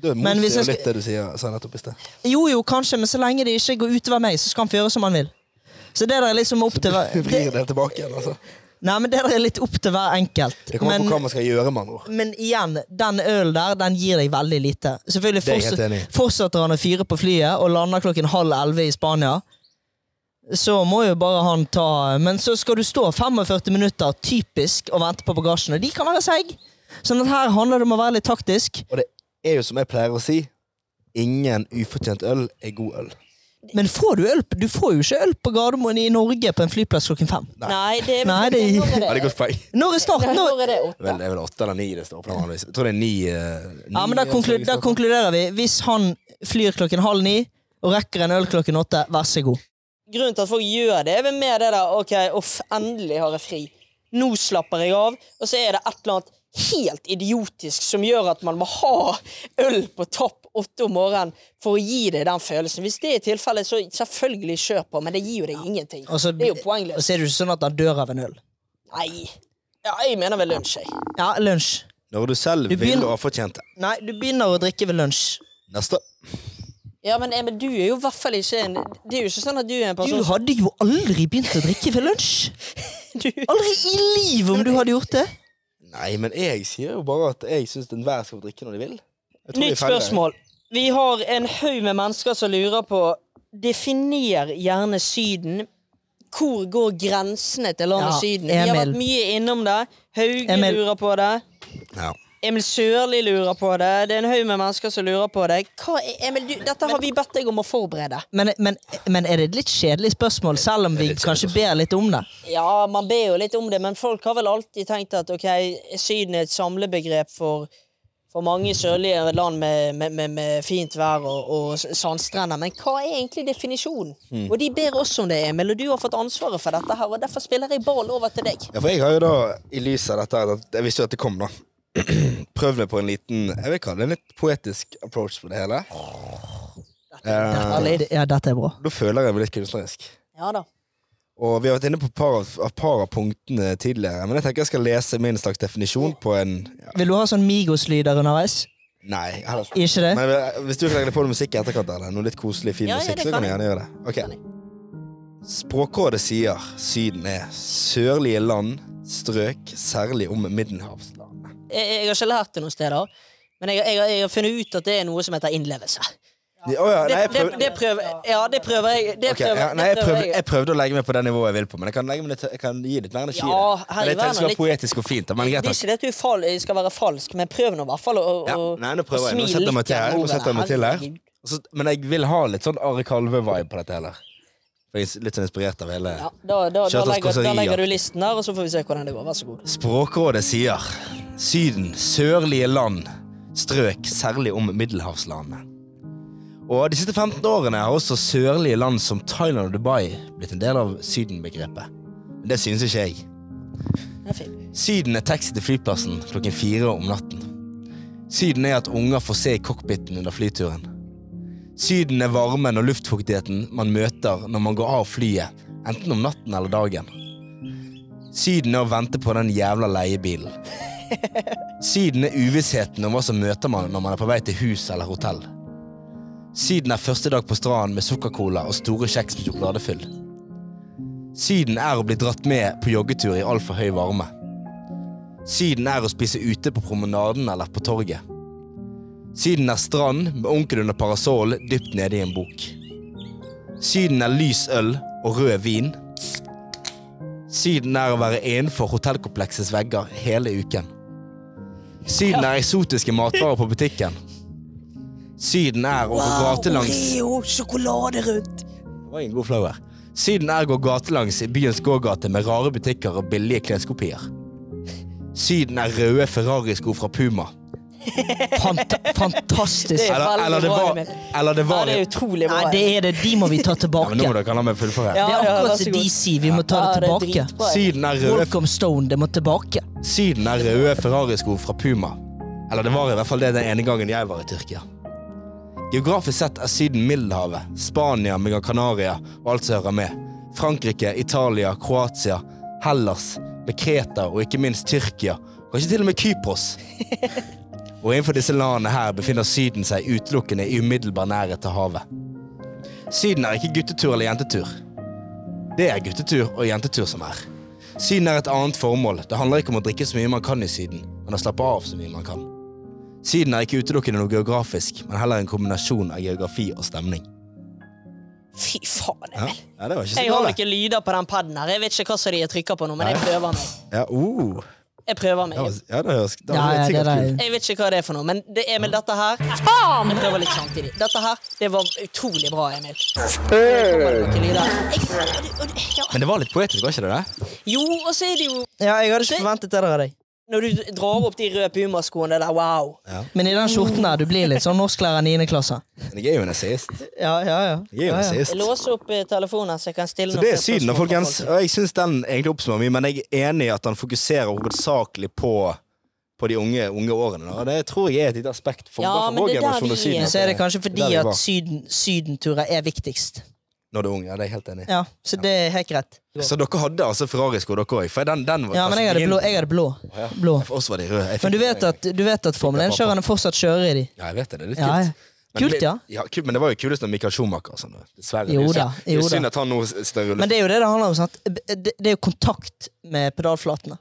B: Du er
C: Men
B: mot
C: hvis
B: det,
C: jeg
B: jo litt det du sier, sa nettopp i sted.
C: Jo jo, kanskje, men så lenge det ikke går utover meg, så skal han få gjøre som han vil. Så det der er liksom opp til hver
B: Du vrir
C: det,
B: det tilbake igjen, altså.
C: Nei, men det der er litt opp til hver enkelt.
B: Det kommer an på hva
C: Men,
B: man skal gjøre, med andre ord.
C: men igjen, den ølen der, den gir deg veldig lite. Selvfølgelig
B: Det er jeg helt
C: fortsatt-
B: enig i.
C: fortsetter han å fyre på flyet og lander klokken halv elleve i Spania, så må jo bare han ta Men så skal du stå 45 minutter typisk og vente på bagasjen, og de kan være seig. Sånn at her handler det om å være litt taktisk,
B: Og det er jo som jeg pleier å si, ingen ufortjent øl er god øl.
C: men får du øl Du får jo ikke øl på Gardermoen i Norge på en flyplass klokken fem.
A: Nei, det,
C: Nei, det-
A: når er
B: Veldig godt poeng.
C: Når er starten? Når...
A: Når er det åtte?
B: Vel, det er vel åtte eller ni det står på vanligvis. Jeg tror det er ni. eh, ni
C: Ja, men da, konklu da konkluderer vi. Hvis han flyr klokken halv ni og rekker en øl klokken åtte, vær så god.
A: grunnen til at folk gjør det, er vel mer det der OK, uff, endelig har jeg fri. Nå slapper jeg av. Og så er det et eller annet helt idiotisk som gjør at man må ha øl på topp åtte om morgenen for å gi deg den følelsen. Hvis det er tilfellet, så selvfølgelig kjør på, men det gir jo deg ingenting.
C: Og så,
A: det er jo
C: og
A: poengløst.
C: så er det jo ikke sånn at han dør av en øl.
A: Nei. Ja, jeg mener vel lunsj, jeg.
C: Ja, lunsj.
B: Når du selv
C: Du
B: vil
C: begynner-
B: og har fortjent det.
C: Nei, du begynner å drikke ved lunsj.
B: Neste.
A: Ja, men, Emil, du er jo i hvert fall ikke en Det er jo ikke sånn at du er en
C: Du
A: person som-
C: hadde jo aldri begynt å drikke ved lunsj!
A: Du-
C: Aldri i livet om du hadde gjort det!
B: Nei, men jeg sier jo bare at jeg syns enhver skal få drikke når de vil. Jeg tror de
A: Nytt
B: feiler.
A: spørsmål. Vi har en haug med mennesker som lurer på Definer gjerne Syden. Hvor går grensene til landet
C: Ja,
A: Syden? Vi har
C: Emil.
A: vært mye innom det. Hauge
C: Emil.
A: lurer på det.
B: Ja.
A: Emil Sørli lurer på det. Det er en haug med mennesker som lurer på det. Hva er, Emil, du, dette har vi bedt deg om å forberede.
C: Men, men, men er det et litt kjedelig spørsmål, selv om vi kanskje ber litt om det?
A: Ja, man ber jo litt om det, men folk har vel alltid tenkt at ok, Syden er et samlebegrep for, for mange sørlige land med, med, med, med fint vær og, og s- sandstrender. Men hva er egentlig definisjonen?
C: Hmm.
A: Og de ber også om det, Emil, og du har fått ansvaret for dette her, og derfor spiller jeg ball over til deg.
B: ja, for jeg har jo da, i lys av dette her, at Jeg visste jo at det kom, da. Prøvd meg på en liten Jeg vil kalle det en litt poetisk approach på det hele. Eh,
C: Det- Ja, dette er bra.
B: da føler jeg meg litt kunstnerisk.
A: Ja da.
B: Og vi har vært inne på et par av, av, par av punktene tidligere, men jeg tenker jeg skal lese min slags definisjon på en ja,
C: Vil du ha sånn Migos-lyder underveis?
B: Nei, heller ikke.
C: Ikke det?
B: Men eh, hvis du kan legge på noe musikk i etterkant, eller noe litt koselig, fin
A: Ja, ja,
B: musikk,
A: det
B: så
A: kan
B: kan du
A: jeg.
B: gjerne gjøre det. Ok. Språkrådet sier Syden er sørlige land, strøk, særlig om middelhavslandene.
A: Jeg, jeg har ikke lært det noen steder, men jeg, jeg, har- jeg har funnet ut at det er noe som heter innlevelse.
B: De- Å ja,
A: Det,
B: nei, jeg
A: det,
B: prøver,
A: det prøver Ja, det prøver jeg. Det
B: Ok,
A: prøver,
B: ja, nei, jeg,
A: det
B: prøvde,
A: prøver
B: jeg prøvde å legge meg på det nivået jeg vil på, men jeg kan, legge meg litt, jeg kan gi litt mer energi. i det.
A: Ja, her
B: men jeg tenkte det
A: i
B: skulle
A: verden,
B: være poetisk og fint. da, Men greit
A: Det er
B: nok.
A: ikke det at du fal skal være falsk, men prøv nå i hvert fall å, å,
B: Ja,
A: å-
B: nei, nå prøver
A: å
B: jeg. Nå
A: smile
B: setter jeg meg
A: litt
B: til her. Nå
A: over
B: setter jeg meg til her.
A: Herregud.
B: Og Så, men jeg vil ha litt sånn Ari Kalve-vibe på dette heller. For jeg er litt sånn inspirert av hele
A: Ja, da, da, da,
B: Kjørt oss
A: legger, da
B: kåserier.
A: legger du listen der, og så får vi se hvordan det går. Vær så god.
B: Språkrådet sier Syden, sørlige land, strøk særlig om middelhavslandene. Og de siste 15 årene har også sørlige land som Thailand og Dubai blitt en del av Syden-begrepet. Men det synes ikke jeg.
A: Den er fin.
B: Syden er taxi til flyplassen klokken fire om natten. Syden er at unger får se i cockpiten under flyturen. Syden er varmen og luftfuktigheten man møter når man går av flyet, enten om natten eller dagen. Syden er å vente på den jævla leiebilen. Syden er uvissheten om hva som møter man når man er på vei til hus eller hotell. Syden er første dag på stranden med sukkercola og store kjeks med sjokoladefyll. Syden er å bli dratt med på joggetur i altfor høy varme. Syden er å spise ute på promenaden eller på torget. Syden er strand med onkel under parasoll dypt nede i en bok. Syden er lys øl og rød vin. Syden er å være innenfor hotellkompleksets vegger hele uken. Syden er eksotiske matvarer på butikken. Syden er å gå gatelangs
A: sjokolade rundt!
B: det var en god flow her. Syden er å gå gatelangs i byens gågate med rare butikker og billige kleskopier. Syden er røde Ferrari-sko fra Puma.
C: Fant fantastisk.
A: Det er
B: Eller,
A: veldig
B: eller det
A: bra,
B: var
A: Emil.
B: Eller det
A: Ja,
B: var
A: det er
B: det.
A: utrolig bra.
C: Nei, det er det. De må vi ta
B: Ja,
C: tilbake.
B: men nå må dere la meg fullføre.
A: Ja,
C: Det er
A: ja, vær
C: akkurat
A: så
C: som
A: god.
C: de sier. Vi må ta det
A: Ja,
C: tilbake.
A: dritbra.
B: Syden er røde,
C: Welcome Stone, det må tilbake.
B: syden er røde Ferrari-sko fra Puma. Eller det var i hvert fall det den ene gangen jeg var i Tyrkia. Geografisk sett er Syden Middelhavet, Spania, Mega Canaria og alt som hører med. Frankrike, Italia, Kroatia, Hellas, med Kreta og ikke minst Tyrkia. Kanskje til og med Kypros. Og innenfor disse landene her befinner Syden seg utelukkende i umiddelbar nærhet til havet. Syden er ikke guttetur eller jentetur. Det er guttetur og jentetur som er. Syden er et annet formål. Det handler ikke om å drikke så mye man kan i Syden, men å slappe av så mye man kan. Syden er ikke utelukkende noe geografisk, men heller en kombinasjon av geografi og stemning.
A: Fy faen,
B: Ja,
A: Emil.
B: ja det var ikke så
A: Jeg har
B: galt. det.
A: ikke lyder på den paden her. Jeg vet ikke hva som de har trykka på nå, men jeg prøver meg.
B: Ja, oh.
A: Jeg prøver
B: det var,
A: meg.
B: ja, det høres det
C: Ja,
B: var
C: ja, det
B: sikkert
C: der.
B: kult.
A: Jeg vet ikke hva det er for noe, men det, Emil, dette her Jeg prøver litt samtidig. Dette her, det var utrolig bra, Emil. Det kommer noen lyder. Jeg, og det- og det- ja.
B: Men det var litt poetisk, var ikke det det?
A: Jo, og så er det jo
C: Ja, jeg hadde ikke forventet det der av deg.
A: Når du drar opp de røde pumaskoene der, wow.
C: Men i den skjorten der, du blir litt sånn norsklærer 9. klasse.
B: Men jeg er jo en nazist.
C: Ja, ja, ja.
B: Jeg er jo en
A: Jeg
B: nazist.
A: låser opp eh, telefonen så jeg kan stille
B: Så
A: noen
B: det er
A: flere
B: Syden, da,
A: spørsmål fra
B: folkens.
A: folk.
B: Og jeg syns den egentlig oppsummerer mye, men jeg er enig i at den fokuserer hovedsakelig på på de unge, unge årene. Da. Og Det tror jeg er et lite aspekt for,
A: Ja,
B: for
A: men
B: vår
A: det er der
B: generasjon. og
A: vi
B: Syden,
A: er.
C: Så er det kanskje fordi
B: Det er der vi
C: at
B: var.
C: syden, sydenturer er viktigst.
B: Når du er ung, ja, det er jeg helt enig i.
C: Ja, Så det er helt greit.
B: Så dere hadde altså Ferrari-sko, dere òg? For den, den var altså,
C: Ja, men jeg hadde blå. Jeg hadde blå. blå.
B: For oss var de røde. Jeg fikk
C: Men du vet
B: den,
C: at, du vet at Formel 1-kjørerne fortsatt kjører i de.
B: Ja, jeg vet det. Det er litt
C: Ja,
B: kult. Men
C: Kult,
B: det-
C: ja.
B: kult, Men det var jo kulest når Michael Schumacher og sånn. da. Dessverre. det er
C: Jo
B: jo
C: da,
B: synd- Det er
C: jo
B: jo synd
C: da.
B: at han nå sitter i rulle.
C: Men det er jo det det handler om. sant? Det, det er jo kontakt med pedalflatene.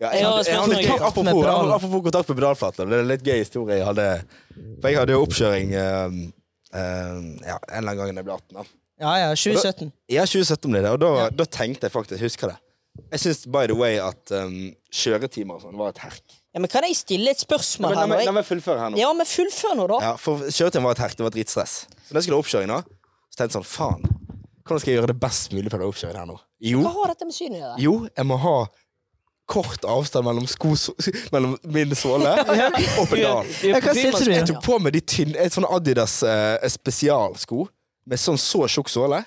B: Ja, jeg
A: Jeg har
B: hadde, jeg hadde
A: spørsmål.
B: gøy,
C: Kontakt med
B: apropos,
C: pedalen.
B: apropos kontakt med pedalflater. Det er en litt gøy historie jeg hadde. For jeg hadde jo oppkjøring um, um, ja, en eller annen gang da jeg ble 18. da.
C: Ja, ja, 2017.
B: Ja, 2017 ble det, og da, da tenkte jeg faktisk Husker det. Jeg syns by the way at um, kjøretimer og sånn var et herk.
A: Ja, men kan jeg stille et
B: Nei,
A: spørsmål
B: men, la
A: her nå?
B: meg- la
A: Jeg-
B: meg fullføre her nå.
A: Ja, men fullfør nå, da.
B: Ja, for kjøretiden var et herk, det var dritstress. Så da jeg skulle ha oppkjøring nå, så tenkte jeg sånn, faen, hvordan skal jeg gjøre det best mulig for å ha oppkjøring her nå? Jo,
A: Hva har dette med synet å gjøre?
B: jo, jeg må ha kort avstand mellom, sko, mellom min såle og pedal.
C: Ja, hva stilte du i?
B: Jeg tok på meg de tynne, et sånn Adidas eh, spesialsko, med sånn så tjukk såle.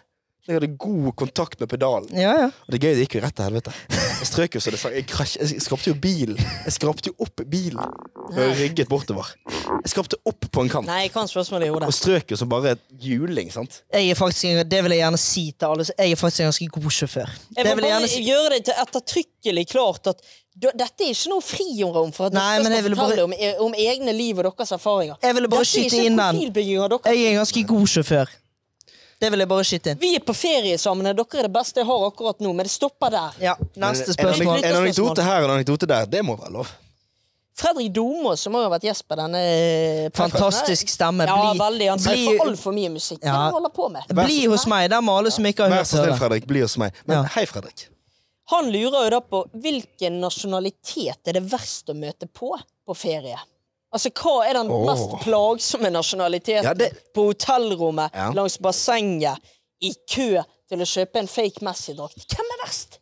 B: Jeg hadde god kontakt med pedalen.
C: Ja, ja.
B: Og det gøye, det gikk jo rett til helvete. Jeg strøk jo så det sang. Jeg, krasj- jeg skrapte jo bilen. Jeg skrapte jo opp bilen. Og jeg rygget bortover. Jeg skrapte opp på en kant.
A: Nei, jeg kan spørsmålet i hodet.
B: Og strøk jo som bare et juling, sant?
C: Jeg er faktisk, en- det vil jeg gjerne si til alle. Jeg er faktisk en ganske god sjåfør.
A: Jeg
C: Det
A: må
C: vil jeg
A: bare
C: gjerne si.
A: gjøre det til ettertrykkelig klart at du- dette er ikke noe friområde for at
C: Nei,
A: dere
C: men
A: skal
C: jeg ville
A: fortelle om, e- om egne liv og deres erfaringer.
C: Jeg ville bare skyte
A: Dette er
C: inn
A: ikke
C: den.
A: profilbygging av dere.
C: Jeg er en ganske god sjåfør. Det vil jeg bare skyte inn.
A: Vi er på ferie sammen, og dere er det beste jeg har akkurat nå, men det stopper der.
C: Ja,
B: En-
C: Neste
B: En,
C: spørsmål.
B: en anekdote her og en anekdote der, det må være lov.
A: Fredrik Domås, som har jo vært gjest på denne eh,
C: Fantastisk stemme.
A: Ja,
C: Bli,
A: veldig. Han sier
C: bli-
A: for altfor mye musikk. Hva er det han holder på med?
C: bli hos meg. Der må alle som ikke har
B: Vær
C: hørt
B: så snill,
C: det.
B: Fredrik, bli hos meg. Men
C: Ja.
B: hei, Fredrik.
A: Han lurer jo da på hvilken nasjonalitet er det verst å møte på på ferie? Altså, hva er den
B: Åh.
A: mest plagsomme nasjonaliteten?
B: Ja, det-
A: På hotellrommet,
B: Ja.
A: langs bassenget, i kø til å kjøpe en fake Messi-drakt. Hvem er verst?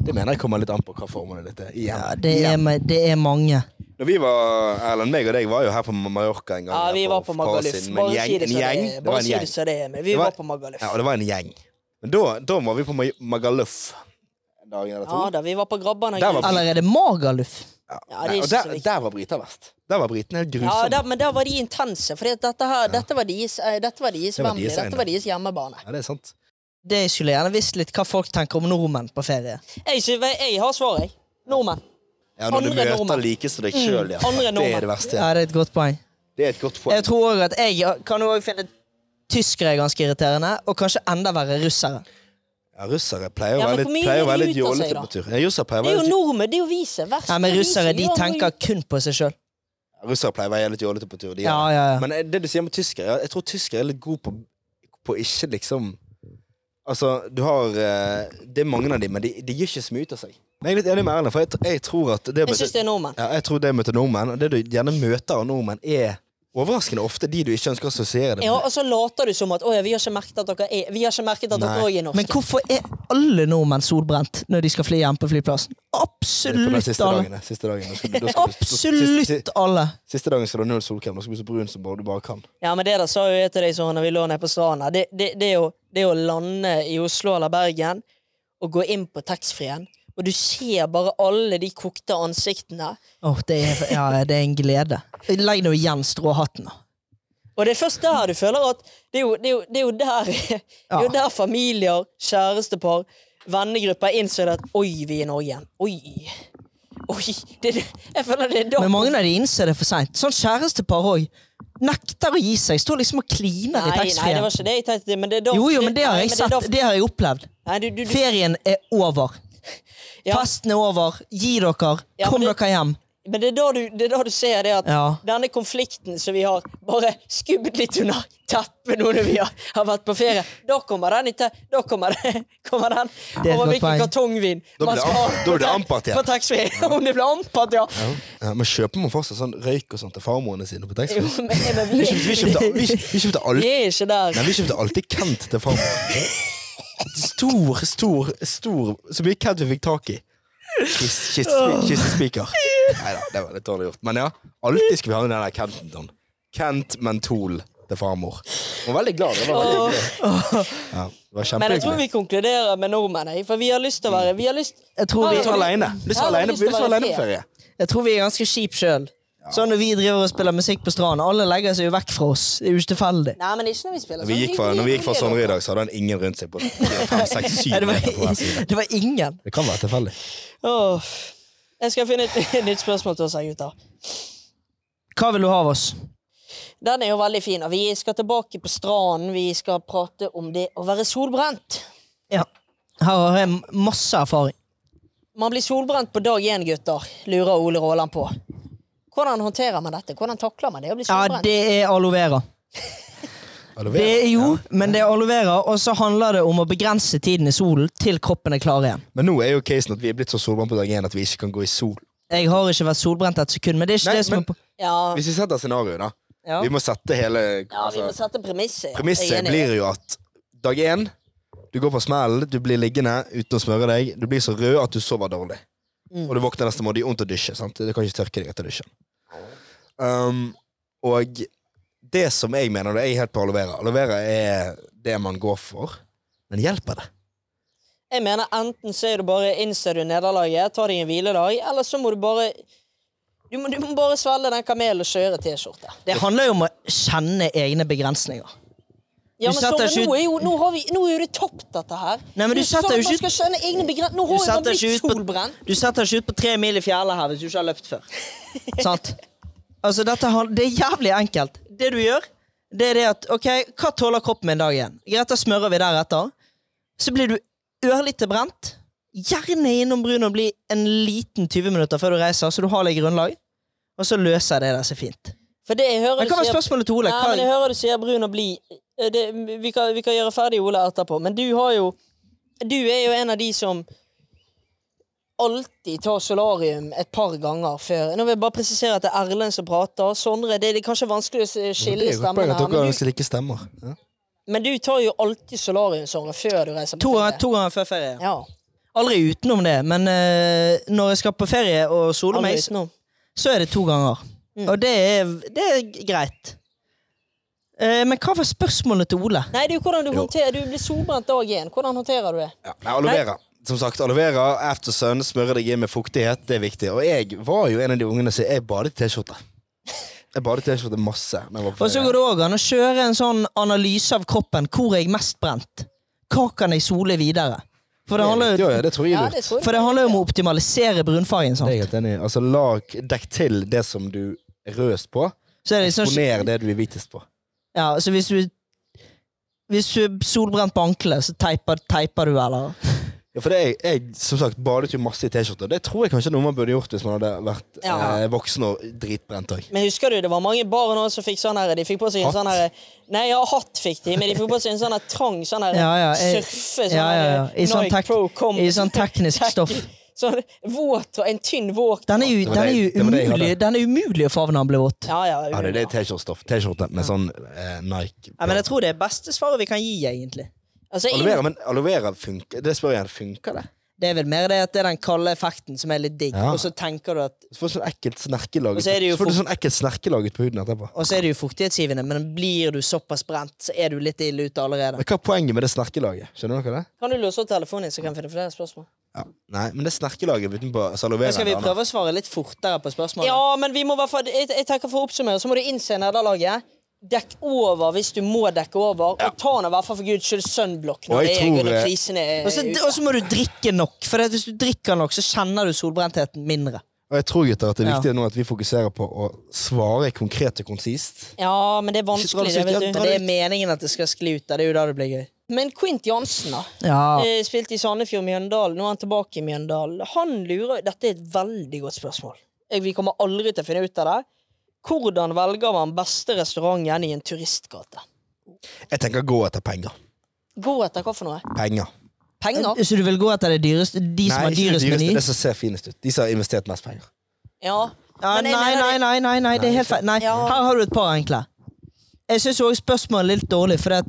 B: Det mener jeg kommer litt an på hva formålet ditt er. Igjen.
C: Ja, det er, meg- det er mange.
B: Når vi var, Erlend, meg og deg var jo her på Mallorca en gang.
A: Ja,
B: her
A: vi
B: for
A: var på
B: et par år
A: Magaluf.
B: siden, med en
A: Bare si
B: gjeng-
A: det
B: en
A: så det
B: gjeng.
A: er.
B: Det var
A: Bare
B: en
A: si det
B: gjeng.
A: så det er. Men vi
B: Det var-
A: var på Magaluf.
B: Ja, og det var en gjeng. Men da, da var vi på Ma- Magaluf en dag eller to.
A: Ja da, vi var på Grabbene.
B: Der var-
A: Eller-
C: Eller er det Magaluf?
A: Ja, det
B: Nei,
A: er
B: og
A: ikke så
B: der,
A: viktig.
B: der var briter verst. Der var britene helt
A: Ja,
B: grusomme.
A: da, men da var de intense, for dette, her, dette var deres, eh, dette var deres
B: Det var
A: Wembley,
B: deres
A: dette
B: eiendom.
A: var deres hjemmebane.
B: Ja, det er sant.
C: Det jeg skulle gjerne visst litt hva folk tenker om nordmenn på ferie.
A: Jeg, sy- jeg har svaret, jeg. Nordmenn.
B: Ja, når du
A: Andre
B: møter
A: nordmenn.
B: likeste deg sjøl, ja.
A: Mm, andre
B: Det
A: nordmenn.
B: er det verste.
C: Ja, det er et godt poeng.
B: Det er et godt poeng.
C: Jeg tror også at jeg kan jo også finne tyskere er ganske irriterende, og kanskje enda verre russere.
B: Ja, russere pleier å
A: Ja, men
B: være
A: hvor
B: litt,
A: mye
B: pleier å være litt
A: luter seg,
B: jålete
A: da?
B: på tur. Ja, russere pleier å
A: Det er
B: være
A: jo
B: litt,
A: nordmenn, det er jo viset. Verst
C: Ja, men
A: er
C: russere
A: viset.
C: de
A: Ja, men-
C: tenker kun på seg sjøl.
B: russere pleier å være litt jålete på tur. De,
C: Ja,
B: er-
C: ja, ja.
B: Men eh, det du sier med tyskere, ja, jeg tror tyskere er litt gode på, på ikke liksom Altså, du har eh, Det er mange av dem, men de, de gir ikke så mye ut av seg. Men jeg er litt enig med Erlend, for jeg, tr- jeg tror at det å
A: Jeg syns
B: møte,
A: det er nordmenn.
B: ja, jeg tror det å møte nordmenn, og det du gjerne møter av nordmenn, er overraskende ofte de du ikke ønsker å assosiere det
A: Ja,
B: med.
A: og så later du som at «Å ja, vi har ikke merket at dere er Vi har ikke merket at dere
B: Nei.
A: òg er norske.
C: Men hvorfor er alle nordmenn solbrent når de skal fly hjem på flyplassen?
B: Det er På den
C: Absolutt
B: siste
C: alle.
B: dagen. ja, Siste dagen. Da skal, du- da skal, du- siste,
C: Absolutt alle.
B: siste dagen skal du ha null solkrem. Da skal du bli så brun som bare- du bare kan.
A: Ja, men det der sa jo jeg til deg sånn når vi lå nede på stranda. Det, det, det, er jo- det er å lande i Oslo eller Bergen og gå inn på taxfree-en, og du ser bare alle de kokte ansiktene.
C: Åh, det, er, ja, det er en glede. Legg nå igjen stråhatten. da.
A: Og det er først der du føler at Det er jo, det er jo, det er jo, der, det er jo der familier, kjærestepar, vennegrupper innser at Oi, vi er i Norge igjen. Oi. Oi. Det, det, jeg føler det er da
C: Men mange av de innser det for seint. Sånn kjærestepar òg. Nekter å gi seg. Står liksom og kliner i
A: Nei, nei, det
C: taxfree-en.
A: var ikke det jeg tenkte. Men det er da
C: Jo, jo, men det har
A: Nei,
C: jeg
A: men
C: sett.
A: er da-
C: Det har jeg opplevd.
A: Nei, du, du, du,
C: Ferien er over.
A: Ja.
C: Festen er over. Gi dere.
A: Ja,
C: Kom
A: men det-
C: dere hjem.
A: men det er, da du, det er da du ser det at
C: Ja.
A: denne konflikten som vi har, bare skubbet litt under teppet nå når vi har, har vært på ferie. Da kommer den ikke. Da kommer den, kommer den
C: er et
A: over
C: godt
A: hvilken
C: poeng.
B: Da
A: kartongvin
B: blir
A: man
B: det
A: skal ha
B: am- da blir det
A: på-
B: ampert igjen.
A: På taxfree. Om det blir ampert, ja.
B: Ja. Ja, men kjøper man fortsatt sånn røyk og sånt til farmorene sine på
A: Jo,
B: taxfree?
A: men, men
B: Vi
A: vi,
B: kjøpte, vi kjøpte, vi kjøpte, vi kjøpte alt-
A: vi er ikke der.
B: Nei, vi kjøpte alltid Kent til farmor. Stor, stor, stor Så mye Kent vi fikk tak i. Kiss- kiss- Kissespiker. Nei da, det var litt dårlig gjort. Men ja, alltid skal vi ha den der Kenten. Sånn. Kent Mentol til farmor. Hun var veldig glad. Det var, veldig glad. Ja, det var
A: Men jeg tror
B: kjempehyggelig.
A: vi konkluderer med nordmenn, jeg, for vi har lyst til å være Vi har lyst
C: Jeg tror
A: Ja,
C: vi,
B: Lyst til å være alene. Lyst til å være alene- lyst til å være alene på ferie.
C: jeg tror vi er ganske kjipe sjøl. Sånn når vi driver og spiller musikk på stranden. Alle legger seg jo vekk fra oss. Det er jo ikke tilfeldig.
A: Nei, men ikke når vi spiller sånn.
B: Når vi gikk fra, når vi gikk fra Sondre i dag, så hadde han ingen rundt seg på fire, fem, seks, syv
C: Nei, Det
B: meter på hver
C: var,
B: side.
C: det var ingen.
B: Det kan være tilfeldig.
A: Åh. Jeg skal finne et nytt spørsmål til oss her, gutter.
C: Hva vil du ha av oss?
A: Den er jo veldig fin. Og vi skal tilbake på stranden. Vi skal prate om det å være solbrent.
C: Ja. Her har jeg masse erfaring.
A: Man blir solbrent på dag én, gutter, lurer Ole Råland på. Hvordan håndterer man dette? Hvordan takler man det å bli
C: Ja,
A: solbrent?
C: det er aloe vera. Det er jo, men det er aloe vera, og så handler det om å begrense tiden i solen til kroppen er klar igjen.
B: Men nå er jo casen at vi er blitt så solbrent på dag én at vi ikke kan gå i sol.
C: Jeg har ikke vært solbrent et sekund, men det er ikke
B: Nei,
C: det som
B: men-
C: er på
A: Ja,
B: Hvis vi setter scenarioet, da.
C: Ja.
B: Vi må sette hele
A: ja, vi må
B: altså,
A: sette premisset. Jeg er
B: Premisset
A: enig.
B: blir jo at dag én du går på smell, du blir liggende uten å smøre deg, du blir så rød at du sover dårlig. Og du våkner neste morgen, det er vondt å dusje. sant? Du kan ikke tørke deg etter dusjen. Um, og det som jeg mener, det er jeg helt på aloe vera. Aloe vera er det man går for, men hjelper det?
A: Jeg mener enten så er du bare innser du nederlaget, tar deg en hviledag, eller så må du bare Du må, du må bare svelge den kamelen og kjøre T-skjorte.
C: Det handler jo om å kjenne egne begrensninger.
A: Ja,
C: Du
A: men
C: setter ikke
A: Sondre,
C: ut-
A: nå, er jo, nå, har vi, nå er jo det topp, dette her.
C: Nei, men du
A: Det er
C: setter
A: sånn
C: jo
A: at man
C: ikke ut-
A: skal skjønne egne begren... Nå har jo man
C: setter
A: blitt
C: ikke ut på-
A: solbrent.
C: Du setter ikke ut på tre mil i fjellet her hvis du ikke har løpt før. Sant? Altså, dette han- Det er jævlig enkelt. Det du gjør, det er det at OK, hva tåler kroppen min dag igjen? Greit, da smører vi deretter. Så blir du ørlite brent. Gjerne innom brun og bli en liten 20 minutter før du reiser, så du har litt grunnlag. Og så løser det der seg fint.
A: For det jeg hører
C: Men
A: du
C: hva var
A: sier-
C: spørsmålet til Ole?
A: Nei, men jeg
C: Hva,
A: hører du sier brun og blid. Eh, det- Vi, kan- vi kan gjøre ferdig Ole etterpå, men du har jo Du er jo en av de som alltid tar solarium et par ganger før. Nå vil jeg bare presisere at det er Erlend som prater. Sondre, det er kanskje vanskelig å
B: Det
A: skille
B: er jo et poeng
A: stemmene
B: at
A: her,
B: dere
A: men du,
B: ganske like stemmer. Ja.
A: men du tar jo alltid solarium, Sondre, før du reiser
C: to,
A: på ferie.
C: to ganger før ferie.
A: Ja,
C: Aldri utenom det, men eh, når jeg skal på ferie og sole
A: aldri
C: meg,
A: utenom.
C: så er det to ganger.
A: Mm.
C: Og det er, det er greit. Eh, men hva var spørsmålet til Ole?
A: Nei, det er jo hvordan du håndterer Du blir solbrent dag én. Hvordan håndterer du det?
B: Ja. Nei, aloe vera. som sagt, aloe vera, aftersun, smøre deg inn med fuktighet, det er viktig. Og jeg var jo en av de ungene som jeg badet i T-skjorte. Jeg badet i T-skjorte masse. når jeg var på
A: Og så
B: ferie.
A: går det òg an å kjøre en sånn analyse av kroppen. Hvor er jeg mest brent? Hva kan jeg sole videre? For det handler
B: jo,
A: jo,
B: ja, det tror jeg
C: Ja,
B: er lurt.
C: det tror jeg.
A: for det handler jo om å optimalisere brunfargen.
B: Det er jeg
A: Sant?
B: helt enig i. Altså, lag, dekk til det som du er røst på.
A: Så, er det liksom,
B: Eksponer det du er hvitest på.
A: ja, så hvis du hvis du er solbrent på ankelet, så teiper, teiper du, eller?
B: Ja, for det er, jeg, som sagt, badet jo masse i T-skjorte. og Det tror jeg kanskje noe man burde gjort hvis man hadde vært
A: Ja.
B: eh, voksen og dritbrent òg.
A: Men husker du, det var mange barn også som fikk sånn her De fikk på seg en
B: Hatt?
A: sånn her Nei, ja, hatt fikk de, men de fikk på seg en sånn her trang sånn her
C: Ja, ja, jeg-
A: surfe sånn
C: ja, ja, ja.
A: her
C: I sånn
A: Nike
C: tek-
A: Pro Com.
C: i sånn teknisk
A: Tek-
C: stoff.
A: Sånn våt, en tynn våt.
C: Den er jo,
B: var
C: den er
B: det-
C: jo
B: det var det jeg
C: umulig,
B: hadde.
C: den er umulig å favne når den blir våt.
A: Ja, ja.
B: Ja, det er det T-skjortestoff. T-skjorte med sånn eh, Nike.
C: Ja, men jeg tror det er beste svaret vi kan gi, egentlig.
A: Altså,
B: Aloe
A: inn-
B: vera, men aloe vera funker. Det spør jeg igjen, funker det?
A: Det er vel mer det at det er den kalde effekten som er litt digg,
B: Ja.
A: og så tenker du at
B: Så får du sånn ekkelt snerkelag
A: Og
B: ut
A: så er det
B: på-
A: jo
B: så får du
A: fort-
B: sånn ekkelt snerkelag ut på huden etterpå.
A: Og så er det jo fuktighetsgivende, men blir du såpass brent, så er du litt ille ute allerede.
B: Men hva er poenget med det snerkelaget? Skjønner dere det?
A: Kan du låse opp telefonen din, så kan jeg finne flere spørsmål?
B: Ja. Nei, men det snerkelaget utenpå altså aloe vera
C: Men skal vi
B: det andre.
C: prøve å svare litt fortere på spørsmålet?
A: Ja, men vi må i hvert fall jeg, jeg tenker For å oppsummere så må du innse nederlaget. Dekk over hvis du må dekke over. Og ta nå i hvert fall for guds skyld sunblock
B: Og
A: når det
B: jeg
A: er
B: tror,
A: under
B: eh,
A: krisen er
C: Og så-
A: ute.
C: og så må du drikke nok, for det at hvis du drikker nok, så kjenner du solbrentheten mindre.
B: Og jeg tror gutter, at det er
C: Ja.
B: viktig nå at vi fokuserer på å svare konkret og konsist.
A: Ja, men det er
B: Ikke dra det
A: vanskelig, det,
B: ut, ja,
A: vet
B: dra
A: du.
C: Det er meningen at det skal skli ut, da. det er jo da det blir gøy.
A: Men Quint Jansen, da.
C: Ja.
A: eh, Spilte i Sandefjord Mjøndalen, nå er han tilbake i Mjøndalen. Han lurer Dette er et veldig godt spørsmål. Jeg, vi kommer aldri til å finne ut av det. Hvordan velger man beste restauranten i en turistgate?
B: Jeg tenker gå etter penger.
A: Gå etter hva for noe?
B: Penger.
A: Penger?
C: Så du vil gå etter det dyreste, de som har
B: Nei, ikke det
C: dyrest meny?
B: dyreste, det som ser finest ut. De som har investert mest penger.
A: Ja.
C: Ja,
A: Men
C: nei,
A: jeg mener
C: nei,
A: det-
C: nei, nei, nei, det er helt feil. Nei,
A: Ja.
C: Her har du et par enkle. Jeg syns òg spørsmålet er litt dårlig, for at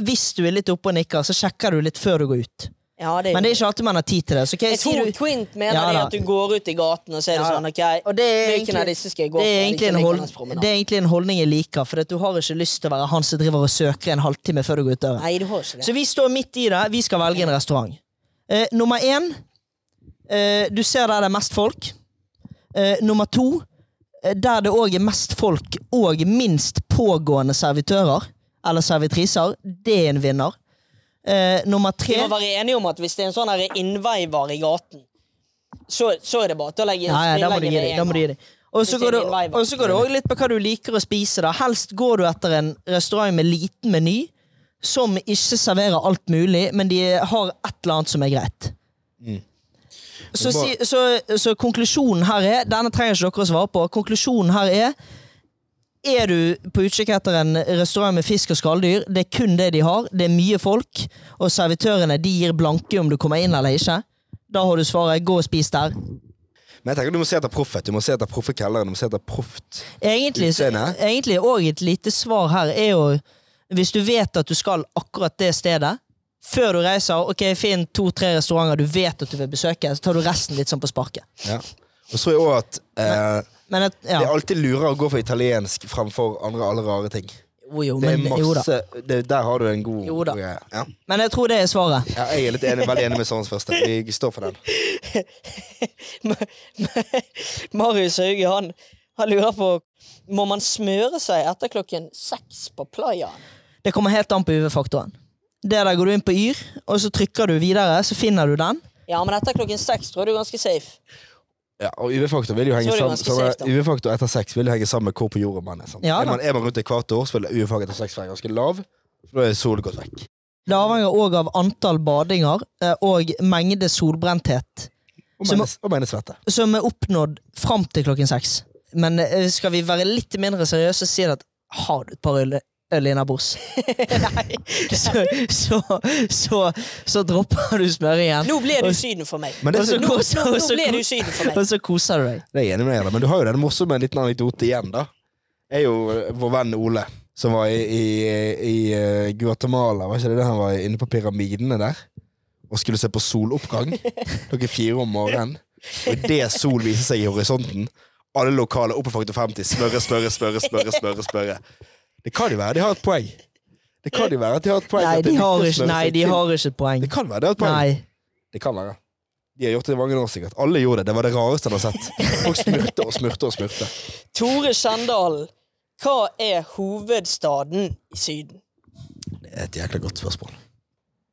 C: hvis du er litt oppe og nikker, så sjekker du litt før du går ut.
A: ja det er,
C: Men det er ikke alltid man har tid til det. Så ok,
A: Jeg
C: sier
A: tror
C: du,
A: Quint mener
C: Ja,
A: det
C: da.
A: at du går ut i gaten og ser det
C: Ja, da.
A: sånn OK,
C: og det er,
A: hvilken av
C: egentlig,
A: disse skal jeg gå
C: det, er
A: for?
C: egentlig
A: Liksom
C: en hold,
A: Likelands promenade.
C: det er egentlig en holdning jeg liker, for at du har ikke lyst til å være han som driver og søker en halvtime før du går ut døren.
A: Nei, du har ikke det.
C: Så vi står midt i det. Vi skal velge en restaurant. Eh, nummer én eh, Du ser der det er mest folk. Eh, nummer to eh, Der det òg er mest folk og minst pågående servitører eller servitriser. Det er en vinner. Eh, nummer
A: Vi
C: tre
A: må være enige om at hvis det er en sånn her innveiver i gaten, så, så er det bare til å legge
C: Ja, ja, da må du gi deg. Da må du gi deg. Og så
A: Hvis det er
C: går det-
A: din vei, da.
C: og så går det òg litt på hva du liker å spise. da. Helst går du etter en restaurant med liten meny, som ikke serverer alt mulig, men de har et eller annet som er greit. Så, si, så, så konklusjonen her er Denne trenger ikke dere å svare på. Konklusjonen her er er du på utkikk etter en restaurant med fisk og skalldyr, det er kun det de har, det er mye folk, og servitørene de gir blanke om du kommer inn eller ikke, da har du svaret 'gå og spis der'.
B: Men jeg tenker du må se etter proffet. Du må se etter proffe kelnere. Du må se etter proft.
C: Egentlig, så,
B: Utseende.
C: egentlig og et lite svar her er jo Hvis du vet at du skal akkurat det stedet før du reiser, ok, finn to-tre restauranter du vet at du vil besøke, så tar du resten litt sånn på sparket.
B: Ja. Og så tror jeg òg at eh,
C: Men at,
B: det er
C: ja,
B: alltid lurere å gå for italiensk fremfor andre alle rare ting.
C: jo, jo,
B: Det er
C: men, jo da.
B: masse, det, der har du en god
C: Jo da.
B: god greie. Ja.
C: men jeg tror det er svaret.
B: Ja, jeg er litt enig, veldig enig med Sørens første. Vi står for den.
A: Marius Hauge, han, han lurer på Må man smøre seg etter klokken seks på playaen?
C: Det kommer helt an på UV-faktoren. Det der går du inn på Yr, og så trykker du videre, så finner du den.
A: Ja, men etter klokken seks tror jeg du er ganske safe.
B: Ja, og UV-faktor vil jo henge
A: Så er det
B: sammen
A: ganske
B: sammen-
A: safe, da.
B: UV-faktor etter sex vil jo henge sammen med hvor på jorda man er. Sant?
C: Ja,
B: er,
C: da.
B: man, er man rundt ekvator, så vil UV-faktor etter sex være ganske lav. For da er solen gått vekk.
C: Det avhenger òg av antall badinger eh, og mengde solbrenthet
B: Og
C: Så må-
B: menes- Og menesvette.
C: som er oppnådd fram til klokken seks. Men eh, skal vi være litt mindre seriøse, si at har du et par øl, øl innabords, så, så, så, så dropper du smøringen,
A: Nå ble du Syden for meg.
B: Men det,
C: og så
B: er-
A: Nå,
C: koser,
A: nå,
C: og
A: nå
C: så,
A: ble du
C: ko-
A: Syden for
C: og
A: meg.
C: så koser du deg.
B: det er jeg enig med deg i, da. men du har jo den morsomme liten anekdote igjen, da. Er jo eh, vår venn Ole, som var i, i, i eh, Guatemala, var ikke det det han var i? inne på pyramidene der? Og skulle se på soloppgang klokken fire om morgenen. Og idet sol viser seg i horisonten, alle lokale oppe på faktor 50 smørre, smørre, smørre, smørre, smørre, smørre. Det kan jo være de har et poeng. Det kan jo være at de har et poeng.
C: Nei,
B: at det
C: de
B: er viktig å
C: har ikke,
B: smøre
C: nei,
B: seg
C: de
B: til.
C: har ikke et poeng.
B: Det kan være de har et poeng.
C: Nei.
B: Det kan være. De har gjort det i mange år, sikkert. Alle gjorde det. Det var det rareste han har sett. Folk smurte og smurte og smurte.
A: Tore Skjendalen, hva er hovedstaden i Syden?
B: Det er et jækla godt spørsmål.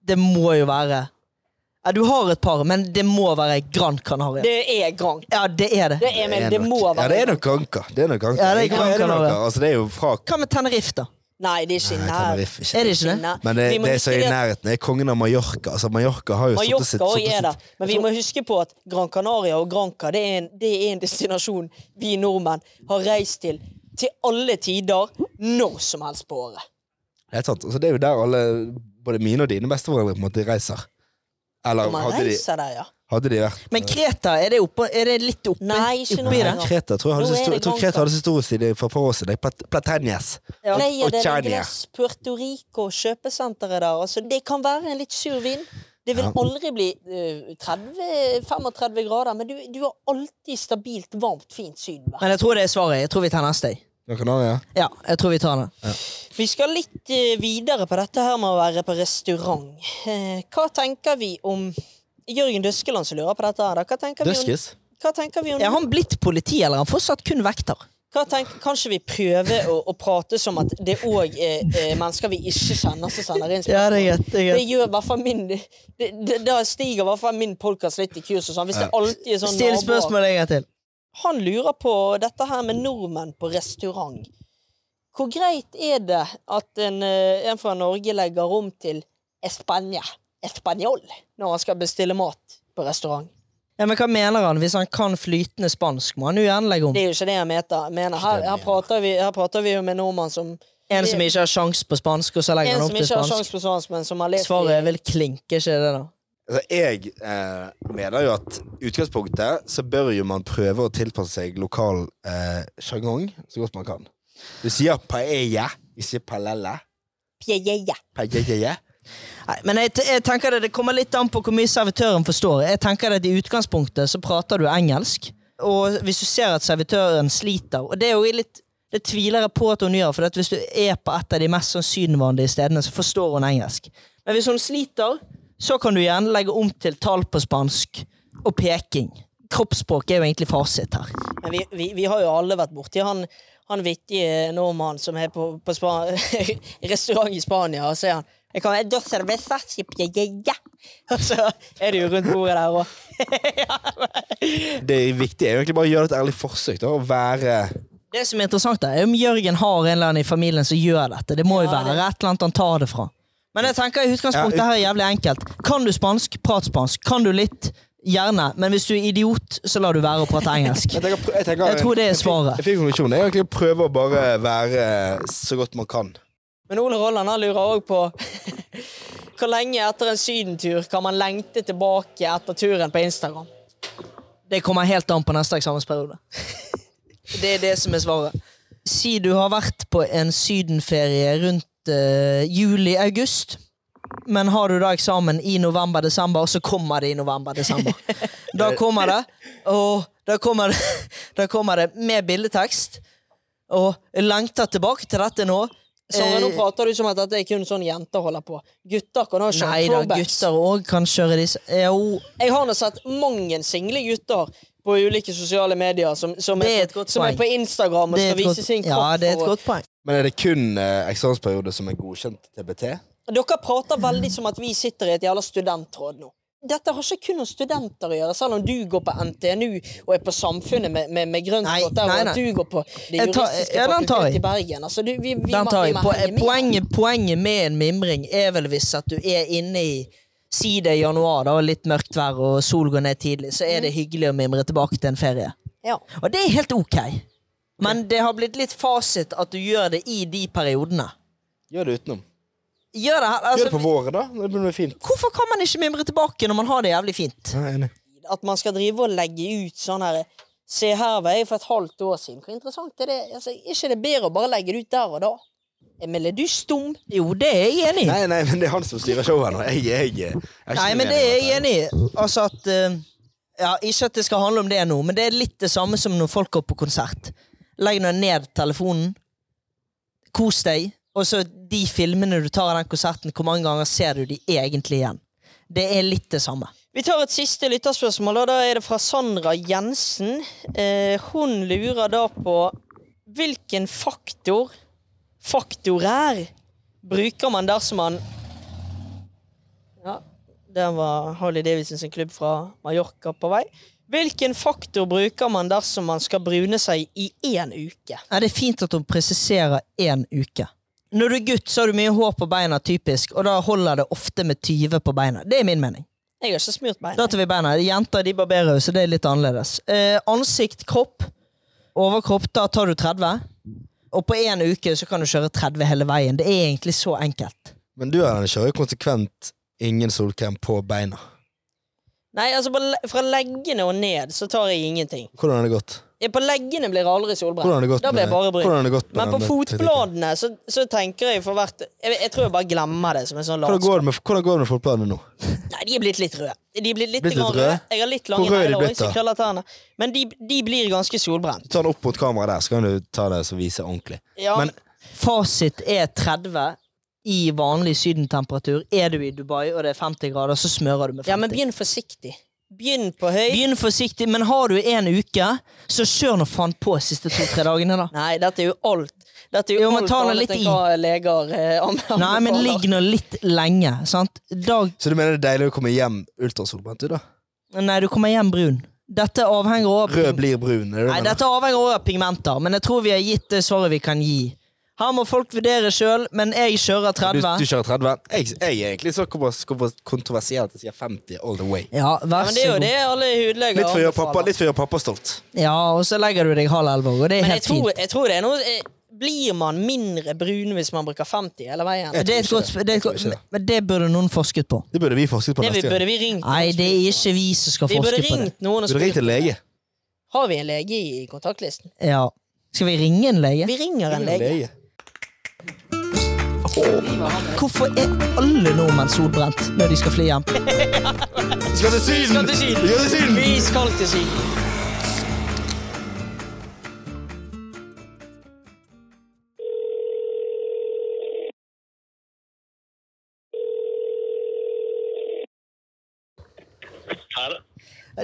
C: Det må jo være ja, Du har et par, men det må være Gran Canaria.
A: Det er Gran.
C: Ja, det er det.
A: Det er, men det
B: nok-
A: må
B: Ja,
A: være
B: det er nok Granca. Det er nok Granca.
C: Ja, det er
B: Hva
C: Gran Canaria.
B: Granca? Altså, det er jo fra
C: Hva med Tenerife, da?
A: Nei, det er ikke i
B: Nei,
A: nær.
B: Tenerife, ikke.
C: Er det ikke det?
A: Nei,
B: Men det,
A: vi må
B: det som er i
A: huske det-
B: nærheten, er kongen av Mallorca. Altså, Mallorca har jo sittet sitt
A: Mallorca også er
B: sittet
A: der, men vi må huske på at Gran Canaria og Granca det er en, det er en destinasjon vi nordmenn har reist til til alle tider, når som helst på året.
B: sitt- Helt sant. Altså, det er jo der alle, både mine og dine besteforeldre, på en måte reiser.
A: Når
B: Eller
A: man
B: hadde de,
A: reiser der, ja.
B: hadde de vært
C: Men Kreta, er det, oppå, er det litt oppi?
A: Nei, ikke
C: oppi
A: noe
C: det?
A: lenger.
B: Kreta tror jeg hadde
A: Nå
B: så
A: er
B: stor- jeg
A: det
B: tror
A: Granca.
B: Kreta hadde så stor historie for et par år siden. Plat- Platanias.
C: Ja.
A: Pleier
B: og
A: det
B: Chania.
A: regnes Puerto Rico, kjøpesenteret der. Altså, det kan være en litt sur vind. Det vil
B: Ja.
A: aldri bli eh, 30, 35 grader, men du, du har alltid stabilt, varmt, fint sydenvær.
C: Men jeg tror det er svaret. Jeg tror vi tar neste. jeg.
B: Gran Canaria.
C: Ja, jeg tror vi tar den.
A: Vi skal litt eh, videre på dette her med å være på restaurant. Eh, hva tenker vi om Jørgen Døskeland som lurer på dette her, da. Hva tenker vi om,
B: Døskes.
A: hva tenker vi om
C: Er han blitt politi, eller er han fortsatt kun vekter?
A: hva tenker, Kanskje vi prøver å, å prate som at det òg er eh, mennesker vi ikke kjenner, som sender inn spørsmål.
C: greit. Det
A: Det gjør i hvert fall min det, det, Da stiger i hvert fall min podkast litt i kurs og sånn. Hvis det alltid er sånn
C: Still
A: naboer.
C: spørsmål en gang til.
A: Han lurer på dette her med nordmenn på restaurant. Hvor greit er det at en, eh, en fra Norge legger om til España, espanjol, når han skal bestille mat på restaurant?
C: Ja, men Hva mener han? Hvis han kan flytende spansk, må han jo gjerne legge om.
A: Det er jo ikke det jeg meter- mener. Her, her, prater vi, her prater vi jo med nordmann som
C: En som ikke har sjans på spansk, og så legger han
A: En som
C: om til
A: ikke har sjans
C: spansk.
A: på spansk, men som har lest
C: Svaret
A: i-
C: er vel klink, er ikke det, da?
B: Altså, jeg eh, mener jo at utgangspunktet så bør jo man prøve å tilpasse seg lokal eh, sjargong så godt man kan. Du sier paella, ikke palella.
A: Pjejeje.
B: Paella.
C: Nei, men jeg, t- jeg tenker det, det kommer litt an på hvor mye servitøren forstår. Jeg tenker at I utgangspunktet så prater du engelsk, og hvis du ser at servitøren sliter og Det er jo litt, det tviler jeg på at hun gjør, for at hvis du er på et av de mest sånn sydenvandlige stedene, så forstår hun engelsk. Men hvis hun sliter, så kan du gjerne legge om til tall på spansk og peking. Kroppsspråk er jo egentlig fasit her.
A: Men vi, vi, vi har jo alle vært borti han, han vittige nordmannen som er på, på spa, restaurant i Spania, og så er han jeg kan, «Da cervezas y paella». Og så er det jo rundt bordet der òg.
B: Det viktige er jo egentlig bare å gjøre et ærlig forsøk. Da, og være
C: Det som er interessant, er om Jørgen har en eller annen i familien som gjør dette. Det må jo
A: Ja,
C: være
A: det-
C: et eller annet han tar det fra. Men jeg tenker i utgangspunktet
B: Ja, ut-
C: her er jævlig enkelt. Kan du spansk, prat spansk. Kan du litt, gjerne. Men hvis du er idiot, så lar du være å prate engelsk.
B: Jeg, tenker, jeg, tenker,
C: Jeg tror det er
B: Jeg
C: svaret.
B: fikk konklusjonen. Jeg er egentlig å prøve å bare være så godt man kan.
A: Men Ole Rolland han lurer òg på hvor lenge etter en sydentur kan man lengte tilbake etter turen på Instagram?
C: Det kommer helt an på neste eksamensperiode. Det er det som er svaret. Si du har vært på en sydenferie rundt eh, juli-august, men har du da eksamen i november-desember, så kommer det i november-desember. Da kommer det, og da kommer det, da kommer det med bildetekst, og lengter tilbake til dette nå.
A: Sara, nå
C: Eh,
A: prater du som at dette er kun sånn jenter holder på. Gutter kan ha
C: Nei
A: sånn
C: da,
A: throwbacks.
C: gutter òg kan kjøre disse. Jo,
A: Jeg har nå sett mange single gutter på ulike sosiale medier som, som,
C: Det er
A: er,
C: et
A: på,
C: godt
A: som er
C: poeng.
A: på Instagram og
C: det er
A: skal
C: et
A: vise
C: godt,
A: sin kropp.
C: ja, det er et
A: for å-
C: godt poeng.
B: Men er det kun eh, eksamensperiode som er godkjent TBT?
A: Dere prater veldig som at vi sitter i et jævla studentråd nå. Dette har ikke kun noen studenter å gjøre, selv om du går på NTNU og er på Samfunnet med, med, med grønt
C: Nei,
A: kort, der,
C: nei,
A: og
C: nei.
A: at du går på Det
C: Jeg tar-
A: juristiske
C: ja, den tar jeg.
A: fakultet i Bergen. Altså, du, vi, vi,
C: Den
A: må-
C: tar
A: vi
C: jeg.
A: må
C: Po-
A: henge med.
C: Poenget, poenget med en mimring er vel hvis at du er inne i Si det er januar, da, og litt mørkt vær og sol går ned tidlig, så
A: Mhm.
C: er det hyggelig å mimre tilbake til en ferie.
A: Ja.
C: Og det er helt ok. Men det har blitt litt fasit at du gjør det i de periodene.
B: Gjør det utenom.
C: Gjør det her,
B: Gjør det på
C: altså,
B: våren, da. Det blir fint.
C: hvorfor kan man ikke mimre tilbake når man har det jævlig fint?
B: Ja, enig.
A: At man skal drive og legge ut sånn her Se her var jeg for et halvt år siden. Hvor interessant er det? Altså, er ikke det bedre å bare legge det ut der og da? Emil, er du stum?
C: Jo, det er jeg enig i.
B: Nei, nei, men det er han som styrer showet nå. Jeg, jeg, jeg, eh, er ikke
C: Nei, men
B: uenig
C: det er
B: med
C: jeg enig i. Altså at eh, ja, Ikke at det skal handle om det nå, men det er litt det samme som når folk går på konsert. Legg nå ned telefonen, kos deg, og så de filmene du tar av den konserten, hvor mange ganger ser du de egentlig igjen? Det er litt det samme.
A: Vi tar et siste lytterspørsmål, og da er det fra Sandra Jensen. Eh, hun lurer da på hvilken faktor, faktorær, bruker man dersom man Ja, der var Harley Davidson sin klubb fra Mallorca på vei. Hvilken faktor bruker man dersom man skal brune seg i én uke?
C: Nei, det er fint at hun presiserer én uke. Når du er gutt, så har du mye hår på beina, typisk, og da holder det ofte med 20 på beina. Det er min mening.
A: Jeg har ikke smurt meg.
C: Da tar vi beina. Jenter de barberer jo, så det er litt annerledes. Eh, ansikt, kropp, overkropp, da tar du 30. Og på én uke så kan du kjøre 30 hele veien. Det er egentlig så enkelt.
B: Men du Erlend, kjører jo konsekvent ingen solkrem på beina.
A: Nei, altså på, le- Fra leggene og ned så tar jeg ingenting.
B: Hvordan har det gått?
A: Eh, På leggene blir jeg aldri
B: Hvordan har
A: solbrent.
B: det gått
A: Da blir jeg bare brun.
B: hvordan har det gått med
A: Men på
B: denne teknikken?
A: fotbladene så, så tenker jeg for hvert jeg, jeg tror jeg bare glemmer det som en sånn
B: Hvordan
A: latskap.
B: går det med, hvordan går det med fotbladene nå?
A: Nei, de er blitt litt røde. De er blitt litt,
B: Blitt litt
A: grann
B: røde?
A: røde. Jeg har litt
B: Hvor
A: lange
B: røde er de
A: negler, og jeg
B: blitt, da?
A: som krøller tærne. Men de, de blir ganske solbrent.
B: Ta den opp mot kameraet der, så kan du ta det så viser ordentlig.
A: Ja,
B: Men-
C: Fasit er 30 i vanlig sydentemperatur. Er du i Dubai og det er 50 grader, så smører du med 50.
A: ja, men begynn forsiktig. Begynn på høy.
C: Begynn forsiktig, men har du en uke, så kjør nå faen på siste to-tre dagene, da.
A: Nei, dette er jo alt. Dette er jo,
C: Jo, men
A: alt
C: ta nå
A: annet
C: litt
A: enn
C: i.
A: hva leger eh, anbefaler.
C: Nei, men ligg nå litt lenge, sant? Dag
B: Så du mener det er deilig å komme hjem ultrasolbrent? du, da?
C: Nei, du kommer hjem brun. Dette avhenger også av
A: Mm.
B: Rød blir brun. Er det det du
C: Nei,
B: mener?
C: dette avhenger også av pigmenter, men jeg tror vi har gitt det svaret vi kan gi. Her må folk vurdere sjøl, men jeg kjører
B: du,
C: 30.
B: du kjører 30? Jeg, jeg er egentlig så kompos- kompos- kontroversiell at jeg sier 50 all the way.
C: Ja,
A: Ja,
C: vær så
A: men det er jo
C: god.
A: det alle hudleger
B: Litt for å gjøre pappa,
A: anbefaler.
B: litt for å gjøre pappa stolt.
C: Ja, og så legger du deg halv elleve, og det er
A: Men jeg
C: helt
A: tror,
C: fint.
A: jeg tror det er noe eh, Blir man mindre brun hvis man bruker 50 hele veien?
B: Jeg
C: Det er et
B: tror ikke
C: godt, sp- det er et
B: Jeg tror
C: godt,
B: ikke det.
C: men det burde noen forsket på.
B: Det burde vi forsket på
A: Det vi,
B: neste gang.
A: burde vi ringt
C: Nei, det er ikke vi som skal
A: Vi burde
C: forske på det.
A: ringt noen og
B: Burde ringt
A: spurt
B: en lege.
A: Har vi en lege i kontaktlisten.
C: Ja. Skal vi ringe en lege?
A: Vi ringer en lege.
B: lege.
C: Hvorfor er alle nordmenn solbrent når de skal fly hjem?
B: Vi skal til Syden!
A: til Syden!
B: Vi skal til Syden!
A: Vi skal til Syden.
H: Her,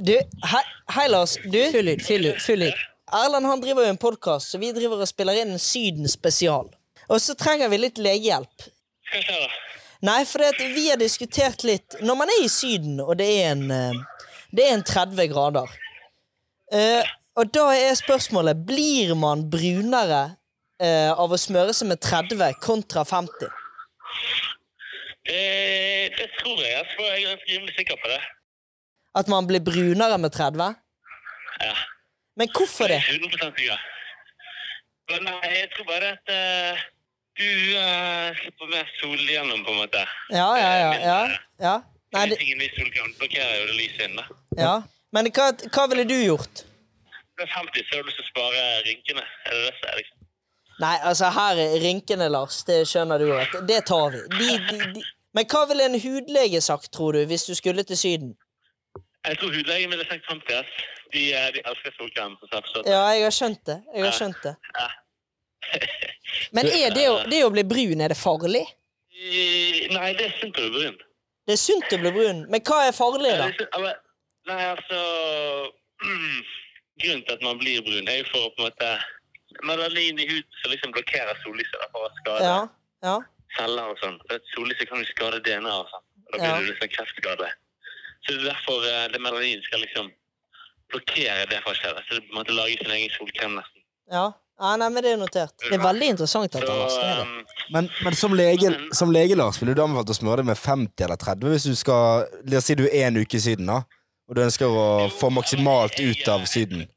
C: Du, hei, hei Lars. Du, full lyd, full lyd, full lyd. Erlend han driver jo en podkast, så vi driver og spiller inn en Syden-spesial. Og så trenger vi litt legehjelp.
H: skal vi se da.
C: Nei, for det at vi har diskutert litt Når man er i Syden, og det er en, eh, det er en 30 grader eh, Og da er spørsmålet Blir man brunere eh, av å smøre seg med 30 kontra 50?
H: Eh, det tror jeg. Jeg tror jeg er ganske rimelig sikker på det.
C: At man blir brunere med 30?
H: Ja.
C: Men hvorfor det?
H: 100 sikker. Men nei, jeg tror bare at eh, du eh, slipper mer sol gjennom, på en måte. Eh,
C: Ja, ja, ja. ja, ja. Nei, det,
H: Ingen viss solkrem blokkerer jo det lyset inne. da.
C: ja. Men hva, hva ville du gjort?
H: Det er 50, så har du lyst til å spare rynkene. Er det det som er liksom?
C: Nei, altså her er rynkene, Lars. Det skjønner du jo. at Det tar vi. De, de, de. Men hva ville en hudlege sagt, tror du, hvis du skulle til Syden?
H: Jeg tror hudlegen ville sagt 50, ass. De, eh, de elsker solkrem, så jeg forstår.
C: Ja, jeg har skjønt det. Jeg har skjønt det.
A: Men er det, å, det å bli brun, er det farlig?
H: Eh, Nei, det er sunt å bli brun.
C: Det er sunt å bli brun, men hva er farlig, da?
H: Nei, det er ikke- eller- Nei, altså mm, Grunnen til at man blir brun, er jo for å på en måte Melanin i huden som liksom blokkerer sollyset da, for å skade
C: Ja, ja.
H: celler og sånn. For at Sollyset kan jo skade DNA og sånn. Og Da blir
C: Ja.
H: det liksom kreftskade. Så det er derfor eh, det melanin skal liksom blokkere det fra å skje. Så det på en måte lager sin egen solkrem nesten.
C: ja. Nei, nei, men det er notert.
A: Det er veldig interessant at
H: Så,
A: han har stedet.
H: ehm,
B: Men, men som, lege, som lege, Lars, ville du anbefalt å smøre deg med 50 eller 30 hvis du skal La oss si du er en uke i Syden, da, og du ønsker å få maksimalt ut av Syden.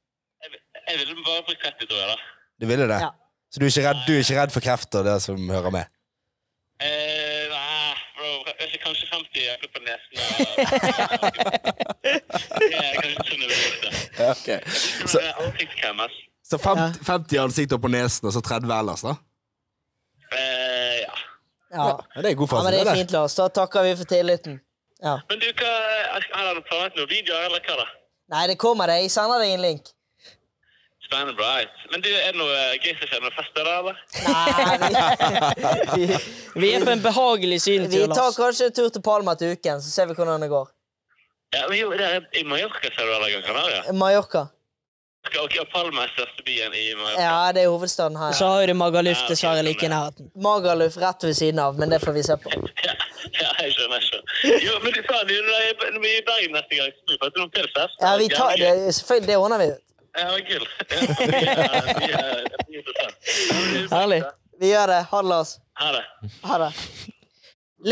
H: jeg ville bare brukt 30, tror jeg, da.
B: Du ville det?
C: Ja.
B: Så du er ikke redd, du er ikke redd for kreft og det som hører med?
H: Eh, nei, bro, jeg er kanskje 50 jeg på nesen. Og... Det er kanskje sånn jeg vil gjøre det. Men eh,
B: Så,
H: det er ansiktskrem, ass.
B: så 50, 50 i ansiktet og på nesen, og så 30 ellers, da?
H: Eh, ja.
C: Ja.
B: Ja, det er god
C: ja, men
B: fasit.
C: det er
B: det.
C: fint, Lars. Da takker vi for tilliten.
H: Men du, hva, har du planlagt noen videoer, eller hva da?
C: Nei, det kommer, det. Jeg sender deg en link.
H: Spennende, bra. right. Men du, er det noe eh, gøy som skjer med fester da, eller?
A: Vi er på en behagelig
C: Vi
A: sydentur,
C: tar
A: Lars.
C: kanskje en tur til Palma til uken, så ser vi hvordan det går.
H: Ja, men jo, det er i Mallorca sa du eller Gran Canaria?
C: Mallorca.
H: Skal ikke Palma er største byen i Mallorca?
C: Ja, det er hovedstaden her.
A: Så har jo det Magaluf
H: Ja, ok,
A: dessverre like i
H: men-
A: nærheten.
C: Magaluf rett ved siden av, men det får vi se på.
H: Ja, ja, jeg skjønner. jeg skjønner. Jo, men du sa det jo når jeg- når vi er i Bergen neste gang. Så får du noen pils her.
C: Ja, vi tar det. Selvfølgelig, det ordner vi.
H: Ja, det var gull. Ja, mye- mye- mye interessant. Ja, men du-
A: Herlig.
C: Vi gjør det. Ha det, Lars.
H: Ha det.
C: Ha det.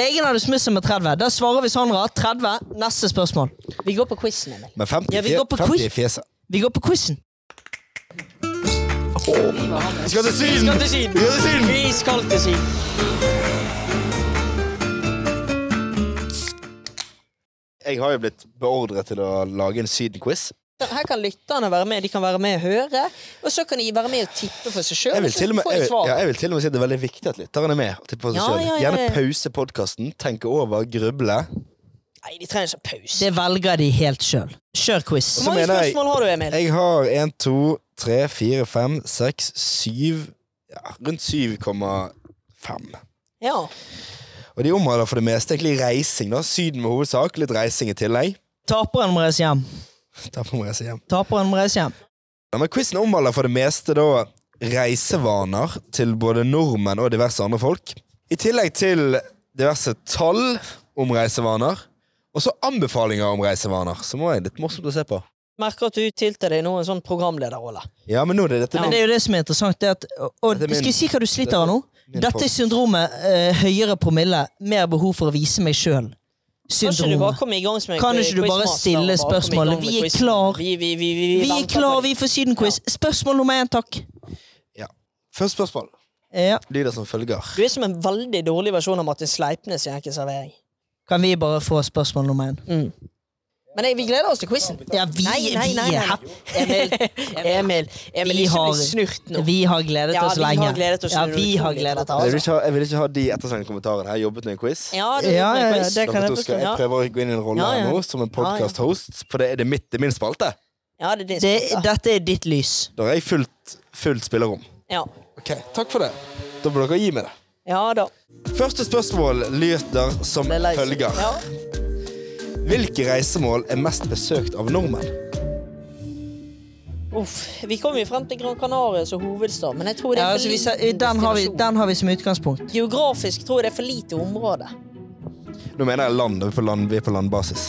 A: Legen hadde smusset med 30. Da svarer vi Sandra 30. Neste spørsmål. Vi går på quizen, Emil.
B: Men 50,
A: Ja, vi går på
B: fje- 50
A: quiz.
B: i fjeset.
A: Vi går på quizen.
B: Vi skal til Syden!
A: Vi
B: Vi skal
A: skal til Syden.
B: til Syden!
A: Vi skal til Syden.
B: Jeg har jo blitt beordret til å lage en Syden-quiz.
A: Her kan lytterne være med. De kan være med og høre. Og så kan de være med og tippe for seg sjøl.
B: Jeg vil, til og med, jeg, vil- ja, jeg vil til og med si at det er veldig viktig at lytteren er med. og tipper på seg
A: Ja,
B: selv.
A: ja, ja, ja.
B: Gjerne pause podkasten, tenke over, gruble.
A: Nei, de trenger ikke pause. Det velger de helt sjøl. Kjør quiz.
B: Så
A: Hvor mange
B: mener jeg-
A: spørsmål har du, Emil?
B: Jeg har én, to, tre, fire, fem, seks, syv ja, Rundt 7,5.
A: Ja.
B: Og de omhandler for det meste egentlig reising. da Syden med hovedsak, litt reising i tillegg.
A: Taperen må reise hjem.
B: Derfor må jeg reise hjem.
A: Taperen må reise hjem.
B: Ja, men Quizen omhandler for det meste da reisevaner til både nordmenn og diverse andre folk. I tillegg til diverse tall om reisevaner, og så anbefalinger om reisevaner. Som også er litt morsomt å se på.
A: Merker at du tiltar deg nå en sånn programlederrolle.
B: Ja, men nå er det dette
A: Men det er jo det som er interessant. Det er at, og, og,
B: Dette er min-
A: skal jeg si hva du sliter av nå?
B: min
A: Dette er
B: post.
A: syndromet eh, høyere promille, mer behov for å vise meg sjøl.
C: Kan ikke du bare
A: Syndromet.
C: komme i gang som en
A: Kan ikke du bare
C: quizmaster
A: stille
C: og bare komme i gang
A: spørsmålet?
C: med
A: Vi er
C: quizen?
A: klar.
C: Vi, vi, vi, vi,
A: Vi er
C: venter
A: klar,
C: på
A: vi
C: det.
A: er for Sydenquiz. Spørsmål nummer én, takk.
B: Første spørsmål
A: Ja.
B: lyder som følger.
A: Du er som en veldig dårlig versjon av Martin Sleipnes i Enkel servering.
C: Kan vi bare få spørsmål nummer én?
A: Mm. Men jeg, vi gleder oss til quizen.
C: Ja, vi,
A: Nei, nei,
C: vi
A: nei,
C: er
A: nei.
C: happy.
A: Emil, Emil, Emil
C: Vi
A: ikke
C: har-
A: bli snurt nå.
C: Vi har gledet
A: Ja,
C: oss
A: vi har
C: lenge.
A: gledet oss
C: ja,
A: utrolig
C: vi har
A: til
C: gledet
A: dette.
B: Jeg
C: oss.
B: vil, ikke ha, jeg vil ikke ha de etterslengte kommentarene. Jeg har jobbet med en quiz.
A: altså. Ja, det,
C: Ja, ja, ja,
A: quiz.
C: det kan
B: Dere
C: jeg
B: to
C: forstå.
B: skal jeg
A: ja.
B: prøve å gå inn i en rolle
A: Ja, ja.
B: her nå som en
A: Ja, ja.
B: podcast-host, for det er, det, mitt, det er min spalte.
A: ja, det er din
C: Det,
A: spalte.
C: dette er ditt lys.
B: Da har jeg fullt, fullt spillerom.
A: Ja.
B: Ok, Takk for det. Da bør dere gi meg det.
A: ja da.
B: Første spørsmål lyder som
A: Ble lei seg.
B: følger.
A: Ja.
B: Hvilke reisemål er mest besøkt av nordmenn?
A: Uff. Vi kom jo frem til Gran Canaria som hovedstad, men jeg tror det
C: Ja,
A: er for
C: altså, vi, sa-
A: liten
C: den, har vi,
A: destinasjon.
C: den har vi som utgangspunkt.
A: Geografisk tror jeg det er for lite område.
B: Nå mener jeg land. Vi er på, land, vi er på landbasis.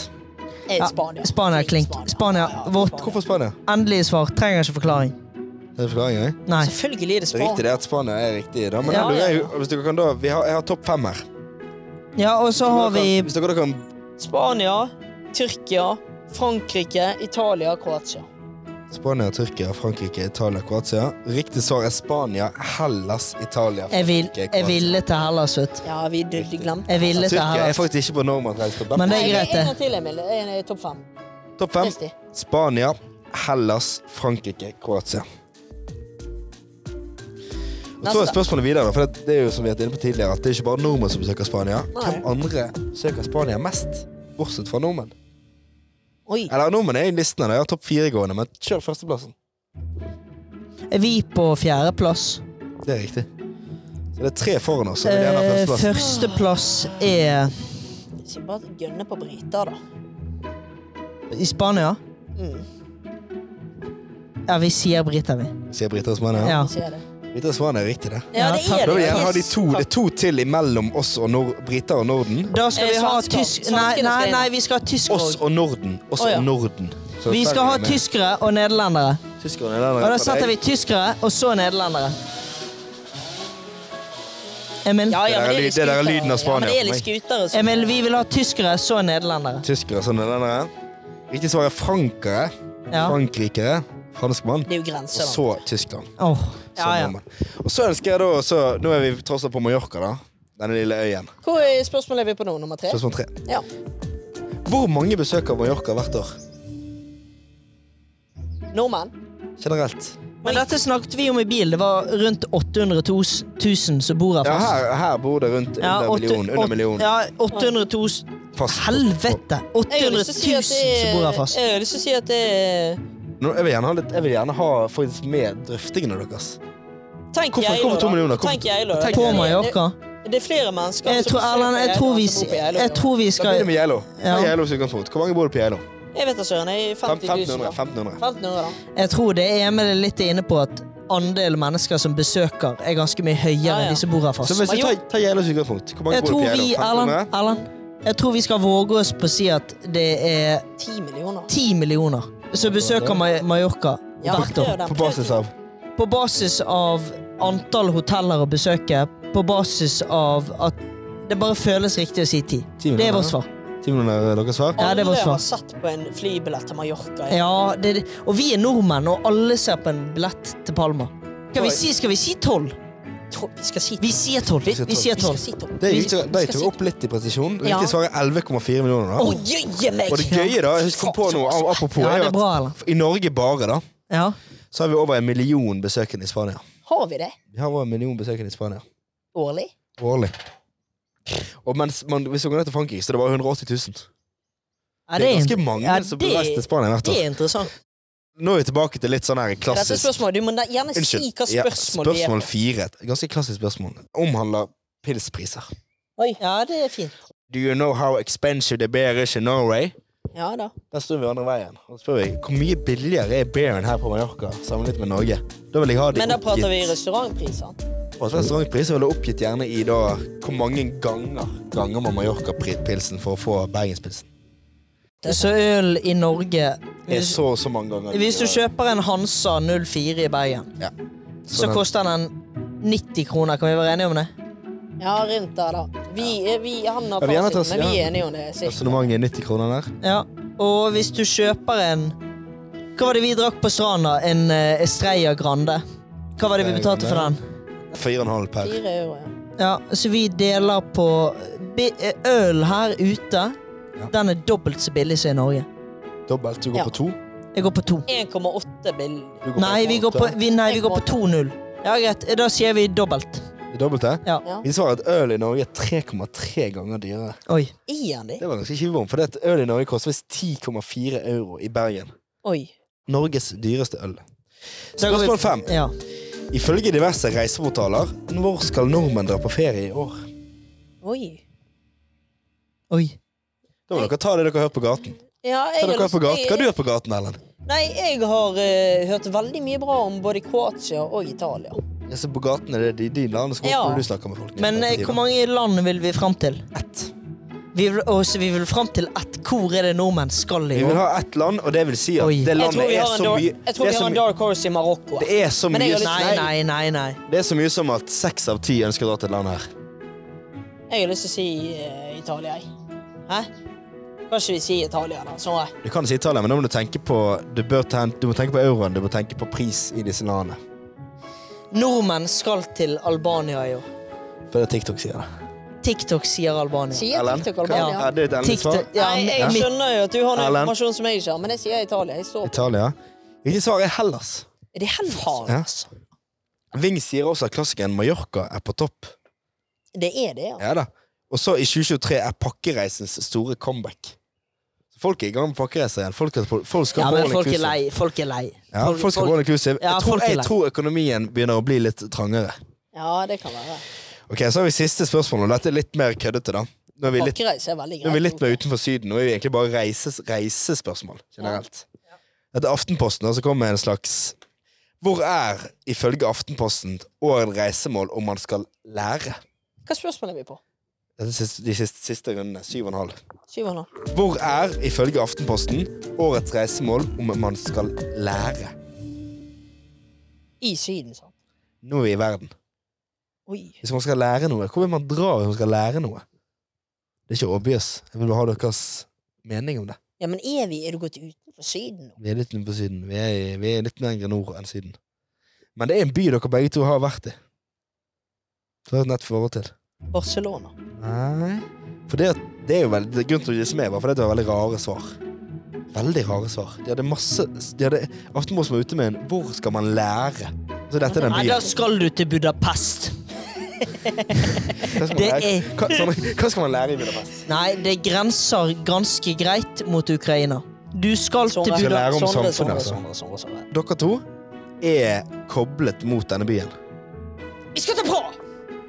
A: Eh,
C: Ja,
A: Spania.
C: Spania er klink. Spania, vårt
B: Hvorfor Spania?
C: endelige svar. Trenger ikke forklaring.
B: Er det forklaring, jeg?
C: Nei.
A: Selvfølgelig er det
B: Det er riktig
A: Spania.
B: det at Spania er riktig. Da. Men
A: Ja,
B: da lurer jeg-
A: ja,
B: hvis dere kan da, vi har, jeg har topp fem her.
C: Ja, og så har vi
B: Hvis dere da kan
A: Spania, Tyrkia, Frankrike, Italia, Kroatia.
B: Spania, Tyrkia, Frankrike, Italia, Kroatia. Riktig svar er Spania, Hellas, Italia,
C: Jeg, vil,
B: Frankrike,
C: jeg
B: Kroatia.
C: ville til Hellas, vet du.
A: Ja, vi de, de glemte.
C: Jeg ville til
B: Tyrkia er
C: Hellas.
B: faktisk ikke på nordmennreise.
C: Men det er
A: Nei,
C: greit, det.
A: En gang til, Emil. En, eh, Topp fem.
B: Topp fem.
A: Riktig.
B: Spania, Hellas, Frankrike, Kroatia. Og så er
A: Neste.
B: spørsmålet videre, da, for det det er jo som vi har vært inne på tidligere, at det er ikke bare nordmenn som besøker Spania.
A: Nei.
B: Hvem andre besøker Spania mest, bortsett fra nordmenn?
A: Oi.
B: Eller nordmenn er i listen her, jeg har topp fire gående, men kjør førsteplassen.
C: Er vi på fjerdeplass?
B: Det er riktig. Så det er tre foran oss som vil gjerne ha
C: Eh,
B: førsteplassen.
C: Førsteplass er
A: Så bare gønne på briter, da.
C: i Spania.
A: Mm.
C: Ja, vi sier briter, vi.
B: Sier Brita og Spania.
C: Ja.
A: Vi ser det.
B: Brita og Spania er riktig, det.
A: Ja,
C: Ja,
A: det
C: takk.
B: Da
A: er det.
B: vil jeg gjerne ha de
A: Yes.
B: to. Det er to til imellom oss og nor briter og Norden.
C: Da skal
A: Eh,
C: vi ha
A: svensker.
C: tysk... Nei,
A: Svenskene skal
C: nei,
A: inn.
C: nei, vi skal ha tysk
B: Oss
C: òg.
B: og Norden. Oss
A: Å, ja.
B: og Norden. Så
C: Vi skal
B: Sverige
C: ha
B: er med.
C: tyskere og nederlendere.
B: Tyskerne er
C: Og
B: den
C: da
B: for
C: setter
B: deg.
C: vi tyskere og så nederlendere. Emil,
A: Ja, ja, men
B: Det der er lyd-
A: litt
B: det der er
A: skutere.
B: lyden av Spania
A: Ja, men det er
B: for
A: litt skutere. som-
C: Emil, vi vil ha tyskere, så nederlendere.
B: tyskere som den der. Riktig svar er frankere.
C: Ja.
B: Sånn. Frankrikere. Franskmann.
A: Det er jo
B: Og
A: grenser, da.
B: så Tyskland.
C: Åh,
B: Så
C: ja, ja.
B: nordmenn. Og så ønsker jeg da så, Nå er vi tross alt på Mallorca, da. Denne lille øyen.
A: Hvor er spørsmålet er vi på nå? Nummer tre?
B: Spørsmål tre.
A: Ja.
B: Hvor mange besøker Mallorca hvert år?
A: Nordmenn?
B: Generelt.
C: Men dette snakket vi om i bil. Det var rundt 800 000 som bor her
B: Ja,
C: fast.
B: her, her bor det rundt
C: Ja,
B: under
C: åtte-
B: million. Under
C: åtte-
B: million.
C: Ja, 800 000.
B: Fast.
C: Helvete! 800
A: har
C: 000
A: lyst til å si at det
C: som
A: er-
C: bor her fast.
A: Jeg har lyst til å si at det er
B: Nå, jeg, vil gjerne ha litt, jeg vil gjerne ha faktisk med drøftingene deres.
A: Tenk
B: Hvorfor-
A: Geilo,
B: hvorfor to
A: da.
B: millioner? Hvorfor-
A: Tenk Geilo. da.
B: Tenk
C: På
A: Det-
C: Mallorca.
A: Det er flere mennesker
C: Jeg
A: som
C: tror,
A: besøker
C: Erlend, jeg
A: Geilo
C: tror vi,
A: enn som bor på Geilo.
C: jeg tror vi
B: Da begynner vi
C: skal
B: med Geilo.
C: Ja.
B: Ta Geilo som utgangspunkt. Hvor mange bor det på Geilo?
A: Jeg vet da søren. Jeg er 50 000.
B: 1500.
A: da.
B: 1500.
A: 1500, da.
C: Jeg tror det Emil er litt inne på, at andelen mennesker som besøker, er ganske mye høyere
A: Ja, ja.
C: enn de som bor her
B: Så
C: fast.
B: hvis vi tar, tar Geilo som utgangspunkt, hvor mange
C: Jeg
B: bor det
C: tror
B: på Geilo?
C: vi, Erlend,
B: 1500?
C: Erlend Jeg tror vi skal våge oss på å si at det er
A: 10 millioner.
C: 10 millioner som besøker Ma- Mallorca
A: Ja,
C: hvert
A: det er
C: år.
A: jo den.
B: På basis av
C: På basis av antall hoteller å besøke, på basis av at det bare føles riktig å si 10.
B: 10
C: Det er vårt
B: millioner?
C: svar.
B: 10 millioner er deres eh, svar?
C: Ja, det var
A: Alle
C: svar.
A: har sett på en flybillett til Mallorca.
C: Ja, det, er det. Og vi er nordmenn, og alle ser på en billett til Palma. Skal vi si, skal vi si 12?
A: Tro- Vi skal si
C: Vi sier 12.
A: Vi-
C: Vi sier
A: vi skal
C: 12.
A: si tolv.
B: Det
A: Vi-
B: gikk til,
A: vi
B: de
A: skal
B: tok
A: si-
B: opp litt i presisjon.
A: Ja.
B: Riktig svar er 11,4 millioner.
A: Å,
B: da.
A: jøye meg!
B: Og det gøye, da, jeg kom på noe av- apropos,
C: Ja,
B: er
C: det
B: jo
C: er bra, eller?
B: at i Norge bare, da,
C: Ja.
B: så har vi over en million besøkende i Spania.
A: Har vi det
B: Vi har over en million besøkende i Spania.
A: årlig?
B: Årlig. Og mens man, hvis man går ned til Frankrike, så er det bare 180 000.
C: Ja,
B: Det er ganske
C: en-
B: mange
C: ja, det-
B: som blir reist til Spania hvert
C: Det
B: år.
C: er interessant.
B: Nå er vi tilbake til litt sånn her
A: Dette
B: klassisk
A: spørsmålet, Du må da gjerne si hva
B: ja,
A: spørsmål det er.
B: spørsmål fire. Et Ganske klassisk spørsmål. Omhandler pilspriser.
A: Oi.
C: Ja, det er fint.
B: Do you know how expensive the beer is in Norway?
A: Ja da.
B: Der står vi andre veien. Og så spør vi hvor mye billigere er beeren her på Mallorca sammenlignet med Norge. Da vil jeg ha det
A: Men da prater vi
B: oppgitt.
A: restaurantpriser.
B: Og restaurantpris sånn vil jeg oppgitt gjerne i da hvor mange ganger ganger man Mallorca-pilsen for å få bergenspilsen.
C: Så øl i Norge
B: Det er
C: hvis,
B: så og så mange ganger.
C: hvis du kjøper en Hansa 04 i Bergen,
B: Ja.
C: så
B: den-
C: koster den 90 kroner. Kan vi være enige om det?
A: Ja, rundt der, da. Vi, er- vi, han har
B: Ja, vi gjerne
A: fasiten,
B: tar-
A: men vi
B: ja.
A: er enige om det. sikkert.
B: Resonnementet er 90 kroner der.
C: Ja. Og hvis du kjøper en Hva var det vi drakk på stranda? En eh, Estrella Grande. Hva var det vi betalte for den?
B: 4,5 per.
A: Fire euro, ja.
C: Ja, så vi deler på bi- eh, Øl her ute, den er dobbelt så billig som i Norge.
B: Dobbelt. Du går
A: Ja.
B: på to.
C: Jeg går på to.
A: 1,8 bill.
B: Du går
C: Nei, vi går på, vi, nei, vi går på 2-0. Ja, greit. Da sier vi dobbelt.
B: Det er Dobbelt det?
C: Ja.
A: Ja.
B: Vi svarer at øl i Norge er 3,3 ganger dyrere.
C: Oi.
A: Er han det?
B: Det var ganske kjivbom, for det at øl i Norge koster visst 10,4 euro i Bergen.
A: Oi.
B: Norges dyreste øl.
C: Så da går vi-
B: Spørsmål fem.
C: Ja.
B: Ifølge diverse reiseportaler, hvor skal nordmenn dra på ferie i år?
A: Oi.
C: Oi.
B: Da må dere ta det dere har hørt på gaten.
A: Ja,
B: Hva
A: jeg
B: dere har hørt på gaten? Hva har du
A: jeg,
B: hørt på gaten, Ellen?
A: nei, jeg har eh, hørt veldig mye bra om både Kroatia og Italia.
B: Jeg ser på gaten er det de, de landene som
A: Ja.
B: hvor du snakker med folk.
C: Men eh, hvor mange land vil vi fram til? Ett. Vi vil, og så vi vil fram til ett. Hvor er det nordmenn skal i
B: Vi vil
C: år?
B: ha ett land, og det vil si at
C: Oi.
B: det
A: Jeg tror
B: landet
A: vi
B: er
A: har en,
B: så
A: dar
B: mye
A: jeg
B: det
A: tror vi
B: er
A: har
B: så
A: en
B: mye-
A: dark horse i Marokko.
B: Det er så
A: Men jeg
B: mye
A: har lyst-
C: Nei, nei, nei. nei.
B: Det er så mye som at seks av ti ønsker å dra til et land her.
A: Jeg har lyst til å si eh, Italia, jeg. Hæ? Kan ikke vi si Italia, da? Sånn, eh.
B: Du kan si Italia, men da må du tenke på Du, bør ten, du må tenke på euroen, du må tenke på pris i disse landene.
C: Nordmenn skal til Albania i år.
B: For det er TikTok sier det.
C: TikTok sier Albania.
A: Sier TikTok Albania?
B: Er det et endelig svar?
C: TikTok, ja,
A: Nei,
C: men-
A: jeg skjønner jo at du har noe
B: Erlend.
A: informasjon som jeg ikke har, men jeg sier Italia. Jeg står
B: Italia. Riktig svar er Hellas.
A: Er det Hellas?
B: Ja. Ving sier også at klassikeren Mallorca er på topp.
A: Det er det, ja.
B: Ja da. Og så i 2023 er pakkereisens store comeback. Folk er i gang med pakkereiser igjen. Folk, skal- folk skal
C: Ja,
B: på
C: men
B: all
C: folk er
B: inclusive.
C: lei. Folk er lei.
B: Ja, folk, skal på all inclusive.
C: Ja,
B: jeg, tror,
C: folk er lei.
B: jeg tror økonomien begynner å bli litt trangere.
A: Ja, det kan være.
B: Ok, Så har vi siste spørsmål, og dette er litt mer køddete, da. Nå er vi litt,
A: Pakkereise er veldig greit.
B: nå er vi litt mer utenfor Syden. Nå er vi egentlig bare reises, reisespørsmål generelt. Dette er Aftenposten, og så kommer en slags Hvor er, ifølge Aftenposten, årets reisemål om man skal lære?
A: Hva spørsmål er vi på?
B: Dette er siste, de siste, siste rundene. Syv og en halv.
A: Syv og en halv.
B: Hvor er, ifølge Aftenposten, årets reisemål om man skal lære?
A: I Syden, sant.
B: Nå er vi i verden.
A: Oi.
B: Hvis man skal lære noe, hvor vil man dra hvis man skal lære noe? Det er ikke obvious. Jeg vil bare ha deres mening om det.
A: Ja, men er vi Er du gått utenfor Syden nå?
B: Vi er litt nede på Syden. Vi er, i- vi er litt lenger nord enn Syden. Men det er en by dere begge to har vært i. Du har et nett forhold til.
A: Barcelona.
B: Nei. For det, at- det er jo veldig, det- grunnen til at de som er, var fordi det var veldig rare svar. Veldig rare svar. De hadde masse de hadde, Aftenposten var ute med en 'Hvor skal man lære?' Så dette er den
C: Nei,
B: byen.
C: da skal du til Budapest.
B: Hva skal man
C: Det
B: lære,
C: er
B: hva, sånn, hva skal man lære i Budapest?
C: Nei, det grenser ganske greit mot Ukraina. Du skal til
A: Sondre,
B: Skal
C: Budapest.
B: lære om
A: Sondre,
B: samfunnet,
A: Sondre,
B: altså.
C: sånn,
A: Sondre, Sondre, Sondre.
B: Dere to er koblet mot denne byen.
C: sånn.
A: Vi skal til Praha!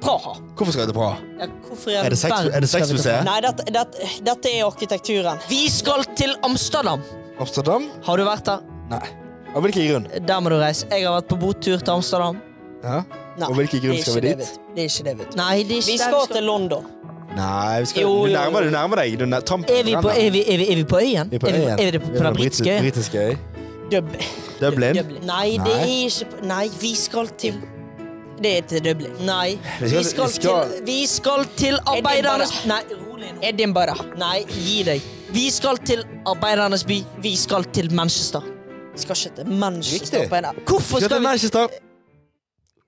A: Praha!
C: Praha.
B: Hvorfor skal jeg til Praha?
C: Ja, hvorfor i all
B: Er det sex-
C: verden
B: er det
C: skal vi til
B: sexmuseet?
C: Praha? Nei, dette, dette, dette er arkitekturen. Vi skal til Amsterdam!
B: Amsterdam?
C: Har du vært der?
B: Nei. Av hvilken grunn?
C: Der må du reise. Jeg har vært på botur til Amsterdam.
B: Ja.
C: Nei,
B: Av hvilken grunn
C: det er
B: skal vi
C: ikke det,
B: dit?
C: vet du. Det er ikke det, vet du. Nei, det er ikke
A: Vi
C: der
A: skal til
C: London.
B: Nei, vi skal,
C: Jo, jo,
B: du
C: jo.
B: nærmer deg. Du nærmer deg. Du nær, Tampen
C: Er vi på,
B: brenner.
C: er vi, er vi, er vi på øyen?
B: Vi er på
C: Er vi,
B: øyen.
C: er vi på,
B: Vi
C: på den
B: på
C: britiske
B: britiske-
C: øyen?
B: britiske øy.
C: Dub-
B: Dublin.
C: Dublin. Nei, det er ikke på- Nei, vi skal til Det er til Dublin. Nei.
B: Vi skal-
C: Vi skal
B: vi skal-
C: til Vi skal til arbeidernes Nei, rolig nå. Edinburgh. Nei, gi deg. Vi skal til arbeidernes by. Vi skal til Manchester. Vi skal ikke til Manchester.
B: Riktig.
C: på en av- Hvorfor
B: Skal
C: skal
B: til
C: vi
B: Manchester.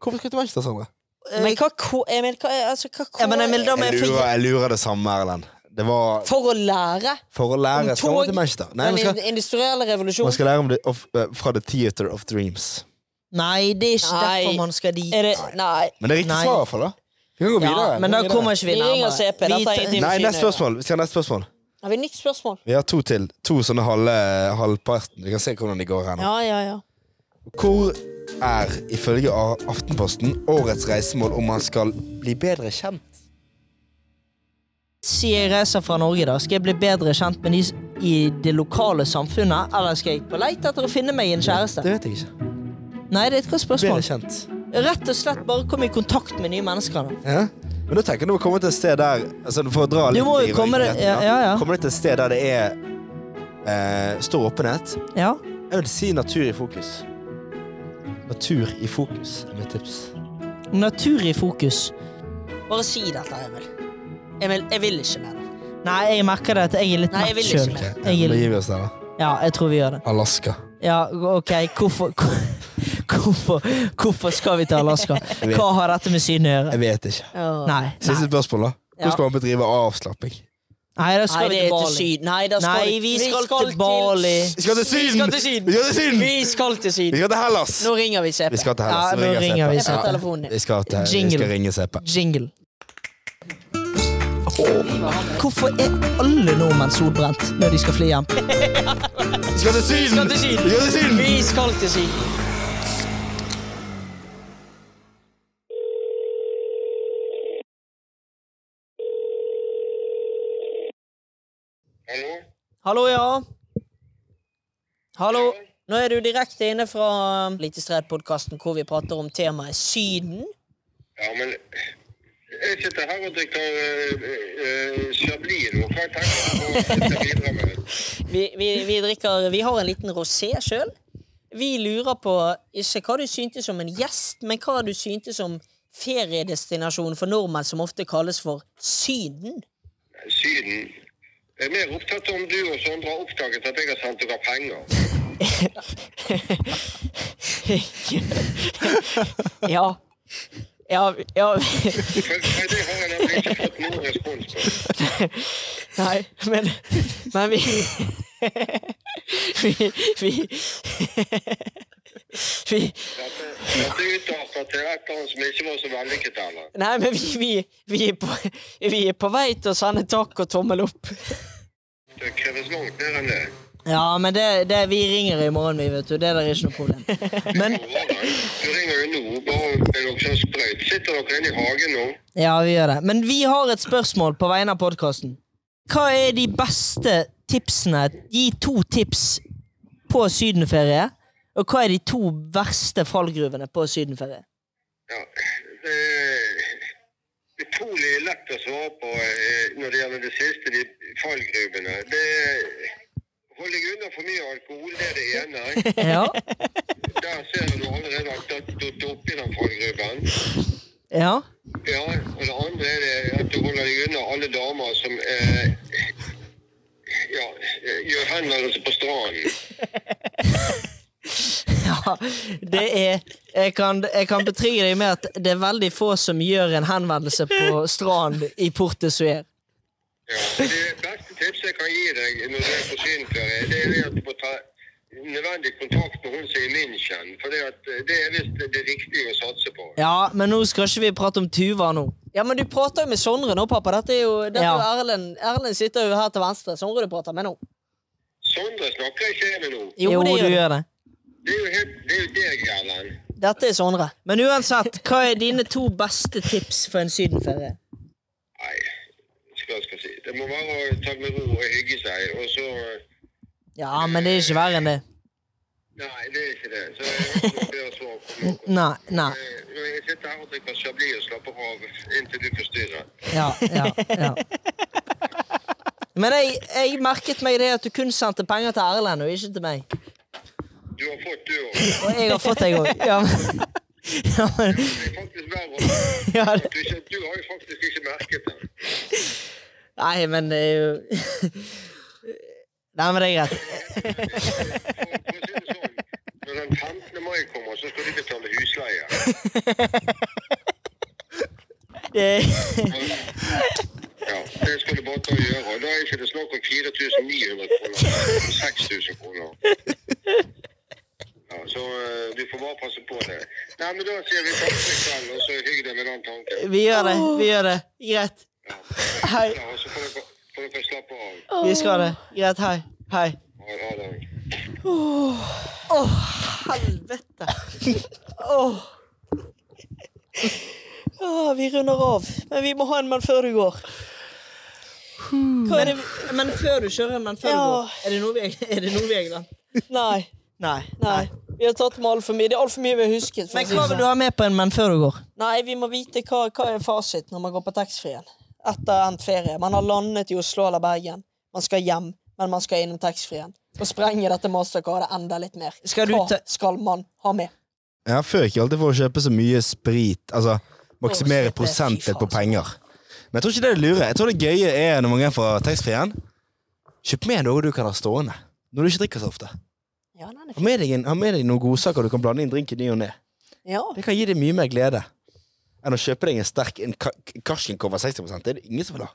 B: Hvorfor skal du til Manchester, Sandra?
C: Men hva ko- Emil, hva er- altså, hva ko-
A: Eh, men Emil, da må
C: er-
B: Jeg lurer, jeg lurer det samme, Erlend. Det var
C: For å lære
B: for å lære
C: Om
B: skal man
C: tog?
B: til Manchester. Nei, man
C: den
B: skal,
C: in- industrielle
B: man
C: revolusjonen.
B: skal lære om det of, eh, fra The Theater of Dreams.
C: Nei, det er ikke
A: Nei.
C: derfor man skal dit.
A: Er det Nei.
B: Men det er riktig
C: Nei.
B: svar, i hvert fall. da. Vi kan gå videre.
C: Ja, men da
B: Vi kan gå
C: kommer
B: videre.
C: ikke vi
A: Vi ringer
C: nærmere.
A: CP,
C: Vi
A: dette er
C: tar-
A: intim-
B: Nei,
A: Finner
B: neste spørsmål. Vi skal ha neste spørsmål.
A: Har vi nytt spørsmål?
B: Vi har to til. To sånne halve halvparten. Vi kan se hvordan de går her nå.
A: Ja, ja, ja.
B: Hvor er, ifølge A- Aftenposten, årets reisemål om man skal bli bedre kjent?
C: Si jeg reiser fra Norge, da. Skal jeg bli bedre kjent med de s- i det lokale samfunnet? Eller skal jeg på leit etter å finne meg en kjæreste?
B: Det vet jeg ikke.
C: Nei, det er et godt
B: Bedre
C: spørsmål.
B: kjent.
C: Rett og slett bare komme i kontakt med nye mennesker. da.
B: Ja. Men da tenker jeg du må komme til et sted der altså For å dra litt
C: Du må
B: i
C: jo komme
B: røyken,
C: det- ja, ja, ja.
B: Komme litt til et sted der det er eh, stor åpenhet.
C: Ja.
B: Jeg vil si natur i fokus. Natur i fokus er mitt tips.
C: Natur i fokus. Bare si dette, Emil.
A: Emil, jeg vil ikke mer.
C: Nei, jeg merker det at jeg er litt
A: Nei, jeg
C: matt
A: vil ikke
C: sjøl.
A: mer.
B: Da gir vi oss der, da.
C: Ja, jeg tror vi gjør det.
B: Alaska.
C: Ja, OK, hvorfor Hvorfor, hvorfor skal vi til Alaska?
B: vet.
C: Hva har dette med Syden å gjøre?
B: Jeg vet ikke.
C: Nei. Nei,
B: Siste spørsmål, da.
C: Ja.
B: Hvordan skal man bedrive avslapping?
C: Nei da
A: Nei,
C: skal
A: det
C: vi til
A: er til
C: Bali.
A: Syden. Nei, da skal
C: Nei, vi skal til Bali.
B: Vi skal til
A: Vi
B: Syden!
A: skal til Syden!
B: Vi skal til Syden!
A: Vi skal
B: Vi
A: til Syden.
B: skal til Hellas!
A: Nå ringer vi CP.
B: Vi skal til Hellas.
C: Ja, nå ringer vi
B: Ja,
C: Sepa.
A: Telefonen din.
B: Vi skal, til, vi
C: Jingle.
B: skal ringe CP.
C: Jingle. Hvorfor er alle nordmenn solbrent når de skal fly hjem?
B: Vi skal til Syden!
A: til Syden.
B: Vi skal til Syden!
A: Vi skal til Syden.
H: Hallo?
C: Hallo, ja. Hallo. Nå er du direkte inne fra
A: Lite Stred-podkasten hvor vi prater om temaet Syden.
H: Ja, men jeg sitter her og drikker Chablis nå. Hva tenker du å bidra med?
A: Vi, vi, vi drikker Vi har en liten rosé sjøl. Vi lurer på ikke hva du syntes om en gjest, men hva du syntes om feriedestinasjonen for nordmenn som ofte kalles for Syden.
H: Syden. Jeg er mer opptatt av om du og Sondre har oppdaget at jeg har sendt dere penger.
A: Ja. Ja, ja
H: For, for det har jeg nemlig ikke fått noen respons på.
A: Nei, men, men vi, vi Vi Vi
H: Dette, dette utarter til et eller annet som ikke var så vellykket heller.
A: Nei, men vi, vi, vi, er på, vi er på vei til å sende takk og tommel opp.
H: Det kreves langt mer enn det.
C: Ja, men det, det, vi ringer i morgen, vi, vet du. Det der er ikke noe problem. Men
H: Du ringer jo nå, bare med noe sånn sprøyt. Sitter dere inne i hagen nå?
C: Ja, vi gjør det. Men vi har et spørsmål på vegne av podkasten. Hva er de beste tipsene? Gi to tips på sydenferie. Og hva er de to verste fallgruvene på sydenferie?
H: Ja, det er utrolig lett å svare på eh, når det gjelder det siste, de fallgruvene. Det er- Hold deg unna for mye alkohol, det er det ene.
C: Ja.
H: Der ser du allerede at du har tatt oppi den fallgruven.
C: ja.
H: Ja, og det andre er det at du holder deg unna alle damer som eh, ja, eh, gjør henvendelser på stranden.
C: Ja, det er jeg kan, jeg kan betrygge deg med at det er veldig få som gjør en henvendelse på stranden i Port de Suer.
H: Ja, det beste tipset jeg kan gi deg når du er på synferie, det er det at du må ta nødvendig kontakt med hun som er i München. For det, at, eh, det er visst det riktige å satse på.
C: Ja, men nå skal ikke vi prate om Tuva nå.
A: Ja, men du prater jo med Sondre nå, pappa. Dette er jo, dette er jo
C: Ja.
A: Erlend. Erlend sitter jo her til venstre. Sondre du prater med nå.
H: Sondre snakker ikke jeg med nå.
C: Jo, du
A: det.
C: gjør det.
H: Det er jo, helt, det er jo deg, Erlend.
C: Dette er Sondre. Men uansett, hva er dine to beste tips for en sydenferie?
H: Nei, skal, skal si. Det må være å ta med ro og hygge seg, og så
C: Ja, men det er ikke verre enn det.
H: Nei, det er ikke det. Så jeg må be oss over på noe.
C: Nei. nei.
H: Eh, Når jeg sitter her og drikker chablis og slapper av inntil du forstyrrer.
C: Ja, ja, ja. Men jeg, jeg merket meg det at du kun sendte penger til Erlend og ikke til meg.
H: Du har fått, du òg.
C: Og jeg har fått deg òg. Ja, men- ja, men-
H: Det er faktisk verre.
C: ja, det-
H: Du, ikke- du har jo faktisk ikke merket det.
C: nei, men det er jo Nei, men det er greit.
H: For- for å si det sånn, Når den 15. mai kommer, så skal de betale husleie.
C: Det,
H: Ja, Det skal du bare ta og gjøre. og Da er ikke det snakk om 4900 kroner, men 6000 kroner. Ja, så eh, du får bare passe på det. Nei, men da sier vi takk for i kveld, og så hygg deg med den tanken.
C: vi gjør det. Vi gjør det. Greit. Hei.
H: Ja, og så får dere, får dere slappe av.
C: Vi skal det. Greit. Hei. Hei.
H: Ha- Ha det.
C: Å, helvete!
A: Åh. Ja, vi runder av. Men vi må ha en mann før du går.
C: Hva er det, Hmm. men før du kjører, men før du går, er det noe vi er- er det noe vi har glemt?
A: Nei.
C: Nei.
A: nei. Vi har tatt med altfor mye. Det er altfor mye vi har husket. for å
C: Men
A: si det
C: hva vil
A: sånn.
C: du ha med på en men før du går?
A: Nei, vi må vite hva, hva er fasit når man går på taxfree-en etter endt ferie. Man har landet i Oslo eller Bergen. Man skal hjem, men man skal innom taxfree-en. Og sprenge dette mastercardet enda litt mer.
C: Skal du ta-
A: hva skal man ha med?
B: Jeg føler ikke alltid for å kjøpe så mye sprit. Altså
C: Å,
B: maksimere
C: shit, det er fy
B: prosentet
C: faen,
B: på penger. Men jeg tror ikke det er det lure. Jeg tror det gøye er når mange er fra taxfree-en. Kjøp med noe du kan ha stående. Når du ikke drikker så ofte.
A: Ja, den er
B: Ha med deg, en, ha med deg noen godsaker du kan blande inn drink i ny og ne.
A: fin. Ja.
B: Det kan gi deg mye mer glede enn å kjøpe deg en sterk en ka- Karsten Cover 60 Det er det ingen som vil ha.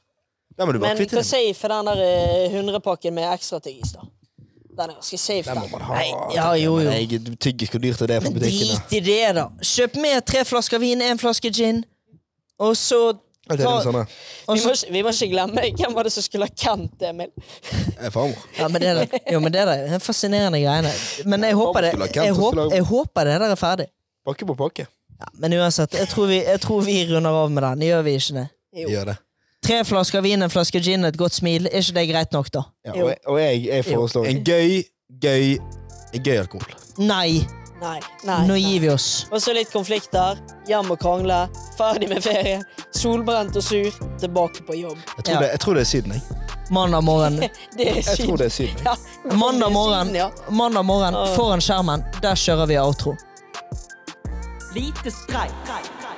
B: Den må du bare
A: Men
B: kvitte
A: hva
B: deg med.
A: sier for den der eh, hundrepakken med ekstra tyggis, da? Den er ganske safe,
B: Den må
A: den.
B: man ha.
C: Nei, ja, jo, jo.
B: Men jeg- Tyggis, hvor dyrt er det fra butikken? da?
C: Drit i det, da. Kjøp med tre flasker vin, én flaske gin, og så
B: Ja, Det er noe sånne.
C: og
A: Vi må,
C: så-
A: ikke- vi må ikke glemme hvem var det som skulle ha Kent, Emil.
B: Eh, Farmor.
C: Ja, men det er det. Jo, men det er det. Det er fascinerende greiene. Men jeg håper det,
B: Skulle ha Kent,
C: jeg
B: og skulle
C: håper,
B: ha-
C: jeg håper det der er ferdig.
B: Pakke på pakke.
C: Ja, men uansett, jeg tror, vi, jeg tror vi runder av med den. Gjør vi ikke det?
A: Jo.
B: Gjør det.
C: Tre flasker vin, en flaske gin, et godt smil. Er ikke det greit nok, da?
B: Ja, og jeg, og jeg, jeg foreslår en gøy, gøy, en gøy alkohol.
C: Nei!
A: Nei. nei,
C: Nå
A: nei.
C: gir vi oss.
A: Og så litt konflikter. Hjem og krangle. Ferdig med ferie. Solbrent og sur. Tilbake på jobb.
B: Jeg tror,
C: Ja.
B: det, jeg tror det er Syden, jeg.
C: Mandag morgen.
A: Det er
B: Jeg tror
A: sykt.
B: det er Syden. jeg.
A: Ja,
C: Mandag
A: Syden, ja.
C: morgen, Mandag morgen
A: Åh.
C: foran skjermen. Der kjører vi outro.
I: Lite streik.